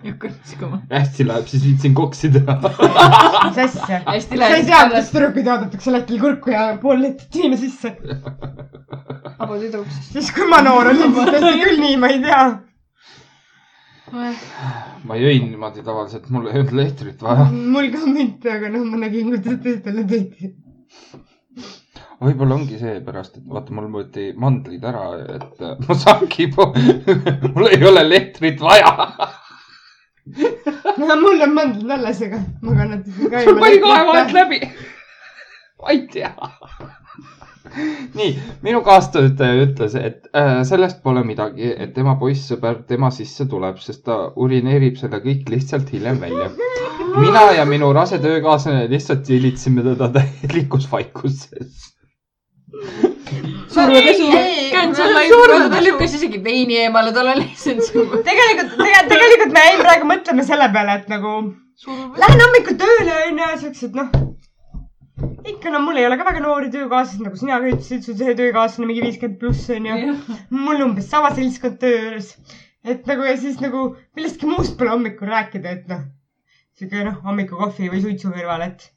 S6: hakkas liikuma .
S1: hästi läheb , siis viitsin koksi teha .
S5: mis asja ? sa
S6: hästi
S5: ei
S6: läheb
S5: tea , kuidas tüdrukuid oodatakse , lähed küll kurku ja pool litrit viina sisse .
S6: abu tüdruk siis .
S5: siis kui ma noor olin , siis tehti küll nii , ma ei tea .
S1: ma jõin niimoodi tavaliselt , mul ei olnud lehtrit vaja .
S5: mul ka mitte , aga noh , ma nägin , kuidas teistele tehti .
S1: võib-olla ongi seepärast , et vaata , mul võeti mandlid ära , et äh, ma saangi , mul ei ole lehtrit vaja .
S5: no mul on mandlid alles , aga ma kannatan ka .
S1: pani kahe vahelt . läbi . ma ei tea . nii , minu kaastöötaja ütles , et äh, sellest pole midagi , et tema poissõber tema sisse tuleb , sest ta urineerib selle kõik lihtsalt hiljem välja . mina ja minu rase töökaaslane lihtsalt tülitsime teda täielikus vaikuses .
S6: survepesu . ta lükkas isegi veini eemale , tal oli lihtsalt .
S5: tegelikult , tegelikult me jäin praegu mõtlema selle peale , et nagu lähen hommikul tööle onju , siuksed noh . ikka no mul ei ole ka väga noori töökaaslasi , nagu sina ka ütlesid , sul see töökaaslane mingi viiskümmend pluss onju . mul umbes sama seltskond töö juures . et nagu ja siis nagu millestki muust pole hommikul rääkida , et noh . siuke noh , hommikukohvi või suitsu kõrval , et .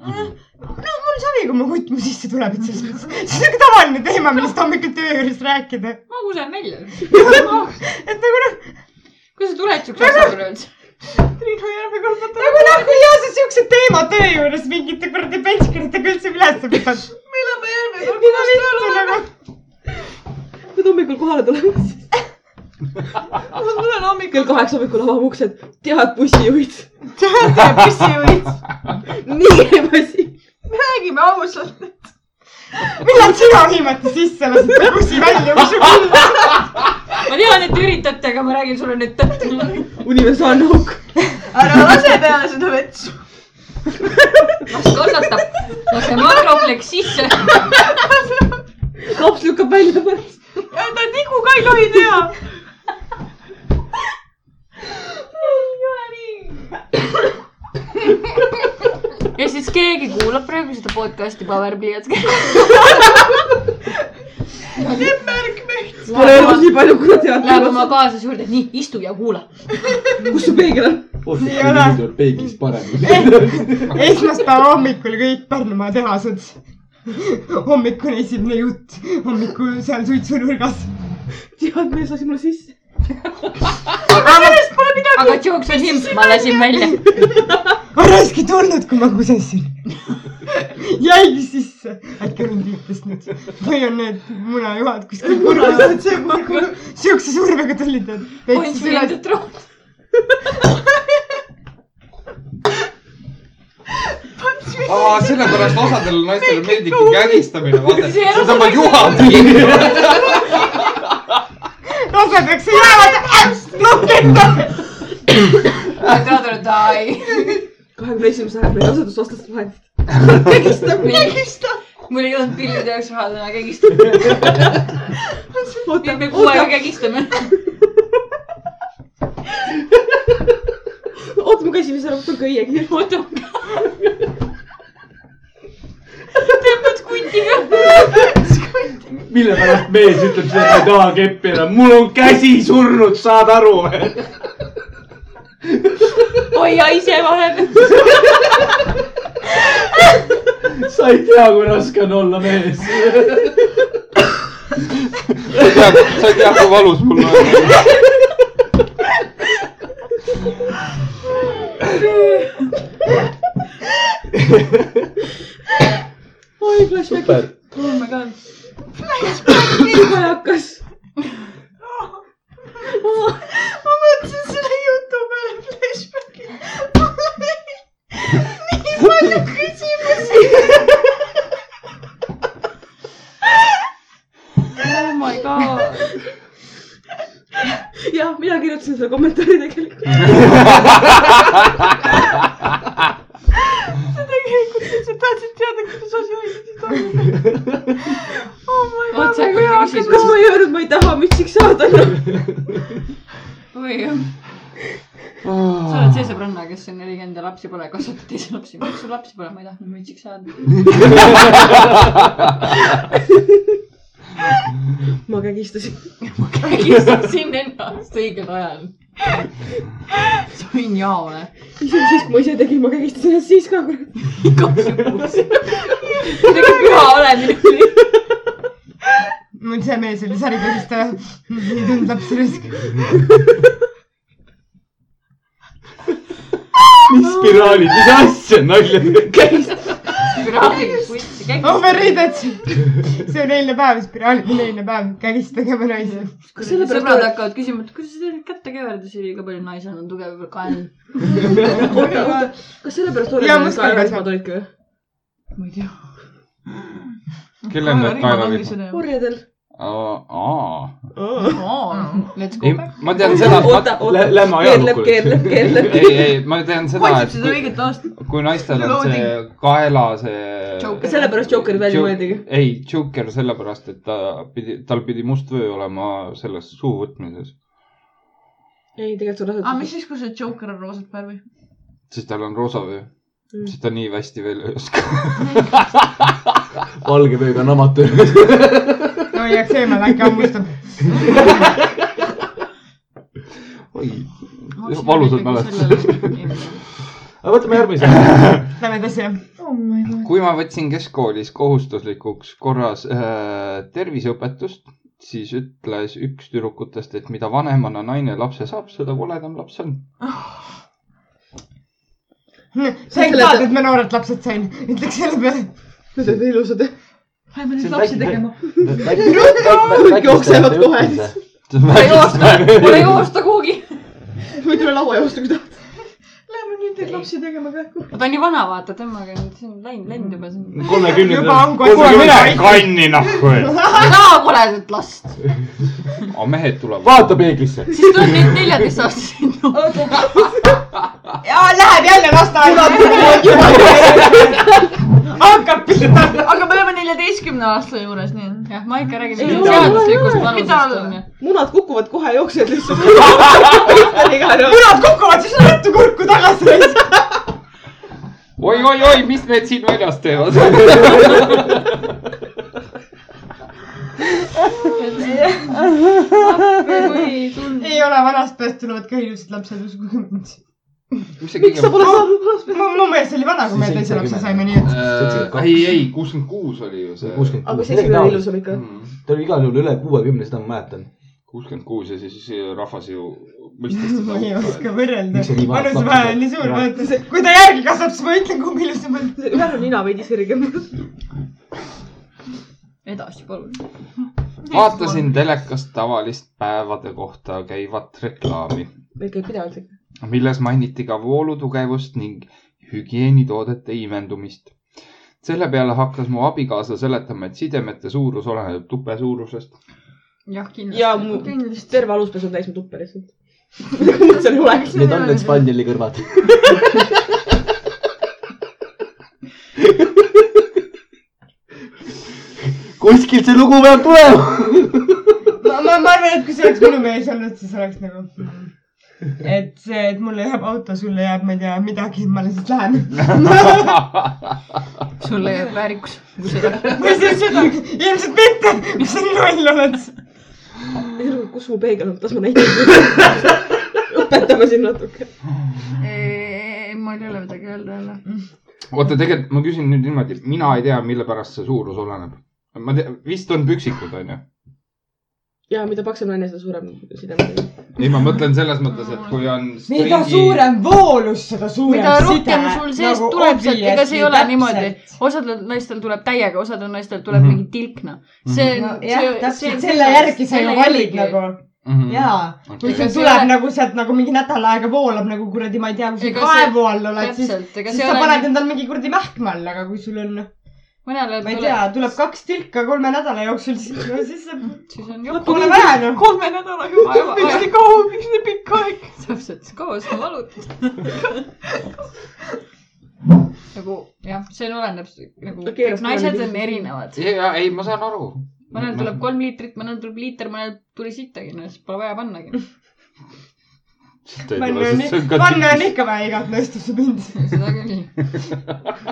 S5: no mul ei sobi , kui mu kutt mu sisse tuleb , et selles mõttes . see on siuke tavaline teema , millest hommikul töö juures rääkida .
S6: ma kuulen välja .
S5: et nagu noh
S6: kuidas sa tuled siukse asjaga üldse ?
S5: Triinu Järve kolmanda . nagu noh , ei ole siukse teema töö juures mingite kuradi pensionitega üldse üles pidanud . nagu? me elame järve kolmandas
S4: kui ta hommikul kohale tuleb , siis . mul on hommikul . kell kaheksa hommikul avab uksed . tead , bussijuhid .
S5: tööl . bussijuhid .
S4: nii ei passi . räägime ausalt .
S5: millal sina viimati sisse lasid bussi välja , mis sul küll .
S6: ma tean , et te üritate , aga ma räägin sulle nüüd tõtt .
S4: universaalne auk .
S2: ära lase peale seda vetsu .
S6: las kannatab , lase makropleks sisse .
S4: laps lükkab välja pärast .
S2: ta tigu ka ei tohi teha .
S6: ja siis keegi kuulab praegu seda podcast'i Powerpliiatsiga .
S4: Pole elus nii palju , kui ta
S6: Läheb oma
S4: teab .
S6: kaaslase juurde , nii istu ja kuula .
S4: kus su peegel on ?
S5: Ei ole.
S7: tuleb peeglist parem .
S5: esmaspäeva hommikul kõik Pärnumaa tehased . hommikune esimene jutt , hommikul seal suitsunurgas .
S4: tead , mees lasi mulle sisse .
S6: aga jooks on him , ma lasin välja .
S5: Araski tulnud , kui ma kusesin . jäigi sisse , äkki mind viitas nüüd või on need munajuhad kuskil kurvas , et see kurv , siukse survega tulid nad . täitsa süles ,
S1: aa , sellepärast osadel naistel meeldib kägistamine , vaata .
S6: See on
S1: seesama Juhan .
S5: rasedaks ei jäävad , noh ketta .
S6: Rather die .
S4: kahekümne esimese ajal meil asendus vastas vahendit .
S6: mul ei olnud pillide jaoks raha täna kägistada .
S4: oota
S6: nüüd , me kuu aega kägistame .
S4: oota , ma käisin vist ära , võtan köiegi .
S6: oota . tõmbad kundiga .
S7: mille pärast mees ütleb seda , et ma ei taha keppi enam , mul on käsi surnud , saad aru või ?
S6: hoia ise vahepeal .
S7: sa ei tea , kui raske on olla mees .
S1: sa ei tea , kui valus mul on .
S4: oi , flashbackid . oh my god . flashbackid . juba hakkas .
S2: ma mõtlesin selle jutu peale flashbacki . mul oli nii palju küsimusi .
S6: oh my god .
S4: jah , mina kirjutasin selle kommentaari tegelikult .
S2: sa tegelikult lihtsalt tahtsid teada , kuidas asi õigesti toimub . oh my god ,
S6: otse
S2: ma ei
S6: kuidagi
S2: hakka .
S4: kas ma ei öelnud , ma ei taha mütsiks saada ?
S6: oi jah . sa oled see sõbranna , kes on oligi enda lapsi pole , kasvatad teisi lapsi . miks sul lapsi pole , ma ei tahtnud mütsiks saada .
S4: ma kägistasin .
S6: kiusasin ennast õigel ajal . sain jaole .
S4: isegi siis , kui ma ise tegin , ma kägistasin ennast siis ka .
S6: igaks juhuks . kuidagi püha olemine oli .
S5: mul see mees oli sari põhjust , ta ei tundnud lapsi risk .
S7: mis spiraalid , mis asja , nalja teed ?
S6: spiraaliga kuitsi
S5: Overrated . see on eilne päev , spiraal on eilne päev , kägis tegema naisi .
S4: Kas
S6: käis .
S4: sellepärast
S6: sõbrad
S4: oled-
S6: hakkavad küsima , et kuidas sa teed kätekeverdusi liiga palju , naisel on tugev kael .
S4: oota , oota , kas sellepärast
S5: Jaa,
S4: oleneb
S5: must
S4: ka ära ,
S5: kaelas-
S4: mis ma toitke või ?
S6: ma ei tea .
S1: kellel need kaelavihmad ?
S4: orjadel .
S1: aa ,
S6: Let's go
S1: ei
S6: back .,
S1: ma tean seda ,
S4: oota , oota .
S7: Lähme
S4: keerleb ,
S7: ajalukku .
S4: keerleb , keerleb .
S1: ei , ei , ma tean seda ,
S2: hoidsid seda
S1: Ah, et
S2: õiget aastat .
S1: kui naistel on see
S2: Loading.
S1: kaela see .
S6: Joker.
S4: sellepärast Joker välja mõeldigi .
S1: ei , Joker sellepärast , et ta pidi , tal pidi must vöö olema selles suuvõtmises ,
S4: ei , tegelikult sul
S2: aga
S4: asjad
S2: Ah, mis . siis , kui see Joker on roosat värvi ?
S1: sest tal on roosa vöö mm. . sest ta nii hästi veel ei oska .
S3: valge veega on amatöör .
S5: no jääks eemale , äkki hammustab .
S1: oi , valusad mälestused .
S3: aga võtame järgmise .
S5: Lähme edasi , jah .
S2: oh my god .
S1: kui ma võtsin keskkoolis kohustuslikuks korras äh, terviseõpetust , siis ütles üks tüdrukutest , et mida vanemana naine lapse saab , seda koledam laps on .
S5: sain ka , et ma noorelt lapsed sain , ütleks selle peale .
S4: Need olid ilusad .
S2: Lähme
S3: See
S2: nüüd
S3: on
S2: lapsi
S3: väike-
S2: tegema .
S4: jooksevad kohe. .
S6: ma ei joosta , ma ei joosta kuhugi .
S4: võid üle laua joosta , kui tahad .
S2: Lähme nüüd neid lapsi tegema ka .
S6: ta on nii vana , vaata , tõmmage nüüd , see on läinud , läinud juba .
S5: juba
S7: kolmekümnendal .
S5: on kohe .
S1: kanni nahku .
S6: ei taha koledat last .
S1: aga mehed tulevad .
S3: vaata peeglisse .
S6: siis tuleb neid neljateistaastaseid no. .
S5: jaa , läheb jälle lasteaeda . hakkab pihta .
S2: aga me oleme neljateistkümne aasta juures , nii et .
S6: jah , ma ikka räägin
S4: Ei
S6: sellest
S4: ole,
S6: seaduslikust
S4: ole,
S6: vanusest onju .
S4: munad kukuvad kohe , jooksevad lihtsalt .
S5: munad kukuvad siis ruttu kurku tagasi .
S1: oi , oi , oi , mis need siin väljas teevad ?
S5: ei ole vanast peast tulevad ka ilusad lapsed , uskuge mind .
S1: mis see
S4: miks sa
S1: kõige ?
S4: pole saanud vanast
S5: mu , mu meelest oli vana , kui me teise lapse saime , nii et .
S1: Äh,
S7: Äh,
S1: ei , ei , kuuskümmend kuus oli ju see .
S3: kuuskümmend
S4: aga
S3: kuus .
S4: seitsekümmend on ilusam ikka .
S3: ta oli igal juhul üle kuuekümne , seda ma mäletan .
S1: kuuskümmend kuus ja siis rahvas ju mõistis
S5: ma ei oska . võrrelda
S3: Miks sa nii . vanalt
S5: vanusevahe
S3: lapsed
S5: on nii suur ,
S3: oled?
S5: vaata . kui ta järgi kasvab , siis ma ütlen , kumb ilusam on .
S4: see ühel on nina veidi sirgem .
S6: edasi , palun .
S1: vaatasin telekast tavalist päevade kohta käivat reklaami ,
S4: Neid käib pidevalt ikka .
S1: milles mainiti ka voolutugevust ning hügieenitoodete imendumist . selle peale hakkas mu abikaasa seletama , et sidemete suurus oleneb tuppe suurusest .
S6: jah , kindlasti .
S4: ja mu terve aluspesu on täis mu tuppe lihtsalt . see on hull äkki .
S3: Need on need Spandeli kõrvad . kuskilt see lugu peab tulema .
S5: ma , ma , ma arvan , et kui see oleks minu mees olnud , siis oleks nagu . et see , et mulle jääb auto , sulle jääb , ma ei tea , midagi , ma lihtsalt lähen .
S6: sulle jääb väärikus . kui seda .
S5: või siis seda , ilmselt mitte , mis sa nii loll oled .
S4: kus mu peegel on , las ma näitan . õpetame siin natuke .
S6: mul ei ole midagi öelda jälle .
S1: oota , tegelikult ma küsin nüüd niimoodi , mina ei tea , mille pärast see suurus oleneb . ma tean , vist on püksikud , onju .
S4: ja mida paksem naine , seda suurem sidem .
S1: ei , ma mõtlen selles mõttes , et kui on .
S5: mida suurem voolus , seda suurem
S6: mida rohkem
S5: side,
S6: sul seest
S5: nagu
S6: tuleb , ega see ei ole
S5: obviously,
S6: niimoodi
S5: täpselt. ,
S6: osadel naistel tuleb täiega , osadel naistel tuleb
S1: Mhm.
S6: mingi tilkna . see
S5: No
S6: on ,
S5: jah , täpselt selle järgi sa ju valid nagu .
S1: Mhm. Mm.
S5: jaa , kui
S6: Ega
S5: see
S6: see
S5: tuleb
S6: ole-
S5: nagu sealt nagu mingi nädal aega voolab nagu kuradi , ma ei tea , kui sa
S6: Ega see-
S5: kaevu all oled , siis ,
S6: täpselt , ega
S5: siis
S6: see
S5: sa
S6: ei
S5: paned
S6: ole ,
S5: endal mingi kuradi mähkme alla , aga kui sul on ,
S6: mõnel
S5: ma ei
S6: tuleb
S5: tea , tuleb kaks tilka kolme nädala jooksul , siis , siis sa
S6: siis on
S5: pole vähe noh .
S2: kolme nädala jooksul , miks nii kaua , miks nii pikk aeg ?
S6: täpselt , kaua sa valutad ? nagu jah , see oleneb s- nagu
S4: Okei,
S6: okay,
S4: las ,
S6: naised
S4: ma
S6: on
S4: olen-
S6: erinevad .
S1: ja ei , ma saan aru .
S6: mõnel tuleb kolm liitrit , mõnel tuleb liiter , mõnel tuli sittagi , no siis pole vaja pannagi .
S5: vannu on , vannu on ikka vaja igat nõustusse mind .
S6: seda küll .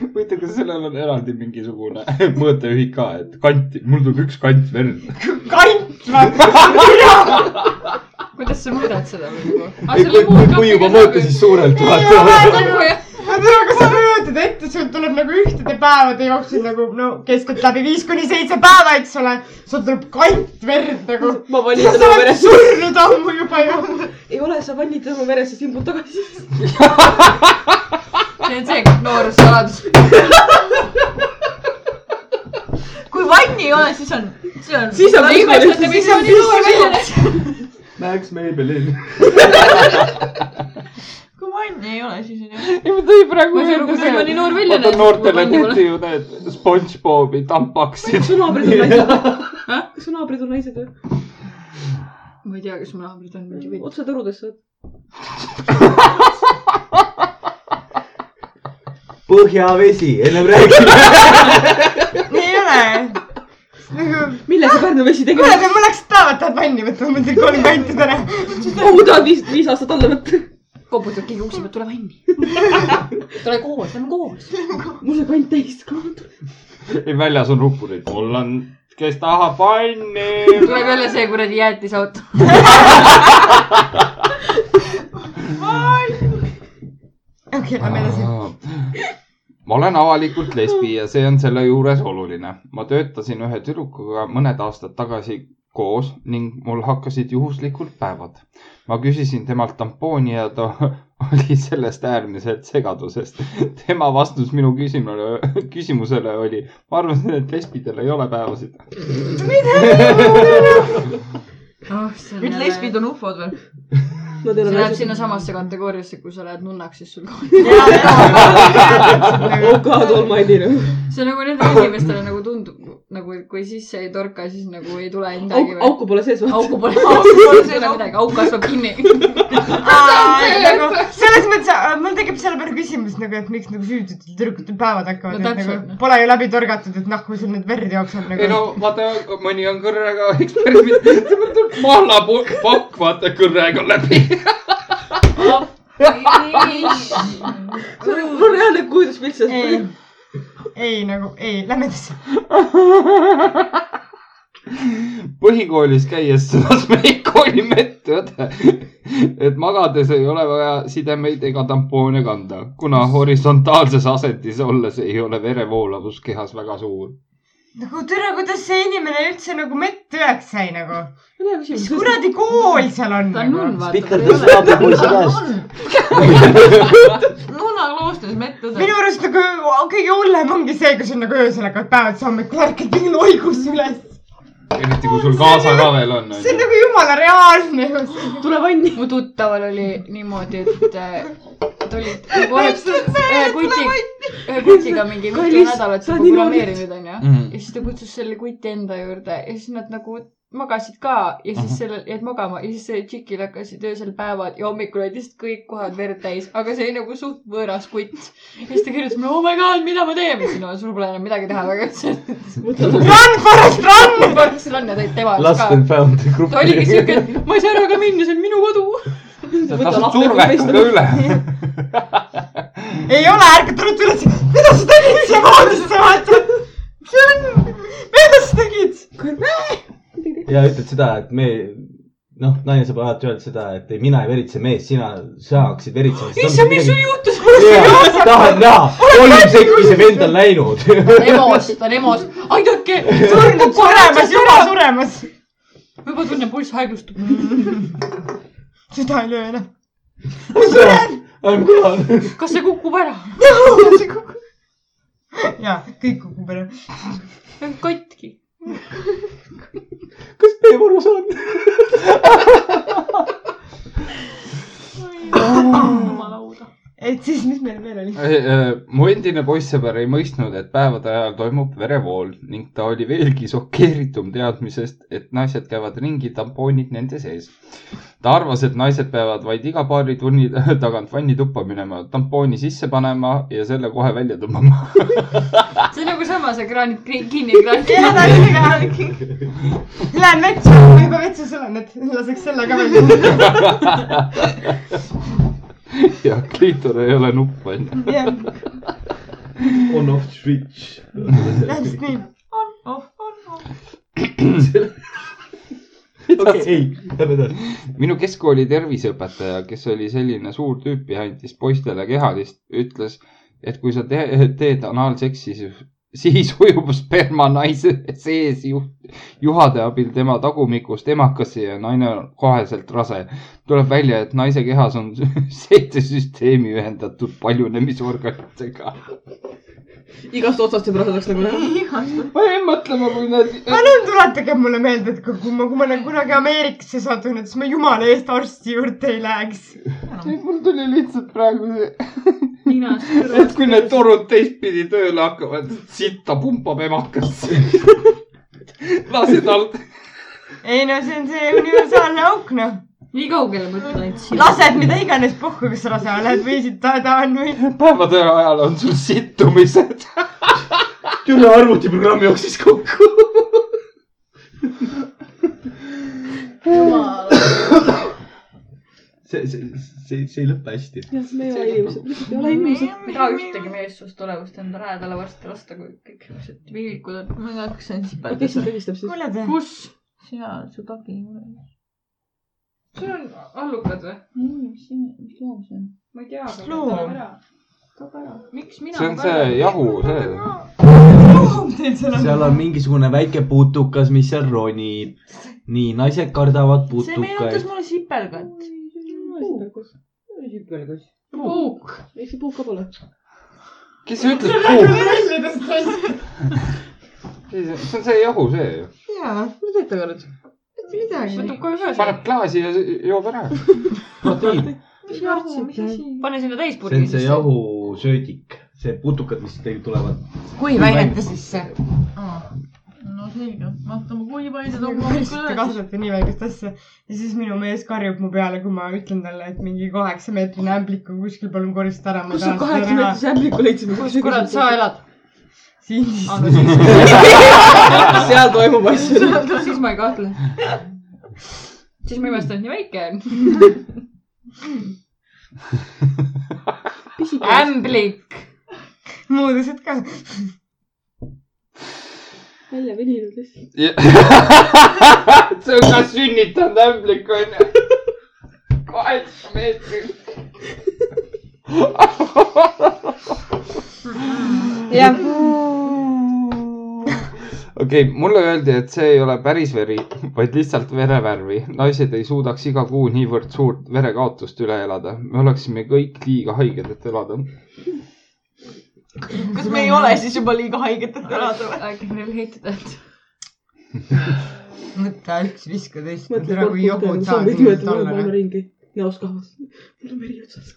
S1: huvitav , kas sellel on eraldi mingisugune mõõteühik ka , et kanti , mul tuleb üks kant verd .
S5: kant vaata .
S6: kuidas sa mõõdad seda nagu ?
S3: kui , kui , kui juba mõõta , siis suurelt vaata .
S6: nagu,
S5: ma ei tea , kas sa kujutad ette , sul tuleb nagu ühtede päevade jooksul nagu no keskeltläbi viis kuni seitse päeva , eks ole . sul tuleb kant verd nagu .
S4: ma
S5: sa
S4: vanitan oma
S5: oled
S4: verest .
S5: surnud ammu juba ju .
S4: ei ole , sa vannitad oma verest , siis imbud tagasi .
S6: see on see noorussaladus . kui vanni ei ole , siis on , siis on .
S4: Siis on pisku-
S6: siis on pisku .
S3: Max Maybelline .
S6: kui vanni ei ole , siis on jah .
S1: ei , ma tõin praegu
S6: Ma saan aru, kui sa pani noor välja
S1: vaata
S6: näed,
S1: noortele
S6: kui pani
S1: tehti ju need SpongeBobi tampaksid .
S4: kas su naabrid on naised ? kas su naabrid on naised või ?
S6: ma ei tea , kas mu naabrid on mingi või .
S4: otse torudesse oled .
S3: põhjavesi , ennem räägime .
S5: ei ole . nagu ,
S4: mille see Pärnu vesi
S5: kuule ,
S4: tegelikult ?
S5: aga mul läks päevad tahad vanni võtma , ma mõtlesin kolm kanti täna .
S4: kuhu tahad viis , viis aastat alla võtta ?
S6: koputab keegi ukse pealt , tule vanni . tule koos , lähme koos .
S4: mul see kant täis ka .
S1: ei , väljas on ruppurid . mul on , kes tahab vanni .
S6: tuleb jälle see kuradi jäätisauto .
S5: okei , lähme edasi .
S1: ma olen avalikult lesbi ja see on selle juures oluline . ma töötasin ühe tüdrukuga mõned aastad tagasi koos ning mul hakkasid juhuslikult päevad . ma küsisin temalt tampooni ja ta oli sellest äärmiselt segadusest . tema vastus minu küsimusele , küsimusele oli , ma arvasin , et lesbidel ei ole päevasid .
S6: nüüd lesbid Ah, on ufod või ?
S4: no teil
S6: see
S4: on
S6: läheb
S4: naised .
S6: sinnasamasse kategooriasse , kui sa lähed nunnaks , siis sul ka .
S5: Nagu,
S4: oh god almighty noh .
S6: see nagu nendele inimestele nagu tundub nagu , et kui sisse ei torka , siis nagu ei tule midagi
S4: auku ,
S6: või .
S4: auku pole sees või ?
S6: auku pole , auku pole sees midagi , auk kasvab kinni .
S5: nagu selles mõttes äh, mul tekib selle peale küsimus nagu , et miks nagu süüditud tüdrukutel päevad hakkavad
S6: No
S5: no, , et
S6: täpselt,
S5: nagu
S6: noh.
S5: pole ju läbi torgatud , et nahku sul nüüd verd jookseb
S1: ei
S5: nagu .
S1: no vaata , mõni on kõrrega eksperiment , mahlapakk vaata kõrrega läbi .
S4: mul on reaalne kujutluspilt
S5: ei
S4: sellest .,
S5: ei nagu , ei , lähme edasi .
S1: põhikoolis käies sõnas meie kooli medõde , et magades ei ole vaja sidemeid ega tampoone kanda , kuna horisontaalses asendis olles ei ole verevoolavus kehas väga suur .
S5: nagu tere , kuidas see inimene üldse nagu mett üheks sai nagu ?
S4: mine
S5: mis
S4: küsimus .
S5: kuradi kool seal on
S6: ta on nunn ,
S5: nagu ?
S3: spikerdas
S6: vaata .
S3: naabripoisi käest .
S6: nunna kloostris mettõde .
S5: minu arust nagu kõige hullem ongi see , kui sul nagu öösel hakkavad päevad , siis hommikul ärkad mingi loigus üles .
S1: eriti kui sul kaasa ka veel on .
S5: see on nagu jumala reaalne ju .
S4: tule vanni .
S6: mu tuttaval oli niimoodi , et äh, ta oli nagu oleks ühe kuti , ühe kutiga mingi mitu
S4: Kallis,
S6: nädalat
S4: sa
S6: juba
S4: oled nii
S6: programmeerinud , onju .
S1: Mhm.
S6: ja siis ta kutsus selle kuti enda juurde ja siis nad nagu magasid ka ja siis sellel jäid magama ja siis sellel tšikil hakkasid öösel päevad ja hommikul olid lihtsalt kõik kohad verd täis , aga see oli nagu suht võõras kutt . ja siis ta kirjutas mulle , oh my god , mida ma teen ? ma ütlesin , no sul pole enam midagi teha , aga ütlesin ,
S5: Run , Forest , run !
S6: et Forest Run ja tõid tema jaoks
S3: Last
S6: ka
S3: and . Found grupp .
S6: ta oligi siuke , et ma ei saa ära ka minna , see on minu kodu .
S1: tasub survekaga üle .
S5: ei ole , ärka tule üles , mida sa tegid siia voodisse vaata . see on , mida sa tegid ?
S3: ja ütled seda , et me , noh , naine saab alati öelda seda , et ei, mina ei veritse mees , sina , sa hakkasid veritsema .
S6: issand , mis sul ? juhtus ?
S3: tahad näha , kolm sekki see vend on läinud .
S6: EMO-s , ta on EMO-s . aidake ,
S5: surnud , suremas , juba suremas .
S6: juba tunnen pulss aeglustub .
S5: süda ei löö enam .
S3: I m gone .
S6: kas see kukub ära ?
S5: ja kõik kukub ära .
S6: katki .
S3: kas teie varus on ?
S6: jumala hull .
S4: lauda .
S5: et siis , mis meil veel oli ?
S1: äh, mu endine poissõber ei mõistnud , et päevade ajal toimub verevool ning ta oli veelgi šokeeritum teadmisest , et naised käivad ringi tampoonid nende sees . ta arvas , et naised peavad vaid iga paari tunni tagant vannituppa minema , tampooni sisse panema ja selle kohe välja tõmbama .
S6: see on nagu sama , see kraanid kri- kinni , kraanid
S5: jah , ta
S6: kinni .
S5: oli ka . Lähen vetsu , ma juba vetsus olen , et laseks selle ka välja .
S1: ja kliitor ei ole nupp , onju .
S5: jah ,
S3: on-off switch .
S5: täpselt nii .
S3: okei , lähme edasi .
S1: minu keskkooli terviseõpetaja , kes oli selline suur tüüp ja andis poistele kehalist , ütles , et kui sa te teed anaalseksi , siis , siis ujub sperma naise sees juht , juhade abil tema tagumikust emakasse ja naine on koheselt rase . tuleb välja , et naise kehas on seitse süsteemi ühendatud paljunemisorganitega .
S4: igast otsast juba rasedaks nagu näha .
S1: ma jäin mõtlema , kui nad ,
S5: palun tuletage mulle meelde , et kui ma , kui ma olen kunagi Ameerikasse sattunud , siis ma jumala eest arsti juurde ei läheks .
S1: mul tuli lihtsalt praegu see ,
S6: ninast
S1: et kui need torud teistpidi tööle hakkavad , sitta pumpab emakasse . lase tal
S5: ei no see on see universaalne auk noh .
S6: nii kaugele mõtlen , et siin .
S5: lased mida iganes puhku , kas rase oled või siit ta on või .
S1: päevade ajal on sul sittumised .
S7: tüve arvutiprogramm jooksis kokku .
S3: see , see , see , see ei lõpe hästi .
S4: jah , me ei ole inimesed , lihtsalt ei ole inimesed .
S6: ei taha ühtegi meessust olevust enda lähedale varsti lasta , kui kõik niisugused viilikud on . ma ei tea , kas see on
S4: aga kes
S6: sipeldas
S4: sind . kõlistab siis ?
S5: kuule te ,
S6: kus ? sina oled su pagi . sul on allukad või ? ei , mis siin , mis loom see on ? ma ei tea , aga
S5: Loom.
S6: võtame ära . toob ära . miks mina ?
S1: see on see . jahu , see .
S3: seal on mingisugune väike putukas , mis seal ronib . nii , naised kardavad
S6: see meenutas
S3: putukaid .
S6: mulle sipelgat . puuk .
S4: ei , see puuka pole .
S1: kes see ütles puuk ? see on see jahu , see ju .
S5: jaa ,
S4: mida teete aga nüüd ?
S5: mitte midagi .
S6: võtab kohe üles .
S1: paneb klaasi ja joob ära .
S3: proteiin .
S6: mis jahu , mis asi ? pane sinna
S3: see
S6: täispurgi
S3: on see . jahusöödik , see putukad , mis teil tulevad .
S5: kui väidate sisse .
S6: no selge , vaatame kui palju ta toob
S5: te
S6: hommikul
S5: kasvate nii väikest asja ja siis minu mees karjub mu peale , kui ma ütlen talle , et mingi kaheksameetrine ämblik on kuskil , palun korista ära .
S4: kus sa kaheksa meetrise ämbliku leidsid ?
S6: üles . kurat , sa . elad .
S5: siin siis .
S4: seal toimub asju .
S6: siis ma ei kahtle . siis ma imestan , et nii väike on . ämblik .
S5: muud asjad ka .
S4: välja veninud lihtsalt .
S1: see on ka sünnitanud ämblik onju . kaheksa meetrit .
S5: jah ,
S1: okei okay, , mulle öeldi , et see ei ole päris veri , vaid lihtsalt verevärvi . naised ei suudaks iga kuu niivõrd suurt verekaotust üle elada . me oleksime kõik liiga haiged , et elada .
S2: kas me ei ole siis juba liiga haiged , et elada või ?
S6: äkki neil heitada , et
S5: võta üks , viska teist ,
S4: mõtle ,
S5: ära kui jobud
S4: sa
S5: saad
S4: võid
S5: sinna
S4: mõelda maailma
S5: tollele .
S4: ringi . näos kahvas . mul on veri otsas .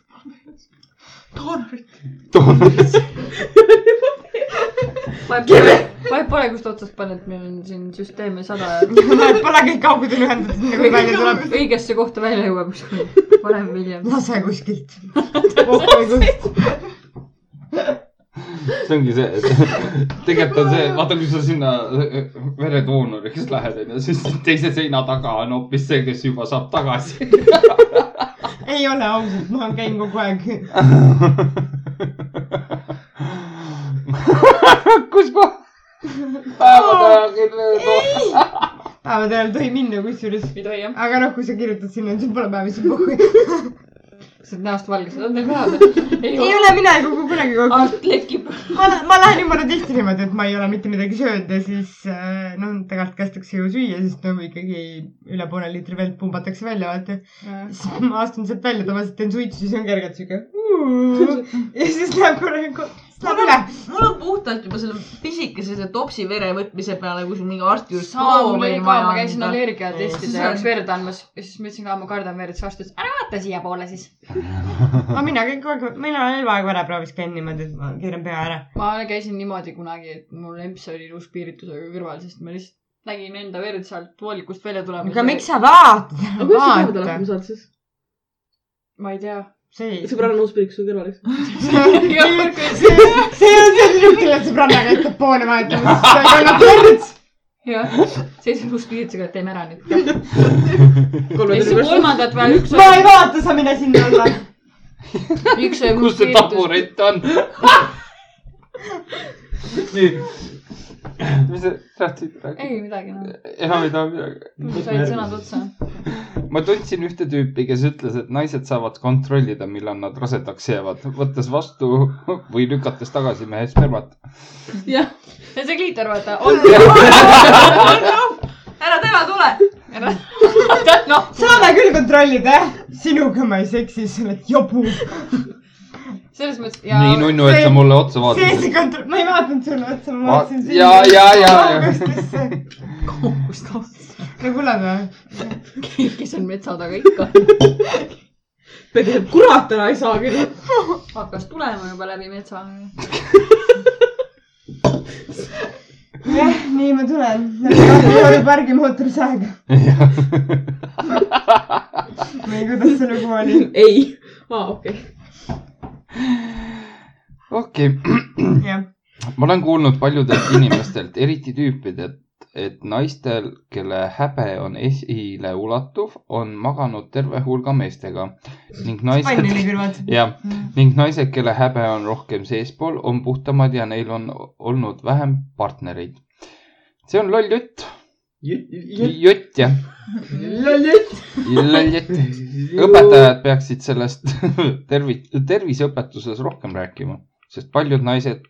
S6: vahet pole , vahet pole , kust otsast paned , meil on siin süsteeme sada ja
S5: Pole kõik augud on ühendatud , enne kui välja tuleb .
S6: õigesse kohta välja jõuab ükskord , varem või hiljem .
S5: lase kuskilt . kokku
S1: see ongi see , et tegelikult on see , vaata , kui sa sinna äh, veredoonoriks lähed , onju , siis teise seina taga on hoopis see , kes juba saab tagasi .
S5: ei ole ausalt , ma käin kogu aeg .
S1: kus ma päevade ajal kell toon ?
S5: päevade ajal tohi minna kusjuures ,
S6: ei tohi jah .
S5: aga noh , kui sa kirjutad sinna , siis pole päevasid puhku .
S6: sa oled näost valge , sa oled nagu hea . ei
S5: ei
S6: ole .
S5: ole mina ei kuku kunagi kokku .
S6: alt lekib .
S5: ma , ma lähen jumala tihti niimoodi , et ma ei ole mitte midagi söönud ja siis äh, noh , tegelikult kästakse ju süüa , sest no ikkagi üle poole liitri vett pumbatakse välja , vaata . siis ma astun sealt välja , tavaliselt teen suitsu , siis on kergelt siuke . ja siis läheb korra , siis saab üle .
S2: mul on puhtalt juba selle pisikese selle topsi vere võtmise peale , kui sul mingi arsti juures
S6: sama mul oli ka , ma käisin
S2: anda.
S6: allergiatestide
S2: Siis
S6: jaoks
S2: on-
S6: verd andmas ja siis ma ütlesin ka , ma kardan verd , siis arst ütles , ära vaata siiapoole siis .
S5: aga mina kõik kogu aeg , mina olen eluaeg vereproovis käinud niimoodi , et ma keeran pea ära .
S6: ma käisin niimoodi kunagi , et mul emps oli iluspiiritusega kõrval , sest ma lihtsalt nägin enda verd sealt voolikust välja tulemas .
S5: aga miks ? sa vaatad ?
S4: aga kuidas sa päeval hakkama saad siis ?
S6: ma ei tea .
S5: see ,
S4: sõbranna uspiriks on kõrval , eks .
S5: see on see tüüp , kellel sõbrannaga jätkab poole vahetama , siis ta ei kannata verd .
S6: jah , seisab iluspiiritusega , et teeme ära nüüd . ja siis
S4: kolmeteist pärast .
S6: kolmandat või üks
S5: ma ei vaata , sa mine sinna alla .
S6: üks oli
S1: kus see
S6: iluspiiritus .
S1: taburet on ? nii . mis sa tahtsid rääkida ?
S6: ei midagi enam no. .
S1: enam ei taha midagi .
S6: mul said sõnad otsa .
S1: ma tundsin ühte tüüpi , kes ütles , et naised saavad kontrollida , millal nad rasedaks jäävad , võttes vastu või lükates tagasi mehe spermat .
S4: jah ,
S6: ja see kliitor , vaata , on .
S2: ära täna tule .
S6: noh ,
S5: saame küll kontrollida , jah . sinuga ma ei seksi , sa oled jobu .
S6: selles mõttes ja .
S1: nii nunnu , et sa mulle otsa vaatasid .
S5: seesi kontroll , ma ei vaadanud sulle otsa , ma
S1: Ma-
S5: vaatasin
S1: ja , ja , ja , ja .
S5: kaugustesse .
S6: kust kohast ?
S5: no kuule , ma .
S6: kes on metsa taga ikka .
S4: tegelikult kurat ära ei saa küll .
S6: hakkas tulema juba läbi metsa .
S5: jah , nii ma tulen . Kaarel pargi mootoris aega . või kuidas see lugu oli ?
S4: ei , aa okei .
S1: okei
S5: jah .
S1: ma olen kuulnud paljudelt inimestelt , eriti tüüpidelt , et naistel , kelle häbe on esileulatuf , on maganud terve hulga meestega ning naised
S5: pannili , kõrvad .
S1: jah , ning naised , kelle häbe on rohkem seespool , on puhtamad ja neil on olnud vähem partnereid . see on loll jutt , jutt jah , loll jutt . õpetajad peaksid sellest tervi- , terviseõpetuses rohkem rääkima , sest paljud naised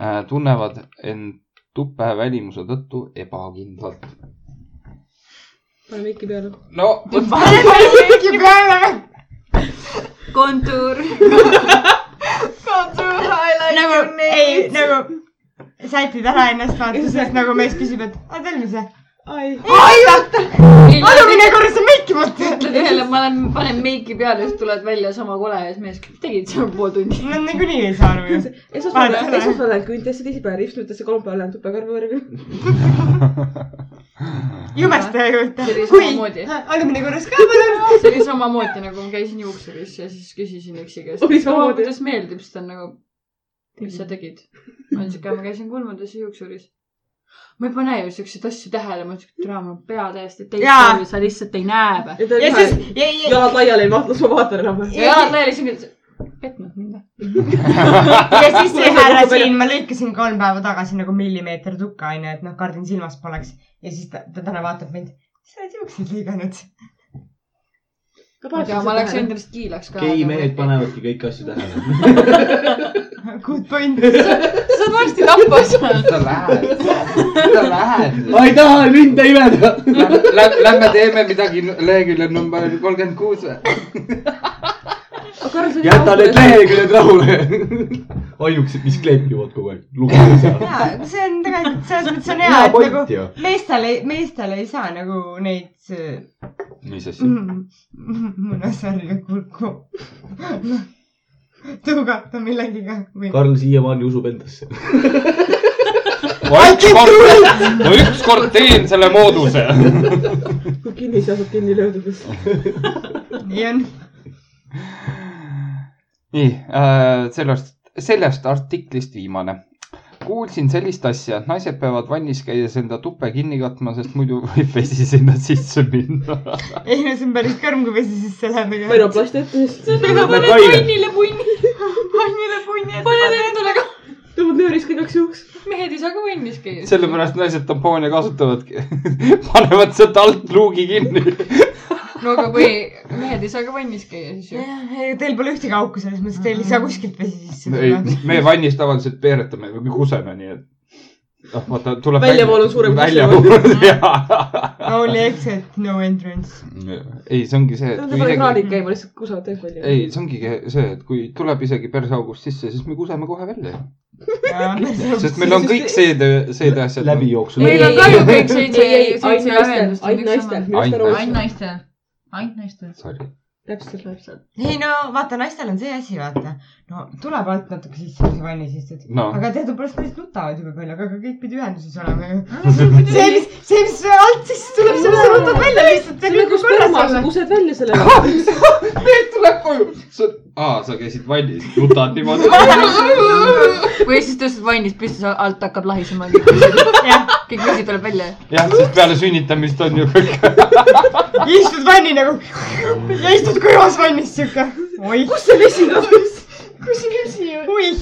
S1: äh, tunnevad end tuppe välimuse tõttu ebakindlalt .
S4: pane miki peale .
S1: no vot ,
S5: paneme linki peale .
S6: kontuur .
S5: nagu , ei nagu sätid ära ennast vaata , sest nagu mees küsib , et aga teil mis see .
S4: ai ,
S5: ai oota , adu mine korra see meiki vaata .
S6: ütled ühele , ma olen , panen meiki peale , siis tuled välja sama kole ja siis mees , mis tegid seal pool tundi ?
S5: Nad nagunii ei saa aru ju .
S4: esmaspäeval
S5: Vaata ära. ,
S4: esmaspäeval lähen küntasse , teisipäeval ripsnud , ütles see kolmapäeval lähen tupakarva värvi .
S5: jumestaja juurde
S6: See oli .
S5: kui ,
S6: samamoodi.
S5: adu mine korra ka palun .
S6: see oli samamoodi nagu ma käisin juuksuris ja siis küsisin üksi käest ,
S4: Oli
S6: et oh,
S4: samamoodi?
S6: kuidas meeldib , siis ta on nagu , mis sa tegid ? ma olin siuke , ma käisin kolmandas juuksuris . ma ei pane ju siukseid asju tähele , ma ütlesin , et türa , mul on pea täiesti
S5: Jaa.
S6: teistmoodi , sa lihtsalt ei näe või ?
S5: ja siis , ja , ja ,
S4: jalad laiali ei mahtu , las ma vaatan enam-vähem .
S6: ja jalad laiali , siis ma ütlesin , petnud mind või ?
S5: ja siis see härra siin , ma lõikasin kolm päeva tagasi nagu millimeeter tukka onju , et noh , kardin silmas poleks . ja siis ta, ta täna vaatab mind . sa oled juukseid lõiganud .
S6: ma ei tea , ma oleks . endast kiilaks ka . Nagu,
S3: gei mehed . panevadki kõiki asju tähele .
S5: Good point .
S6: sa saad varsti tappa seal .
S1: sa lähed , sa lähed .
S7: ma ei taha linde imeda .
S1: Lähme teeme midagi leheküljel number kolmkümmend kuus või ?
S7: jäta need . leheküljed rahule . ainuksed , mis kleepivad kogu aeg , lugege seal .
S5: ja , see on tegelikult selles mõttes on hea ,
S7: hea
S5: et
S7: point
S5: nagu
S7: ju .
S5: meestel ei , meestel ei saa nagu neid
S1: mis asja ?
S5: munasarja kurku tõugata millegagi või .
S7: Karl siiamaani usub endasse .
S1: ma ükskord , ma ükskord teen selle mooduse .
S4: kui kinni sa saad kinni löödud , siis
S5: nii on .
S1: nii äh, , sellest , sellest artiklist viimane . kuulsin sellist asja , et naised peavad vannis käies enda tuppe kinni katma , sest muidu võib vesi sinna sisse minna .
S5: ei no see on päris karm , kui vesi sisse läheb .
S4: veroplast ette , siis
S6: punnile punni ,
S5: pannile punni
S6: pane endale ka .
S4: tõmbad nöörist ka igaks juhuks .
S6: mehed ei saa ka punnis käia .
S1: sellepärast naised tampoone kasutavadki . panevad sealt alt luugi kinni .
S6: no aga kui mehed ei saa ka vannis käia , siis ju .
S5: ei , teil pole ühtegi auku selles
S4: Mm.
S5: mõttes , teil ei saa kuskilt vesi sisse
S1: ei
S5: tulla .,
S1: me vannis tavaliselt peeretame või kuseme , nii et noh , vaata , tuleb .
S4: Väljavoolu suurem kui
S1: väljavoolu , jaa .
S5: Only exit , no entrance .
S1: ei , see ongi see , et
S4: Nad
S1: kui
S4: pole
S1: isegi ,
S4: kraanid käima , lihtsalt kusagil teeb palju .
S1: ei , see ongi see , et kui tuleb isegi perseaugust sisse , siis me kuseme kohe välja . sest meil on kõik seede , seedeasjad .
S7: läbijooksul .
S6: Meil on ka ju kõik seitse- seitse
S4: ainult naistel
S6: lahendust , on
S4: ainult
S6: üks
S4: naistel ,
S6: sama.
S4: minu arust on
S1: Ainult
S4: aus
S2: ainult . naistel , ainult naistel .
S1: Sorry .
S4: täpselt , täpselt .
S5: ei no vaata , naistel on see asi , vaata . no tuleb alt natuke sisse , kui sa vannis istud .
S1: no ,
S5: aga teadupärast naised nutavad jube palju , aga kõik pidi ühenduses olema ju . see , mis , see , mis alt sisse tuleb , selle sa nutad välja lihtsalt .
S4: see on nagu spermas , kused välja selle .
S1: tuleb koju . aa , sa käisid vannis , nutad niimoodi .
S6: või siis tõstad vannist püsti , alt hakkab lahisema .
S5: Jah.
S6: kõik vesi tuleb välja .
S1: jah , sest peale sünnitamist on ju kõik .
S5: istud vanni nagu ja istud kõrvas vannis siuke . oih ,
S4: kus see vesi kadus ?
S5: oih ,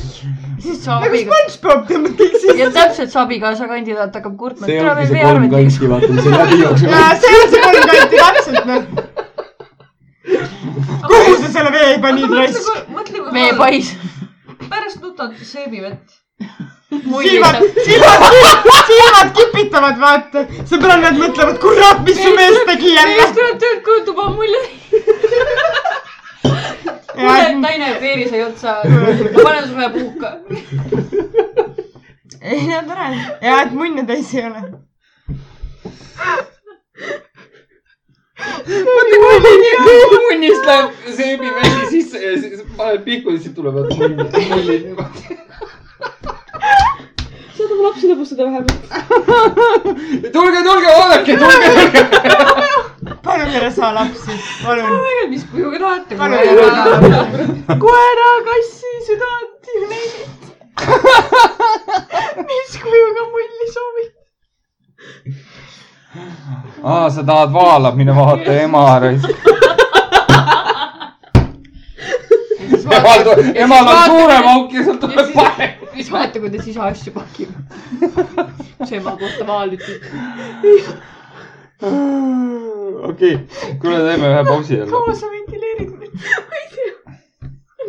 S6: siis su
S5: nagu
S6: abiga ,
S5: SpongeBob tõmbad kõik sisse .
S6: ja täpselt su abikaasa kandidaat hakkab kurtma , et
S7: see
S6: tule
S7: ongi
S6: veel
S7: see kolm kanti ,
S6: veearvet .
S7: vaata , see läbijooksul .
S5: jaa , see on see kolm kanti täpselt noh . kuhu sa selle vee panid , raisk ?
S2: mõtle ,
S6: meie
S2: kui
S6: pais .
S2: pärast nutad seebivett .
S5: silmad , silmad , silmad kipitavad , vaata . sõbrannad mõtlevad , kurat , mis su mees tegi jälle
S6: mees . tuleb töölt koju tuba mulje . naine veeri sai otsa , pane sulle puhka .
S5: ei no tore . ja , et munne täis ei ole .
S1: munnist läheb seebi välja sisse ja siis paned pihku ja siis tulevad mullid , mullid niimoodi .
S4: saad oma lapsi lõbustada vähemalt .
S1: tulge , tulge , oodake , tulge , tulge .
S5: palun ära saa lapsi , palun .
S6: mis kujuga tahate ,
S5: Palun.
S6: kui ära .
S4: koera , kassi , südant ja neid . mis kujuga mulli soovib ?
S1: aa , sa tahad vaala , mine vaata ema ära . emal , emal on suurem auk ja sealt tuleb parem .
S6: siis vaata , kuidas isa asju pakib . see ema kohta vaal ütleb .
S1: okei , kuule , teeme ühe pausi jälle .
S4: kaua sa ventileerid mind ? ma ei tea .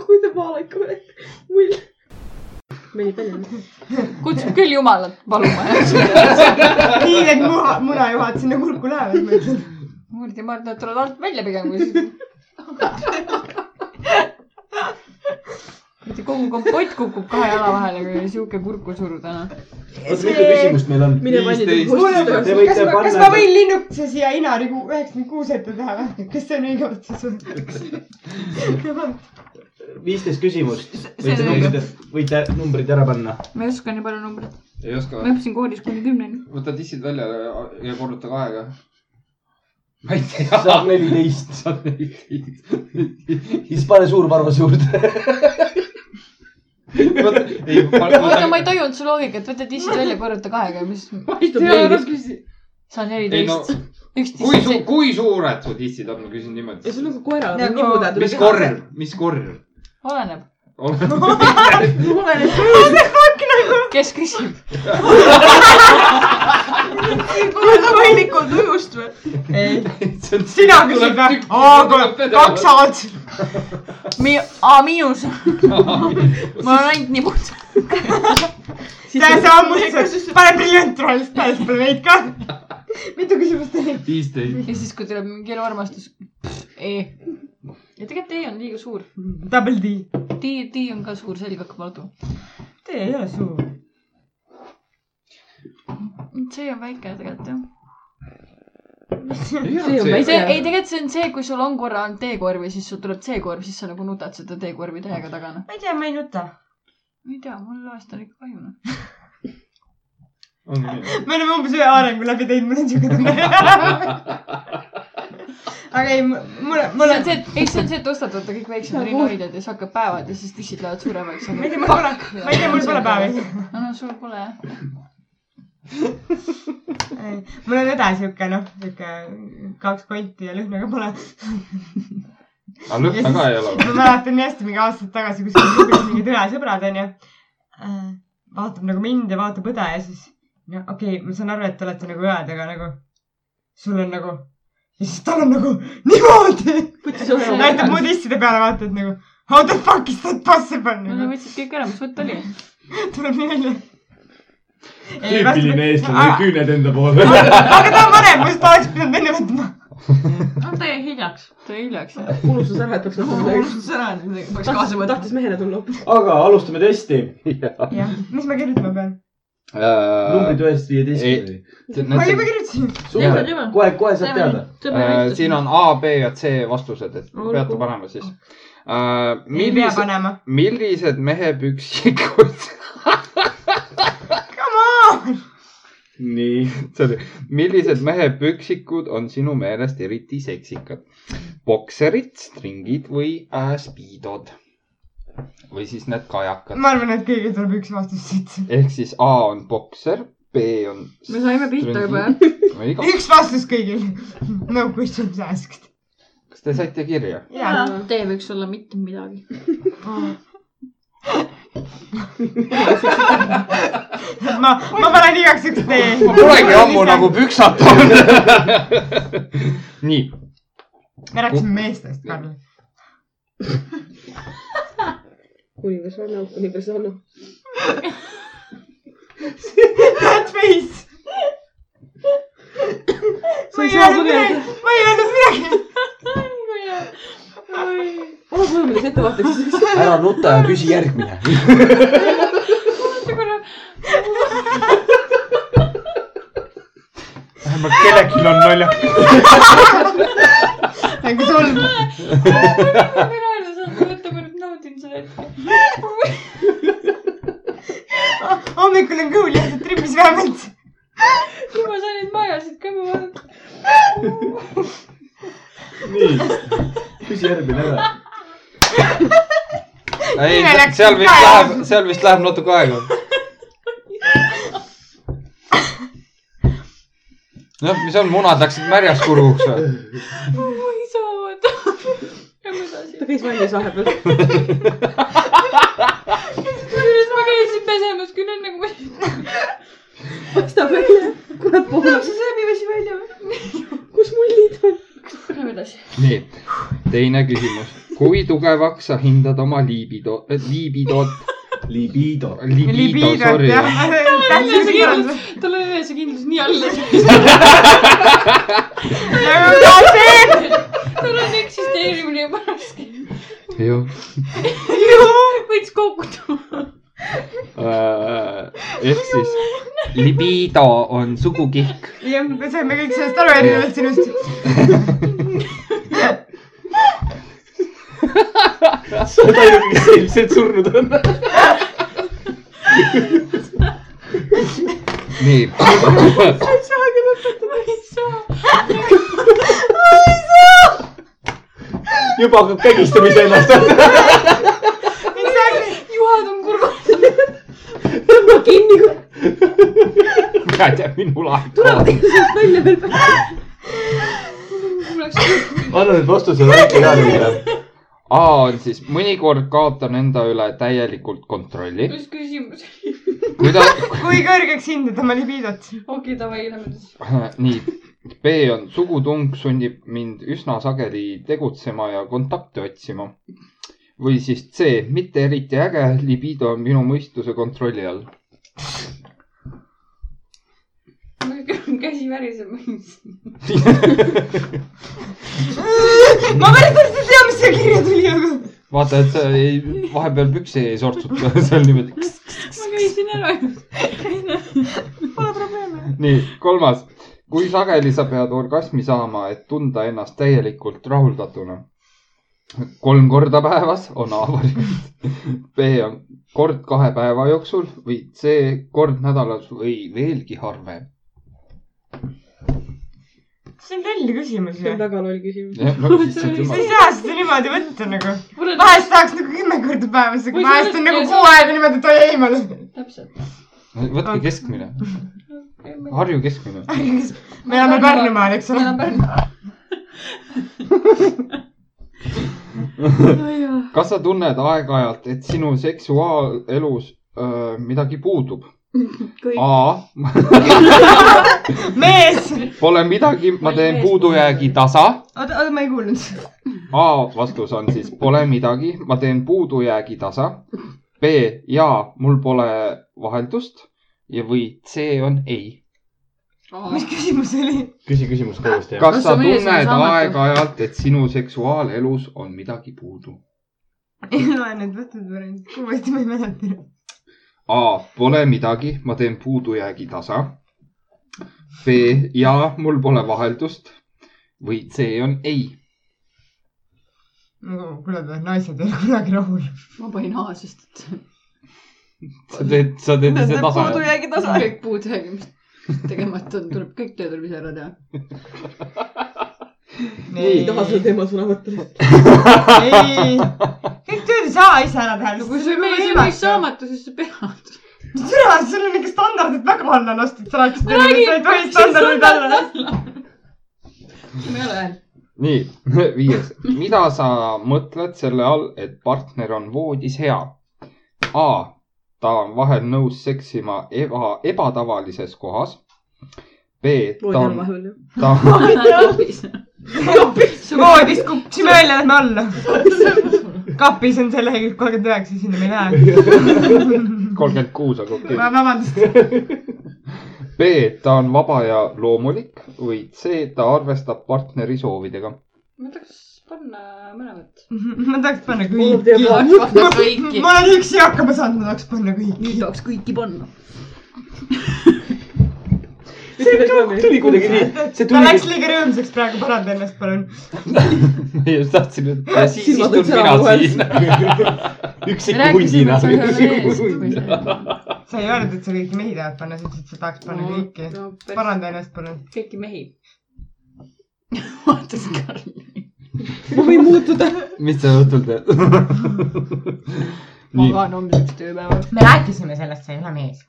S4: kui te vaalaid ka veel . mull . meeldib välja .
S6: kutsub küll jumalat paluma .
S5: nii need muna , munajuhad sinna kurku lähevad , ma ütlen .
S6: Murd ja Mart , nad tulevad alt välja pigem kui siis . mitte kogu kompott kukub kahe jala vahele , kui sihuke kurku suruda .
S7: oota , mitu küsimust meil on ?
S4: mine vanni
S7: viisteist .
S4: tulla .
S7: Te võite
S5: kas ma , kas ma
S7: panna-
S5: võin linnukese siia Inarigu üheksakümmend kuus ette teha või ? kas see on õige otsus ?
S7: viisteist küsimust .
S6: see
S7: võite
S6: on õige.
S7: numbrid , võite numbrid ära panna .
S6: ma ei oska nii palju numbreid .
S1: ei oska
S6: ma õppisin koolis kuni kümneni .
S1: võta tissid välja ja- ja korruta kahega . ma ei tea .
S7: saab neliteist ,
S1: saad neliteist .
S7: siis pane suur varvas juurde .
S1: ei ,
S6: oota , ma ei tajunud su loogikat , võta tissid välja , korruta kahega , mis . see on
S1: ei no
S6: neliteist ,
S1: kui
S6: üksteist
S1: suur ,. kui suured su tissid on , ma küsin
S4: ja
S1: niimoodi .
S4: sul on ka koeral
S5: Nagu-
S4: on nibuda .
S1: mis korv , mis korv ?
S6: oleneb ,
S4: oleneb .
S6: kes küsib .
S4: paindlikult ujust või ?
S5: ei , sina küsid või ? aa , kaks A-d .
S6: Mi- , A miinus . ma olen ainult nii puht .
S5: see on ammustus , pane briljantrollist täis peale veid ka . mitu küsimust oli ?
S1: viisteist .
S6: ja siis , kui tuleb mingi eluarmastus . E . ja tegelikult E on liiga suur .
S5: Double D .
S6: D , D on ka suur , selg hakkab laduma .
S5: tee ei ole suur .
S6: see on väike tegelikult jah .
S4: See on
S6: see ,
S4: väike.
S6: ei tegelikult see on see , kui sul on korra olnud teekorv ja siis sul tuleb C-korv , siis sa nagu nutad seda teekorvi täiega taga , noh .
S5: ma ei tea , ma ei nuta .
S6: ma ei tea , mul loest on ikka kahju , noh .
S5: me oleme umbes ühe arengu läbi teinud , mul on siuke tunne . aga ei , mul ,
S6: see
S5: mul
S6: on
S5: on ,
S6: see , ei , see on see , et ostad vaata kõik väiksemad rinnahoidjad ja siis hakkab päevad ja siis tissid lähevad suuremaks .
S5: ma ei tea , mul pole , ma ei tea , mul pole päevi .
S6: no , no sul pole jah .
S5: mul on õde siuke noh , siuke kaks konti ja lõhnaga pole .
S1: aga lõhna ka ei ole või ?
S5: ma mäletan nii hästi mingi aastaid tagasi , kus olid lõpuks mingid õesõbrad onju . vaatab nagu mind ja vaatab õde ja siis no okei okay, , ma saan aru , et te olete nagu õed , aga nagu sul on nagu ja siis tal on nagu niimoodi .
S4: võttis ühe oma
S5: näitab mu tisside peale , vaata , et nagu how the fuck is that possible
S6: no sa
S5: nagu
S6: võtsid kõik ära , mis võtt oli ?
S5: tuleb nii välja .
S7: tüüpiline eestlane , küüned enda poole .
S5: aga ta on vanem , ma just oleks pidanud välja võtma .
S2: no tee hiljaks . Äh,
S6: tule hiljaks .
S4: unustas ära , et peaks nagu midagi .
S2: unustas ära , et midagi peaks kaasa
S4: tahtis ,
S2: võtma .
S4: tahtis mehena tulla hoopis .
S3: aga alustame testi .
S5: jah , mis ma kirjutama pean ?
S1: Äh,
S3: numbrid ühest viieteistkümneni .
S5: ma juba kirjutasin .
S3: super , kohe , kohe saad teada .
S1: äh, siin on A , B ja C vastused , et
S4: Olgu.
S1: peate panema siis . Äh,
S5: ei pea
S1: millised ,
S5: panema .
S1: millised mehepüksikud ,
S5: Come on .
S3: nii .
S1: sorry , millised mehepüksikud on sinu meelest eriti seksikad ? bokserid , stringid või äh, spiidod ? või siis need kajakad .
S5: ma arvan , et kõigil tuleb üks vastus siit .
S1: ehk siis A on bokser , B on .
S6: me saime pihta juba jah ..
S5: üks vastus kõigil . no questions asked .
S1: kas te saite kirja ?
S5: jaa .
S6: tee võiks olla mitte midagi .
S5: ma , ma panen igaks juhuks tee .
S1: ma polegi ammu nagu . püksad olnud . nii ,
S5: me rääkisime meestest , Karl .
S4: universaalne , universaalne .
S5: That face .
S4: sa ei saa põgeneda .
S5: ma ei öelnud midagi .
S4: ole kujunenud ettevaatlikult .
S3: ära nuta ja küsi järgmine .
S7: vähemalt kellelgi on naljakas .
S5: nagu solv . hommikul on kõhul jäetud tripis vähemalt .
S6: juba sa olid majas , et kõmmu vaadata .
S3: nii , küsi järgmine ära .
S1: ei
S5: Nime , läks
S1: seal vist
S5: ka
S1: läheb
S5: ära. ,
S1: seal vist läheb natuke aega . noh , mis on , munad läksid märjaks kuruks või ?
S6: ma ei saa vaadata . lähme edasi .
S4: ta käis valmis vahepeal .
S6: kusjuures ma käisin pesemas küll enne kui ma .
S4: paistab välja . kurat , puhul .
S6: see seebivesi välja või ?
S4: kus mullid on ?
S6: Lähme edasi .
S1: nii , teine küsimus . kui tugevaks sa hindad oma liibido , liibidot ,
S3: libido .
S1: libido , sorry .
S6: see kindlus , tal oli ühes kindlus nii all . tal on eksisteerimine juba raske .
S1: jah ,
S6: võiks koguda .
S1: Äh, ehk siis libido on sugukihk .
S5: jah , me saime kõik sellest aru erinevalt sinust .
S7: sa oled ainuke , kes ilmselt surnud on .
S1: nii
S6: ma ei saa .
S7: juba hakkab kägistamise ennast .
S6: juhad on kurvad .
S4: kinni ,
S1: mina ei tea , minul aeg tuleb .
S4: kuidas välja veel .
S6: mul läks .
S3: anna nüüd vastuse väike järgmine .
S1: A on siis mõnikord kaotan enda üle täielikult kontrolli .
S6: mis küsimus oli ?
S1: kuidas ,
S5: kui kõrgeks hindad oma libidot ?
S6: okei , davai , lähme edasi .
S1: nii , B on sugutung sunnib mind üsna sageli tegutsema ja kontakte otsima . või siis C , mitte eriti äge , libido on minu mõistuse kontrolli all .
S6: mul käsi väriseb .
S5: ma päris täpselt ei tea , mis siia kirja tuli , aga .
S1: vaata , et sa ei , vahepeal pükse ei sortsuta seal niimoodi .
S6: ma käisin ära juba .
S1: nii , kolmas . kui sageli sa pead orgasmi saama , et tunda ennast täielikult rahuldatuna ? kolm korda päevas on A variant , B on kord kahe päeva jooksul või C kord nädalas või veelgi harvem .
S5: see on loll küsimus
S4: see
S5: ju
S4: on . väga loll küsimus .
S1: jah , nagu lihtsalt
S5: sa ei
S1: jumal .
S5: saa seda niimoodi võtta nagu .
S6: mul on
S5: vahest tahaks nagu kümme korda päevas , aga
S6: Kui sa
S5: vahest on
S6: oled-
S5: nagu kuu aega niimoodi , et oi ei , ma olen .
S6: täpselt .
S1: võtke keskmine ,
S6: ma
S1: Harju keskmine .
S5: me elame Pärnumaal , eks ole
S6: elan . Pärnu .
S1: kas sa tunned aeg-ajalt , et sinu seksuaalelus öö, midagi puudub ?
S6: kõik .
S1: A ,
S5: mees .
S1: pole midagi , ma teen puudujäägi tasa
S5: oota , oota , ma ei kuulnud .
S1: A vastus on siis pole midagi , ma teen puudujäägi tasa . B ja mul pole vaheldust ja , või C on ei .
S5: mis küsimus oli ?
S3: küsi küsimus koos teeme .
S1: kas
S6: Kas
S1: sa
S6: sa mees või
S1: tunned
S6: saamatu?
S1: aeg-ajalt , et sinu seksuaalelus on midagi puudu ?
S5: ei loe need võtud variandid , uuesti ma ei mäleta .
S1: A pole midagi , ma teen puudujäägi tasa . B ja mul pole vaheldust või C on ei .
S5: kuule , naised ei ole kunagi rahul .
S6: ma panin A , sest et
S1: sa teed , sa teed ise tasa .
S4: puudujäägi tasa .
S6: kõik puud räägib , mis tegemata on , tuleb , kõik töö tuleb ise ära teha .
S4: ei taha selle teema sõna võtta .
S5: ei , kõik tööd ei saa ise ära teha . nagu
S6: no kui sul mees on nii . saamatu , siis sa pead .
S5: türa , sul on mingi standardid väga alla lastud , sa rääkisid ,
S6: Ma
S5: et sa ei tohi standardid alla lasta .
S6: ma ei ole veel .
S1: nii , viies . mida sa mõtled selle all , et partner on voodis hea ? A , ta on vahel nõus seksima eba , ebatavalises kohas . B ,
S4: voodi
S1: ta on ,
S4: on vahepeal ju .
S1: ta on ,
S6: kapis .
S5: voodis kukkusime välja , lähme alla . kapis on see lehekülg kolmkümmend üheksa , sinna me ei lähe .
S1: kolmkümmend kuus on kokku .
S5: vabandust ,
S1: B , ta on vaba ja loomulik või C , ta arvestab partneri soovidega .
S6: ma tahaks panna mõlemat .
S5: ma tahaks panna
S4: mul teeb
S5: kõiki .
S4: vahe .
S6: tahaks panna kõiki .
S5: ma olen üksi hakkama saanud , ma tahaks panna kõiki .
S6: tahaks kõiki panna .
S3: tuli kuidagi nii ,
S5: ta
S3: see tuli
S5: läks . liiga rõõmsaks praegu , paranda ennast palun .
S1: ma just tahtsin , et ja siis
S4: Silmad
S1: istun
S4: on
S1: mina
S4: särava
S1: siin . üksiku hundina .
S5: sa ei öelnud , et sa kõiki mehi tahad panna , sa ütlesid , et sa tahaks panna kõiki . paranda ennast palun .
S6: kõiki mehi . vaatas Karli .
S4: ma võin muutuda .
S1: mis sa õhtul teed ? nii ,
S6: magan homseks tööpäeval .
S5: me rääkisime sellest , sa ei ole mees .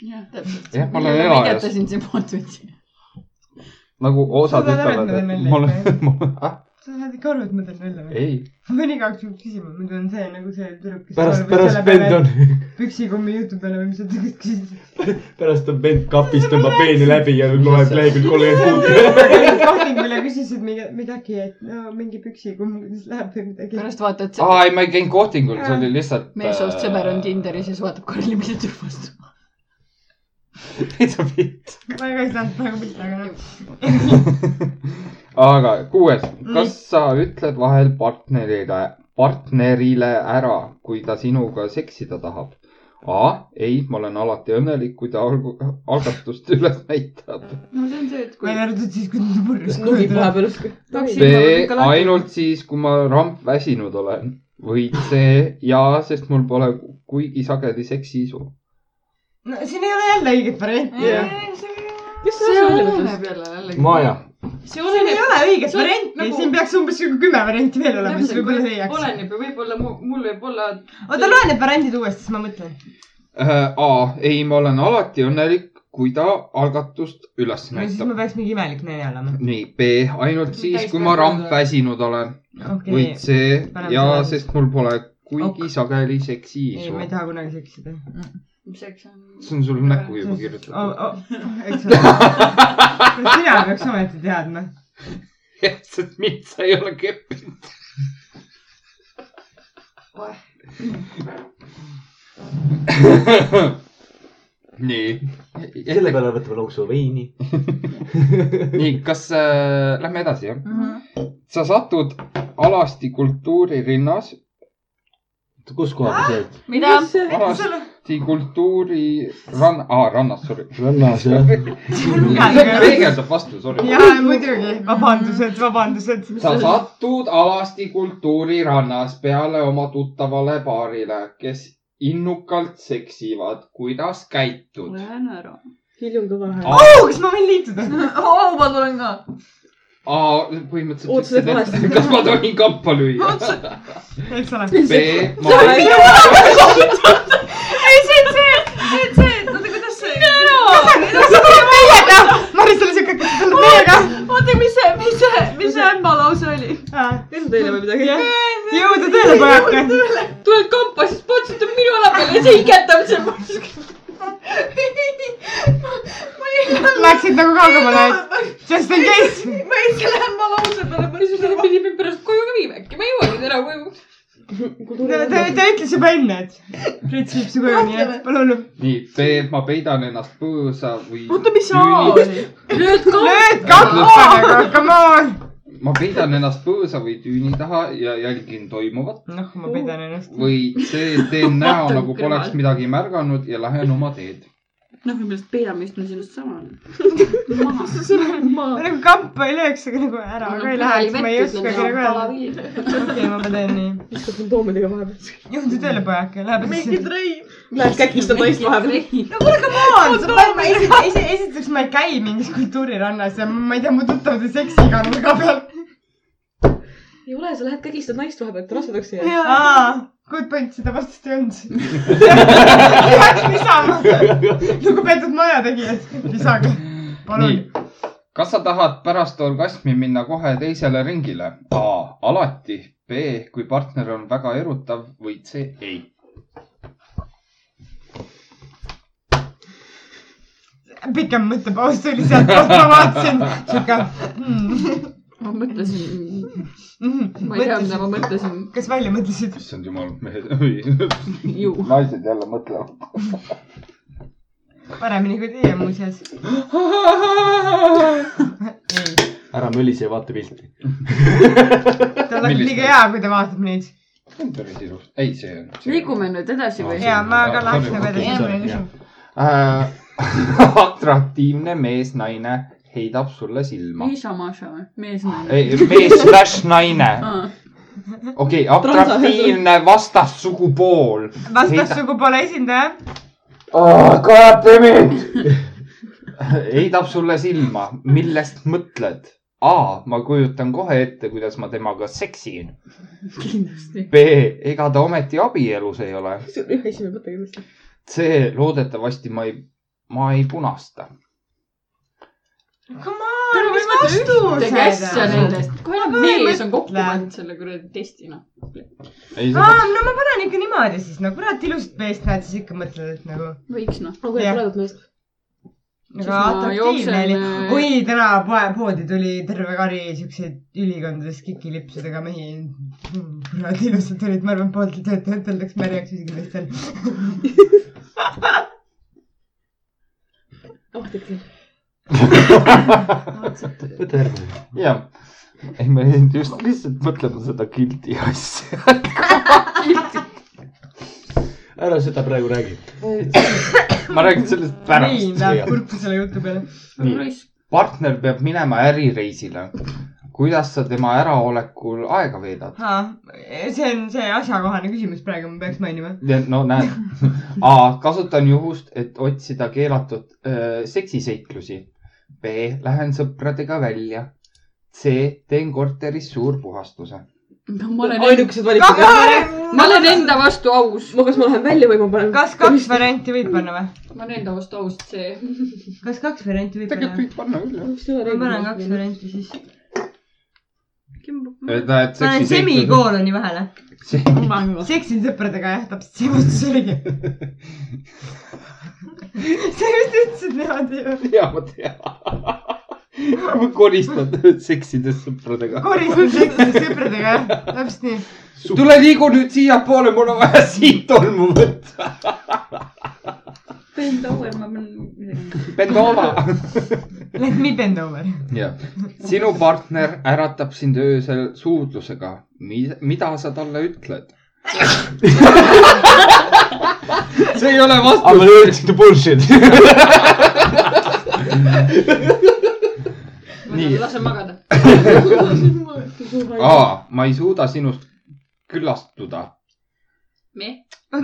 S6: jah , täpselt .
S1: Jah, ma olen elajas.
S6: vedetasin see potentsiaal .
S1: nagu osad
S5: Seda
S1: ütlevad ,
S5: lõpetada
S1: et
S5: välja
S1: mul
S5: ikka, ,
S1: mul , ah ,
S5: sa saad ikka aru , et ma teen välja või ?
S1: ei .
S5: ma pean igaks juhuks küsima , muidu on see nagu see tüdruk , kes
S3: pärast , pärast vend on ,
S5: püksikommi jutu peale või mis sa tüdruk küsisid .
S3: pärast on vend kapis , tõmbab veeni läbi ja loeb lehekülg kolmkümmend kuus .
S5: kohvingul ja küsisid mida- midagi , et no mingi püksikomm , kuidas läheb või midagi .
S6: pärast vaatad
S1: aa ,
S6: seda
S1: ei , ma ei käinud kohtingul , see oli lihtsalt . äh,
S6: meessoost sõber on . Tinderis ja siis vaatab Karli , mis ta tüüp vastab .
S1: täitsa pilt .
S5: ma ka ei saanud praegu pihta , aga noh .
S1: aga kuues ,
S6: Mm.
S1: kas sa ütled vahel partnerile , partnerile ära , kui ta sinuga seksida tahab ? A , ei , ma olen alati õnnelik , kui ta algu- algatust üles näitab .
S6: no see on see , et kui
S5: välja arvatud siis , kui ta purjus
S4: nugib vahepeal usku .
S6: Taksi-
S1: B
S6: Siin ma olen ikka , lahti.
S1: ainult siis , kui ma ramp väsinud olen või C , jaa , sest mul pole kuigi sageli seksiisu .
S5: no siin ei ole jälle õiget varianti
S4: Jah.
S5: yeah. .
S4: kes see
S6: see
S4: välja
S6: oleneb
S4: mõtles ?
S6: jälle jällegi .
S3: Maja ,
S4: see
S5: siin ei
S4: oleneb .
S5: ole õiget
S6: see on
S5: varianti
S6: nagu-
S5: nagu... , siin peaks umbes sihuke kümme varianti veel olema , siis võib-olla leiaks .
S6: oleneb ju , võib-olla mu- mul võib olla .
S5: oota , loe need variandid uuesti , siis ma mõtlen .
S1: A , ei , ma olen alati õnnelik , kui ta algatust üles
S5: no siis ma
S1: näitab .
S5: peaks mingi imelik naine olema .
S1: nii , B , ainult siis , kui ma ramp väsinud olen või
S5: okei okay. ,
S1: C ,
S5: Paneme
S1: jaa ,
S5: selle-
S1: sest mul pole kuigi
S5: Ok.
S1: sageli
S5: ei ,
S1: seksiisu
S5: ma ei . taha kunagi seksida .
S6: mis eks on
S1: see on sul näkku juba
S5: oh, .
S1: kirjutatud .
S5: Oh, eks ole . sina peaks ometi teadma .
S1: jah , sest mind sa ei ole keppinud . nii .
S3: selle peale võtame lonksu veini .
S1: nii , kas äh, , lähme edasi , jah ? sa satud alasti kultuuririnnas ,
S3: kus koha
S5: Ah!
S3: peal see on ?
S6: mida ?
S1: alasti kultuuri rann- ah, , rannas , sorry .
S3: rannas jah .
S1: peegeldab vastu , sorry .
S5: ja muidugi , vabandused , vabandused .
S1: sa satud alasti kultuurirannas peale oma tuttavale paarile , kes innukalt seksivad . kuidas käitud ?
S6: lähen ära .
S4: hiljum kõva hääl .
S5: oo , kas ma võin liituda ?
S6: oo , ma tulen ka .
S1: A , põhimõtteliselt .
S4: Otseselt valesti.
S1: kas ma tohin kappa lüüa ?
S5: eks ole .
S1: B , ma olen
S6: ei , see on see , see on see , oota , kuidas see .
S5: sa tuled meiega . Maris oli siuke , kas sa tuled meiega ?
S6: oota , mis see , mis see , mis see ämma lause oli ?
S4: teeme teile või midagi .
S5: jõudu tööle , pojake .
S6: tuled kampa , siis potsutab minu õla peale ja see igetab seal .
S5: Läksid nagu kaugemale , et just in case .
S6: ma jäin selle ämma lause peale , ma lihtsalt pidime pärast koju ka viima , äkki ma jõuan nüüd ära koju .
S4: kultuuri
S5: ta , ta , ta ütles juba enne , et Priit viib su koju , nii et palun
S1: nii , Peep , ma peidan ennast põõsa või .
S4: oota , mis see A oli ? lööd ka .
S5: lööd kampaaniaga , come on .
S1: ma peidan ennast põõsa või tüüni taha ja jälgin toimuvat
S5: noh , ma peidan ennast .
S1: või see , teen näo
S4: Vaatan
S1: nagu poleks
S4: kõrvalt.
S1: midagi märganud ja lähen oma teed .
S2: noh , võib-olla seda peidamist on sinust sama .
S4: sul on maa .
S5: nagu kampa ei lööks , aga nagu ära ka ei läheks , ma ei oskagi nagu öelda . okei , ma teen nii .
S4: viskad kondoomiga vahepeal .
S5: juhtu tööle , pojake , läheb
S4: mingi
S5: siis .
S4: trei . Lähed käkistad naist vahepeal .
S5: on , sa paned , ma esi- , esi- , esiteks ma ei käi mingis kultuurirannas ja ma ei tea , mu tuttavad on seksiga nurga peal .
S4: ei ole , sa lähed kägistad naist vahepeal , et rasvadaks ei jää .
S5: aa , good point , seda vastust ei olnud . peaks lisama . lugupeetud majategijad , lisage . palun
S1: nii ., kas sa tahad pärast orgasmi minna kohe teisele ringile ? A alati , B kui partner on väga erutav või C ei .
S5: pikem mõttepaus tuli sealt , kus ma vaatasin . sihuke mm, .
S6: ma mõtlesin ,
S5: mm,
S6: ma ei tea , mida ma mõtlesin .
S5: kas välja mõtlesid ?
S1: issand jumal , mehed või
S6: ju .
S1: naised jälle mõtlevad .
S5: paremini kui teie muuseas . ei ,
S3: ära mölise ja vaata pilti .
S5: ta oleks
S1: Millist
S5: liiga hea , kui ta vaatab neid .
S1: see on päris ilus . ei , see on .
S6: liigume nüüd edasi või ?
S5: ja ma ka läheks nagu
S1: Okei, sorry,
S5: edasi
S1: jah. . Äh, atraktiivne mees , naine heidab sulle silma .
S6: Liisa Maša või ? mees naine ?
S1: mees slaš naine , okei , atraktiivne vastassugupool .
S5: vastassugupoole esindaja .
S1: Kaja Pemi . heidab sulle silma , millest mõtled ? A , ma kujutan kohe ette , kuidas ma temaga seksin .
S6: kindlasti .
S1: B , ega ta ometi abielus ei ole .
S4: see on ühe esimene mõte kindlasti .
S1: C , loodetavasti ma ei , ma ei punasta .
S5: Come on , mis vastus ?
S6: kes see nendest , kohe
S5: Ma ka ei
S6: mees on kokku
S5: mõtle.
S6: pannud selle kuradi testi , noh .
S1: ei ,
S5: aa , no ma panen ikka niimoodi siis , no kurat ilusat meest näed , siis ikka mõtled , et nagu ,
S6: võiks , noh .
S4: aga kui
S5: Jah.
S4: praegu meest .
S5: nagu
S6: Siis ma
S5: atraktiivne
S6: jooksen,
S5: oli .
S6: äh,
S5: oi , täna poe , poodi tuli terve kari siukseid ülikondades kikilipsudega mehi . kurat ilusad olid , ma arvan , poolt töötajatel läks märjaks isegi meestel .
S4: ohtlik .
S3: võta järgmine .
S1: jah , ei ma jäin just lihtsalt mõtlema seda guilty asja .
S3: ära seda praegu räägi .
S1: ma räägin sellest
S5: nii , nagu-
S1: pärast .
S5: läheb kurku selle jutu peale .
S1: nii , partner peab minema ärireisile . kuidas sa tema äraolekul aega veedad ?
S5: see on see asjakohane küsimus praegu , ma peaks mainima .
S1: no näed , A kasutan juhust , et otsida keelatud öö, seksiseiklusi . B lähen sõpradega välja . C teen korteris suurpuhastuse .
S6: no ma olen ,
S4: ainukesed valikud .
S6: ma olen enda vastu aus .
S4: ma , kas ma lähen välja või ma panen .
S5: kas kaks varianti võib panna või ?
S6: ma olen enda vastu aus , see .
S5: kas kaks varianti võib panna ?
S1: võib panna küll jah .
S5: ma panen kaks . varianti siis .
S1: näed ,
S5: panen
S1: seksiseiklused .
S5: semikooloni vahele . seksin sõpradega jah , täpselt see vastus oligi . sa just ütlesid niimoodi ju .
S1: ja ma tean . koristad seksides sõpradega .
S5: koristan seksin sõpradega jah , täpselt nii .
S1: tule liigu nüüd siiapoole , mul on vaja siit tolmu võtta .
S2: Bend over , ma pean .
S1: Bendova .
S5: Let me bend over .
S1: jah , sinu partner äratab sind öösel suudlusega . mida sa talle ütled ? see ei ole
S3: I
S1: vastus .
S3: will urge the bullshit .
S1: Nii.
S6: lase magada .
S1: A , ma ei suuda sinust küllastuda .
S6: me .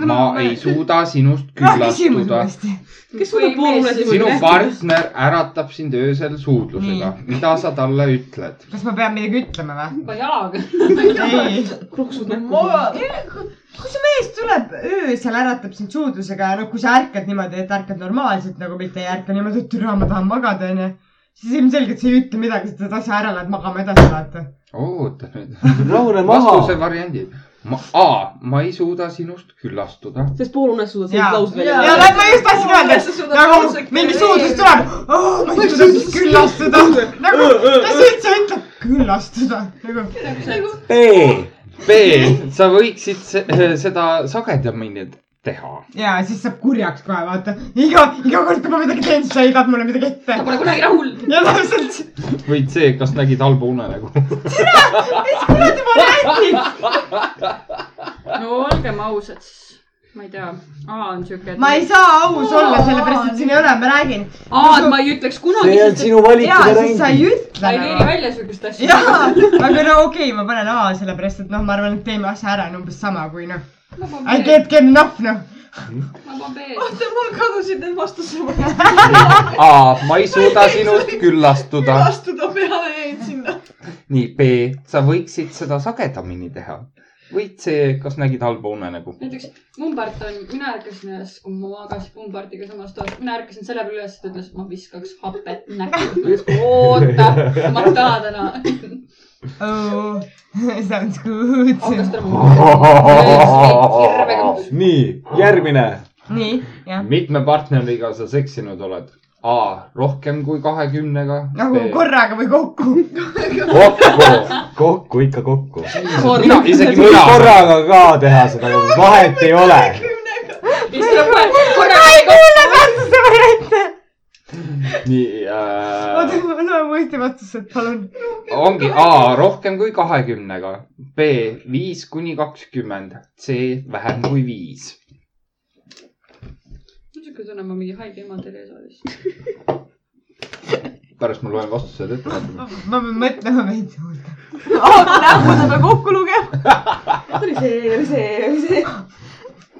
S1: ma ei . suuda sinust
S5: Ah, küsimus
S1: küllastuda .
S5: uuesti .
S4: kes suudab pool mulle
S1: sinu partner äratab sind öösel suudlusega . mida sa talle ütled ?
S5: kas ma pean midagi ütlema või ?
S6: juba jalaga .
S5: ei .
S4: proksud näkku .
S5: kui see mees tuleb öösel , äratab sind suudlusega ja noh , kui sa ärkad niimoodi , et ärkad normaalselt nagu mitte ei ärka niimoodi , et türa , ma tahan magada onju . siis ilmselgelt sa ei ütle midagi , sa teed asja ära , lähed magama edasi vaata .
S1: oota nüüd .
S3: rahune
S1: vastuse variandid . A , ma ei suuda sinust küllastuda .
S4: sest pool unes suudad
S5: ja
S4: sellist , lauset välja
S5: ja
S4: öelda .
S5: lähed ma just tahtsin öelda , et nagu mingi suudlus tuleb . ma ei suuda sind küllastuda . nagu , kas sa üldse ütled küllastuda nagu ?
S3: B .
S1: B , sa võiksid se- eh, seda sagedamini teha .
S5: ja siis saab kurjaks kohe , vaata . iga , iga kord , kui ma midagi teen , siis sa heidad mulle midagi ette .
S4: Pole kunagi rahul .
S5: ja täpselt ,
S1: või C , kas nägid halba nagu? unenägu ?
S5: mis kuradi ma räägin .
S6: no olgem ausad , siis ma ei tea , A on siuke .
S5: ma ei saa aus olla , sellepärast et siin ei ole , ma räägin .
S6: A-d ma ei ütleks kunagi .
S3: see on sinu valik ,
S5: ja
S3: mida
S5: siis sa ei
S3: räägid .
S6: ma
S5: ütle
S6: ei
S5: nagu
S6: leeri välja siukest asja .
S5: jaa , aga no okei okay, , ma panen A sellepärast , et noh , ma arvan , et teeme asja ära on umbes sama kui noh , I
S6: ma panen B ,
S5: can't get enough noh .
S6: ma panen B .
S4: oota , mul kadusid need vastused .
S1: A , ma ei suuda sinust küllastuda .
S4: astuda peale jäid sinna .
S1: nii , B , sa võiksid seda sagedamini teha . või C , kas nägid halba nagu? unenägu ?
S6: näiteks Mumbart on , mina ärkasin üles , kui ma magasin Mumbartiga samas toas , mina ärkasin selle peale üles , et ta ütles , ma viskaks hapet näkku . oota , ma tahan täna .
S5: Oh , sounds good .
S6: hakkas ta mulle .
S3: nii , järgmine .
S5: nii , jah .
S1: mitme partneriga sa seksinud oled ? A rohkem kui kahekümnega .
S5: nagu korraga või kokku .
S1: kokku .
S3: kokku , ikka kokku .
S1: mina , isegi
S3: võib
S1: mina .
S3: korraga ka teha seda , vahet ei ole .
S1: nii äh,
S5: oota ,, ma loen uuesti vastused , palun .
S1: ongi A rohkem kui kahekümnega , B viis kuni kakskümmend , C vähem kui viis .
S6: niisugune tunne , ma mingi haige ema telesaalis .
S1: pärast ma loen vastused ette .
S5: ma pean mõtlema veidi .
S4: näpud on veel kokku lugema . oli see , oli see , oli see .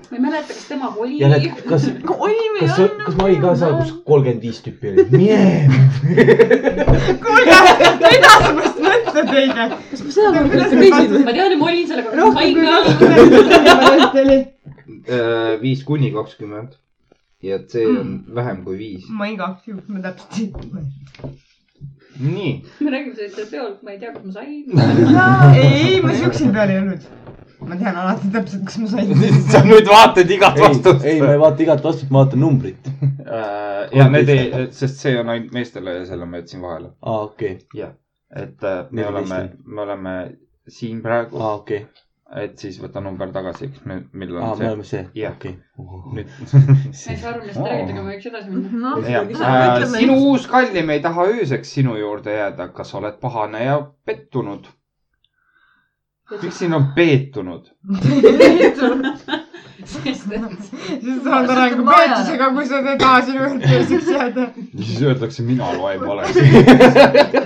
S6: ma ei mäleta , kas temaga oli .
S3: ja need , kas ,
S4: oli või
S3: kas ,
S4: on ?
S3: kas ma olin ka seal , kus kolmkümmend viis tüüpi oli ? mine .
S5: kuulge , mida sa must mõtled õige ?
S4: kas ma seda
S5: Kuidas
S4: mõtlen , et
S5: sa
S4: reisil või ?
S6: ma tean , et ma olin sellega .
S5: rohkem kui kakskümmend oli .
S1: Äh, viis kuni kakskümmend ja C on vähem kui viis .
S5: ma ei kahjuks , ma täpselt ei tea .
S1: nii ,
S6: me räägime sellest peolt , ma ei tea , kas ma sain .
S5: ei , ei ma siuksel peal ei olnud . ma tean alati täpselt , kus ma sain .
S1: sa nüüd vaatad igat
S3: ei , ei , ma
S1: vastust
S3: ei . vaata igat vastust , ma vaatan numbrit .
S1: Äh, ja need ei , sest see on ainult meestele ja selle ma jätsin vahele .
S3: aa , Ah, okei ,
S1: et äh, me
S3: Neliteist
S1: oleme
S3: või? ,
S1: me oleme siin praegu ,
S3: aa , Ah, okei ,
S1: et siis võta number tagasi , millal
S3: aa ,
S1: on
S3: me
S1: see .
S3: oleme see ,
S1: Jah.
S3: okei .
S1: nüüd
S6: ma ei saa aru , millest te räägite , aga ma võiks edasi minna .
S1: ja, äh, sinu uus kallim ei taha ööseks sinu juurde jääda , kas oled pahane ja pettunud ? miks siin on peetunud ?
S6: sest et
S5: siis saad arengu peetusega , kui sa teed A sinu juurde teiseks jääda .
S1: siis öeldakse , mina loen valesti .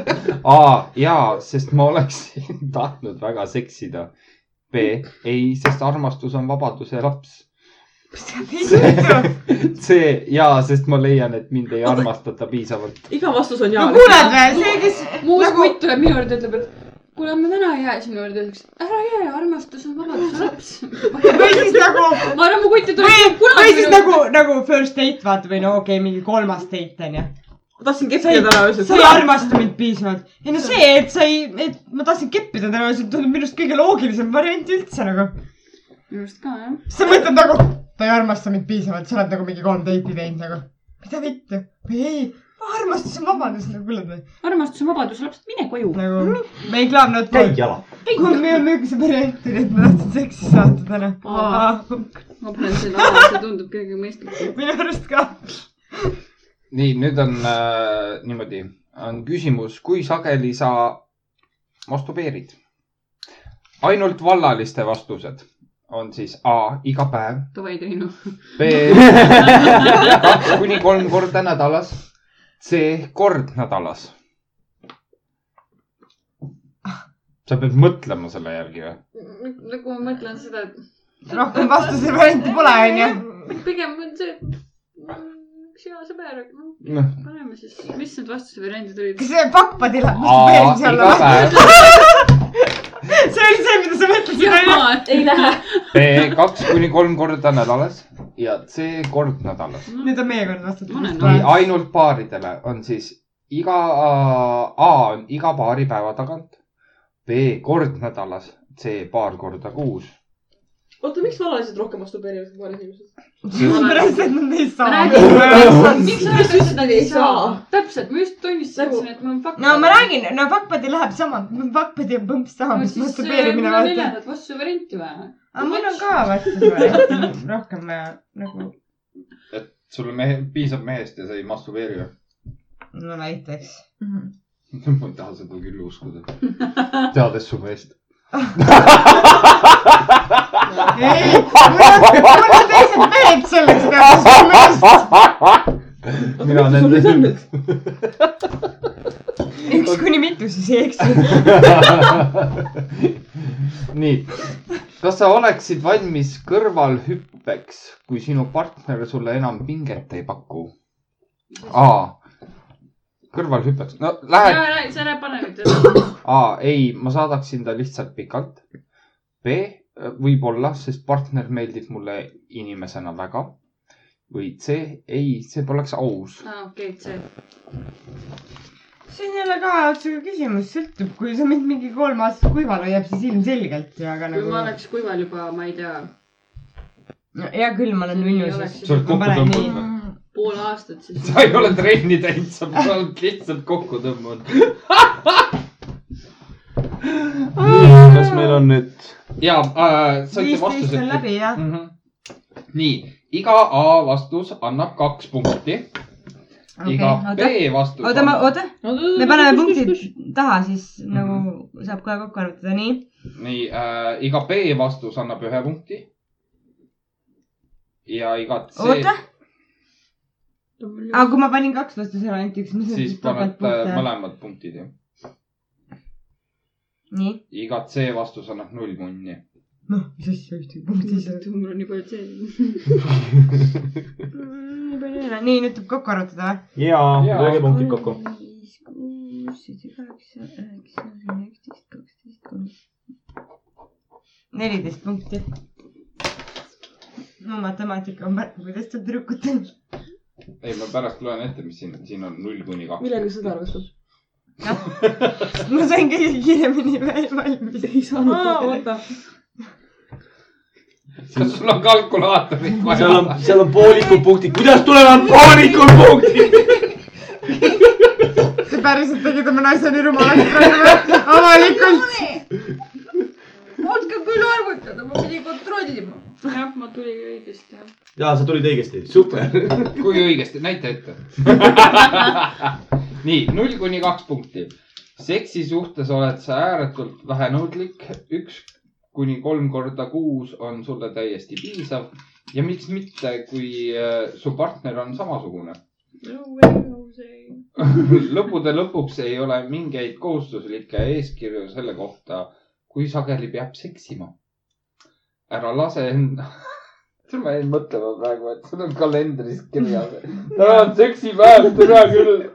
S1: A jaa , sest ma oleksin tahtnud väga seksida . B ei , sest armastus on vabaduse laps . C jaa , sest ma leian , et mind ei armastata piisavalt .
S4: iga vastus on
S5: no
S4: jaa .
S5: kuuled või , see , kes
S6: muus
S5: Nagu-
S6: nagu... kutt tuleb minu juurde , ütleb , et kuule , ma täna ei jää sinu juurde , ütleks ära jää , armastus on vabaduse laps .
S5: või siis nagu ,
S6: ma arvan , mu kutt ei tule
S5: või , või
S6: kunagi
S5: siis nagu , nagu first date vaata või no okei okay, , mingi kolmas date onju .
S4: ma tahtsin
S5: sa ei
S4: keppida , täna öösel .
S5: sa ei armasta mind piisavalt . ei no see , et sa ei , et ma tahtsin keppida täna öösel , tundub minu arust kõige loogilisem variant üldse nagu .
S6: minu arust ka jah .
S5: sa mõtled nagu , ta ei armasta mind piisavalt , sa oled nagu mingi kolm date'i teinud nagu . mida vittu ? või ei , armastus on vabadus , nagu kuuled või ?
S6: armastus on vabaduse laps , mine koju .
S5: nagu , me ei klaamnud .
S3: käi jala .
S5: mul ei olnud ühtse varianti , nii et ma tahtsin seksi saata täna .
S6: Aa. ma panen selle alla , see tundub kõige mõistlikum .
S5: minu arust ka .
S1: nii , nüüd on äh, niimoodi , on küsimus , kui sageli sa masturbeerid ? ainult vallaliste vastused on siis A iga päev ,
S6: Davai , Triinu .
S1: B kaks kuni kolm korda nädalas , C kord nädalas . sa pead mõtlema selle järgi või ?
S6: nagu ma mõtlen seda ,
S5: rohkem vastuse varianti pole , onju .
S6: et pigem on see , üks hea sõber , noh ,
S1: noh ,
S6: paneme siis , mis need vastuse variandid olid ?
S5: kas see pakkpadil on
S1: A
S5: mis peens
S1: iga
S5: olla ?
S1: päev ,
S5: see oli see , mida sa mõtlesid , onju .
S6: ei lähe .
S1: B kaks kuni kolm korda nädalas ja C kord nädalas .
S5: nüüd on meie kord vastata .
S6: Mul on
S4: Äh.
S1: nii , ainult paaridele on siis iga , A on iga paari päeva tagant , B kord nädalas , C paar korda kuus
S4: oota , miks vanalised rohkem masturbeerivad kui noored inimesed ?
S5: sellepärast , et nad ei
S6: ma
S5: saa .
S6: räägin , miks sa
S4: Kes ütles, et nad ei saa? ?
S6: täpselt , ma just tunnistasin , et ma olen fakt-
S5: Nagu- no ma räägin , no Fuckbuddy läheb sama , Fuckbuddy on põmps sama , mis
S6: äh, eh,
S5: masturbeerimine vaata .
S6: neljandat vastuvarianti vaja .
S5: aga mul on ka vastus , rohkem vaja nagu ,
S1: sulle mehe , piisab mehest ja sa ei masturbeeri või ?
S5: no näiteks .
S1: ma ei taha seda küll uskuda . teades su meest .
S5: ei , mul on teised mehed selleks teadmiseks .
S1: mina
S4: sul ei saa
S1: nende
S4: nüüd .
S5: üks kuni mitu siis ei eksi .
S1: nii , kas sa oleksid valmis kõrvalhüppeks , kui sinu partner sulle enam pinget ei paku ? A , kõrvalhüppeks , no lähed ,
S6: sa ära pane nüüd üles .
S1: A , ei , ma saadaksin ta lihtsalt pikalt . B , võib-olla , sest partner meeldib mulle inimesena väga . või C , ei , see poleks aus .
S6: aa , Ah, okei , see .
S5: siin ei ole kahe otsaga küsimus , sõltub , kui sa mind mingi kolm aastat kuival hoiab , siis ilmselgelt ja , aga
S6: kui
S5: nagu
S6: ma . oleks kuival juba , ma ei tea ,
S5: hea küll , ma olen
S6: oleks-
S5: Vilniuses .
S1: sa oled kokku tõmbunud või ?
S6: pool aastat siis .
S1: sa ei ole trenni teinud , sa oled lihtsalt kokku tõmbunud .
S7: kas meil on nüüd ?
S1: ja äh, saite
S5: viisteist
S1: vastused
S5: on . läbi jah .
S1: mm . -hmm. nii , iga A vastus annab kaks punkti okay, , iga
S5: oota ,
S1: B vastus .
S5: oota , ma , oota , me paneme punktid taha , siis nagu
S1: Mhm.
S5: saab kohe kokku arvutada , nii .
S1: nii äh, , iga B vastus annab ühe punkti . ja iga C
S5: oota , aga kui ma panin kaks vastuse varianti , üks , mis
S1: siis paned äh, mõlemad punktid ju .
S5: nii ,
S1: iga C vastus annab null punni .
S5: noh , mis asja , ühtegi punkti ei saa .
S6: mul on nii palju tseeni .
S5: nii palju ei ole , nii nüüd tuleb kokku arvutada või ?
S7: ja ,
S1: Jaa.
S7: lööge punktid kokku .
S5: viis , kuus , seitse , kaheksa , üheksa , kümme , üksteist , kaksteist , kolmteist . neliteist punkti . mu matemaatika on märk , kuidas te tüdrukute .
S1: ei , ma pärast loen ette , mis siin , siin on null kuni kaks .
S4: millega seda arvestab ?
S5: ma sain kõige kiiremini veel valmis .
S4: ei saanud .
S5: Aa,
S4: oota .
S1: kas sul on kalkulaatorit
S7: seal on
S1: vaja ?,
S7: seal on poolikud punktid , kuidas tulevad poolikud punktid ?
S5: sa päriselt tegid oma naise nii rumalaks praegu avalikult .
S6: ootke küll arvutada , ma pidin kontrollima . jah , ma tulin õigesti , jah .
S7: ja sa tulid õigesti , super .
S1: kui õigesti , näita ette nii , null kuni kaks punkti . seksi suhtes oled sa ääretult vähenõudlik , üks kuni kolm korda kuus on sulle täiesti piisav ja miks mitte , kui äh, su partner on samasugune .
S6: no way , no way .
S1: lõppude lõpuks ei ole mingeid kohustuslikke eeskirju selle kohta , kui sageli peab seksima . ära lase end , ma jäin mõtlema praegu , et sul on kalendris kirjas . täna on seksipäev , tore küll .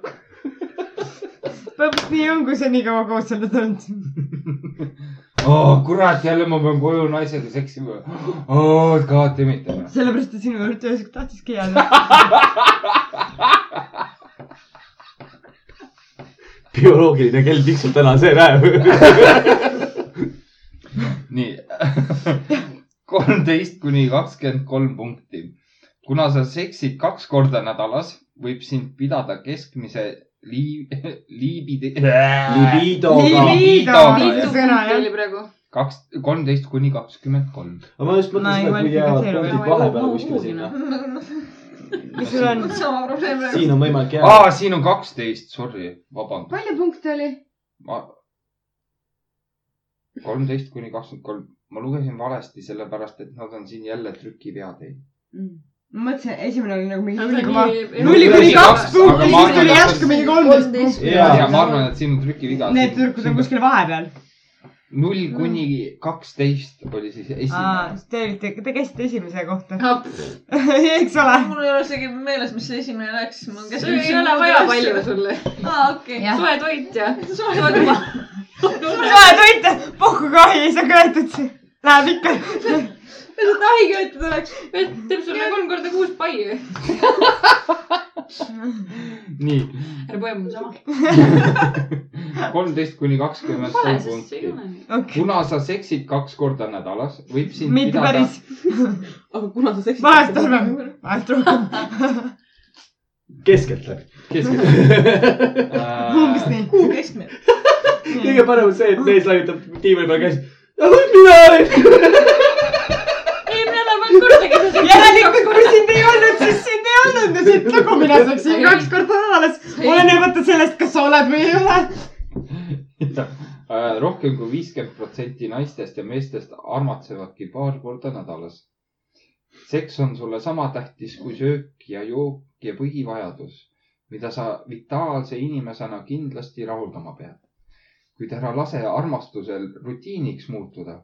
S5: põps , nii on , kui sa nii kaua koos oled olnud .
S1: oh, . kurat , jälle ma pean koju naisega seksima oh, . God damn it .
S5: sellepärast ta sinu juurde ühesõnaga tahtiski jääda .
S7: bioloogiline kell tiksub täna see päev .
S1: nii , kolmteist kuni kakskümmend kolm punkti . kuna sa seksid kaks korda nädalas , võib sind pidada keskmise liib- , liibidi ,
S3: Äh,
S7: libidoga .
S1: Libido.
S6: mitu
S5: Sõna, jah.
S6: punkti oli praegu ?
S1: kaks , kolmteist kuni kakskümmend kolm .
S7: aga ma just
S5: Ma ei
S7: mõtlesin , et kui jäävad
S5: kvalifitseeru
S7: punktid
S6: veel.
S7: vahepeal kuskile sinna ,
S5: mis sul on ?
S6: sama probleem praegu .
S7: siin on võimalik jääda .
S1: aa , siin on kaksteist , sorry , vabandust .
S6: palju punkte oli ?
S1: ma , kolmteist kuni kakskümmend kolm , ma lugesin valesti , sellepärast et nad on siin jälle trükivead teinud .
S5: Mm. ma mõtlesin , esimene oli nagu mingi
S6: Aga
S5: null
S6: nii-
S5: koma ,
S6: ei-
S5: null kuni kaks
S1: Aga
S5: punkti ,
S1: ma
S5: siis
S1: arvan,
S5: tuli
S1: et-
S5: järsku mingi kolmteist punkti .
S1: ja,
S7: Jaa.
S1: ja ma arvan , et siin on trükiviga .
S5: Need tüdrukud on . kuskil vahepeal .
S1: null kuni kaksteist oli siis esimene .
S5: Te olite , te käisite esimese kohta ,
S6: see
S5: eks ole .
S2: mul ei ole isegi meeles , mis see esimene läks .
S6: ei ole vaja palju . sulle .
S2: aa , okei .
S5: Jah.
S6: soe toit ja soe toit .
S5: soe toit , puhkuge ahi , ei saa köetud . Läheb ikka .
S6: mis see tahi köetud oleks ? teeb sulle kolm korda kuus pai .
S1: nii ,
S6: ära põe mul sama .
S1: kolmteist kuni kakskümmend
S6: Pole ,
S1: kolm
S6: sest see
S1: punkti .
S6: ei ole nii .
S5: okei ,
S1: kuna sa seksid kaks korda nädalas , võib sind
S5: mitte
S1: pidada
S5: päris ,
S4: aga kuna sa seksid .
S5: vahest vähem , vahest rohkem ,
S3: keskelt läheb .
S1: keskeltläbi
S5: umbes nii .
S4: kuu keskmine .
S3: kõige parem on see , et mees laiutab diivani peal käsi . aga kus mina olin ?
S6: eelmine nädal ma ei olnud kordagi seda
S5: järelikult , kui sind ei olnud , siis sind ei olnud ja siit nagu mina saaksin kaks korda nädalas . olenemata sellest , kas sa oled või ei ole .
S1: Äh, rohkem kui viiskümmend protsenti naistest ja meestest armatsevadki paar korda nädalas . seks on sulle sama tähtis kui söök ja jook ja põhivajadus , mida sa vitaalse inimesena kindlasti rahuldama pead . kuid ära lase armastusel rutiiniks muutuda .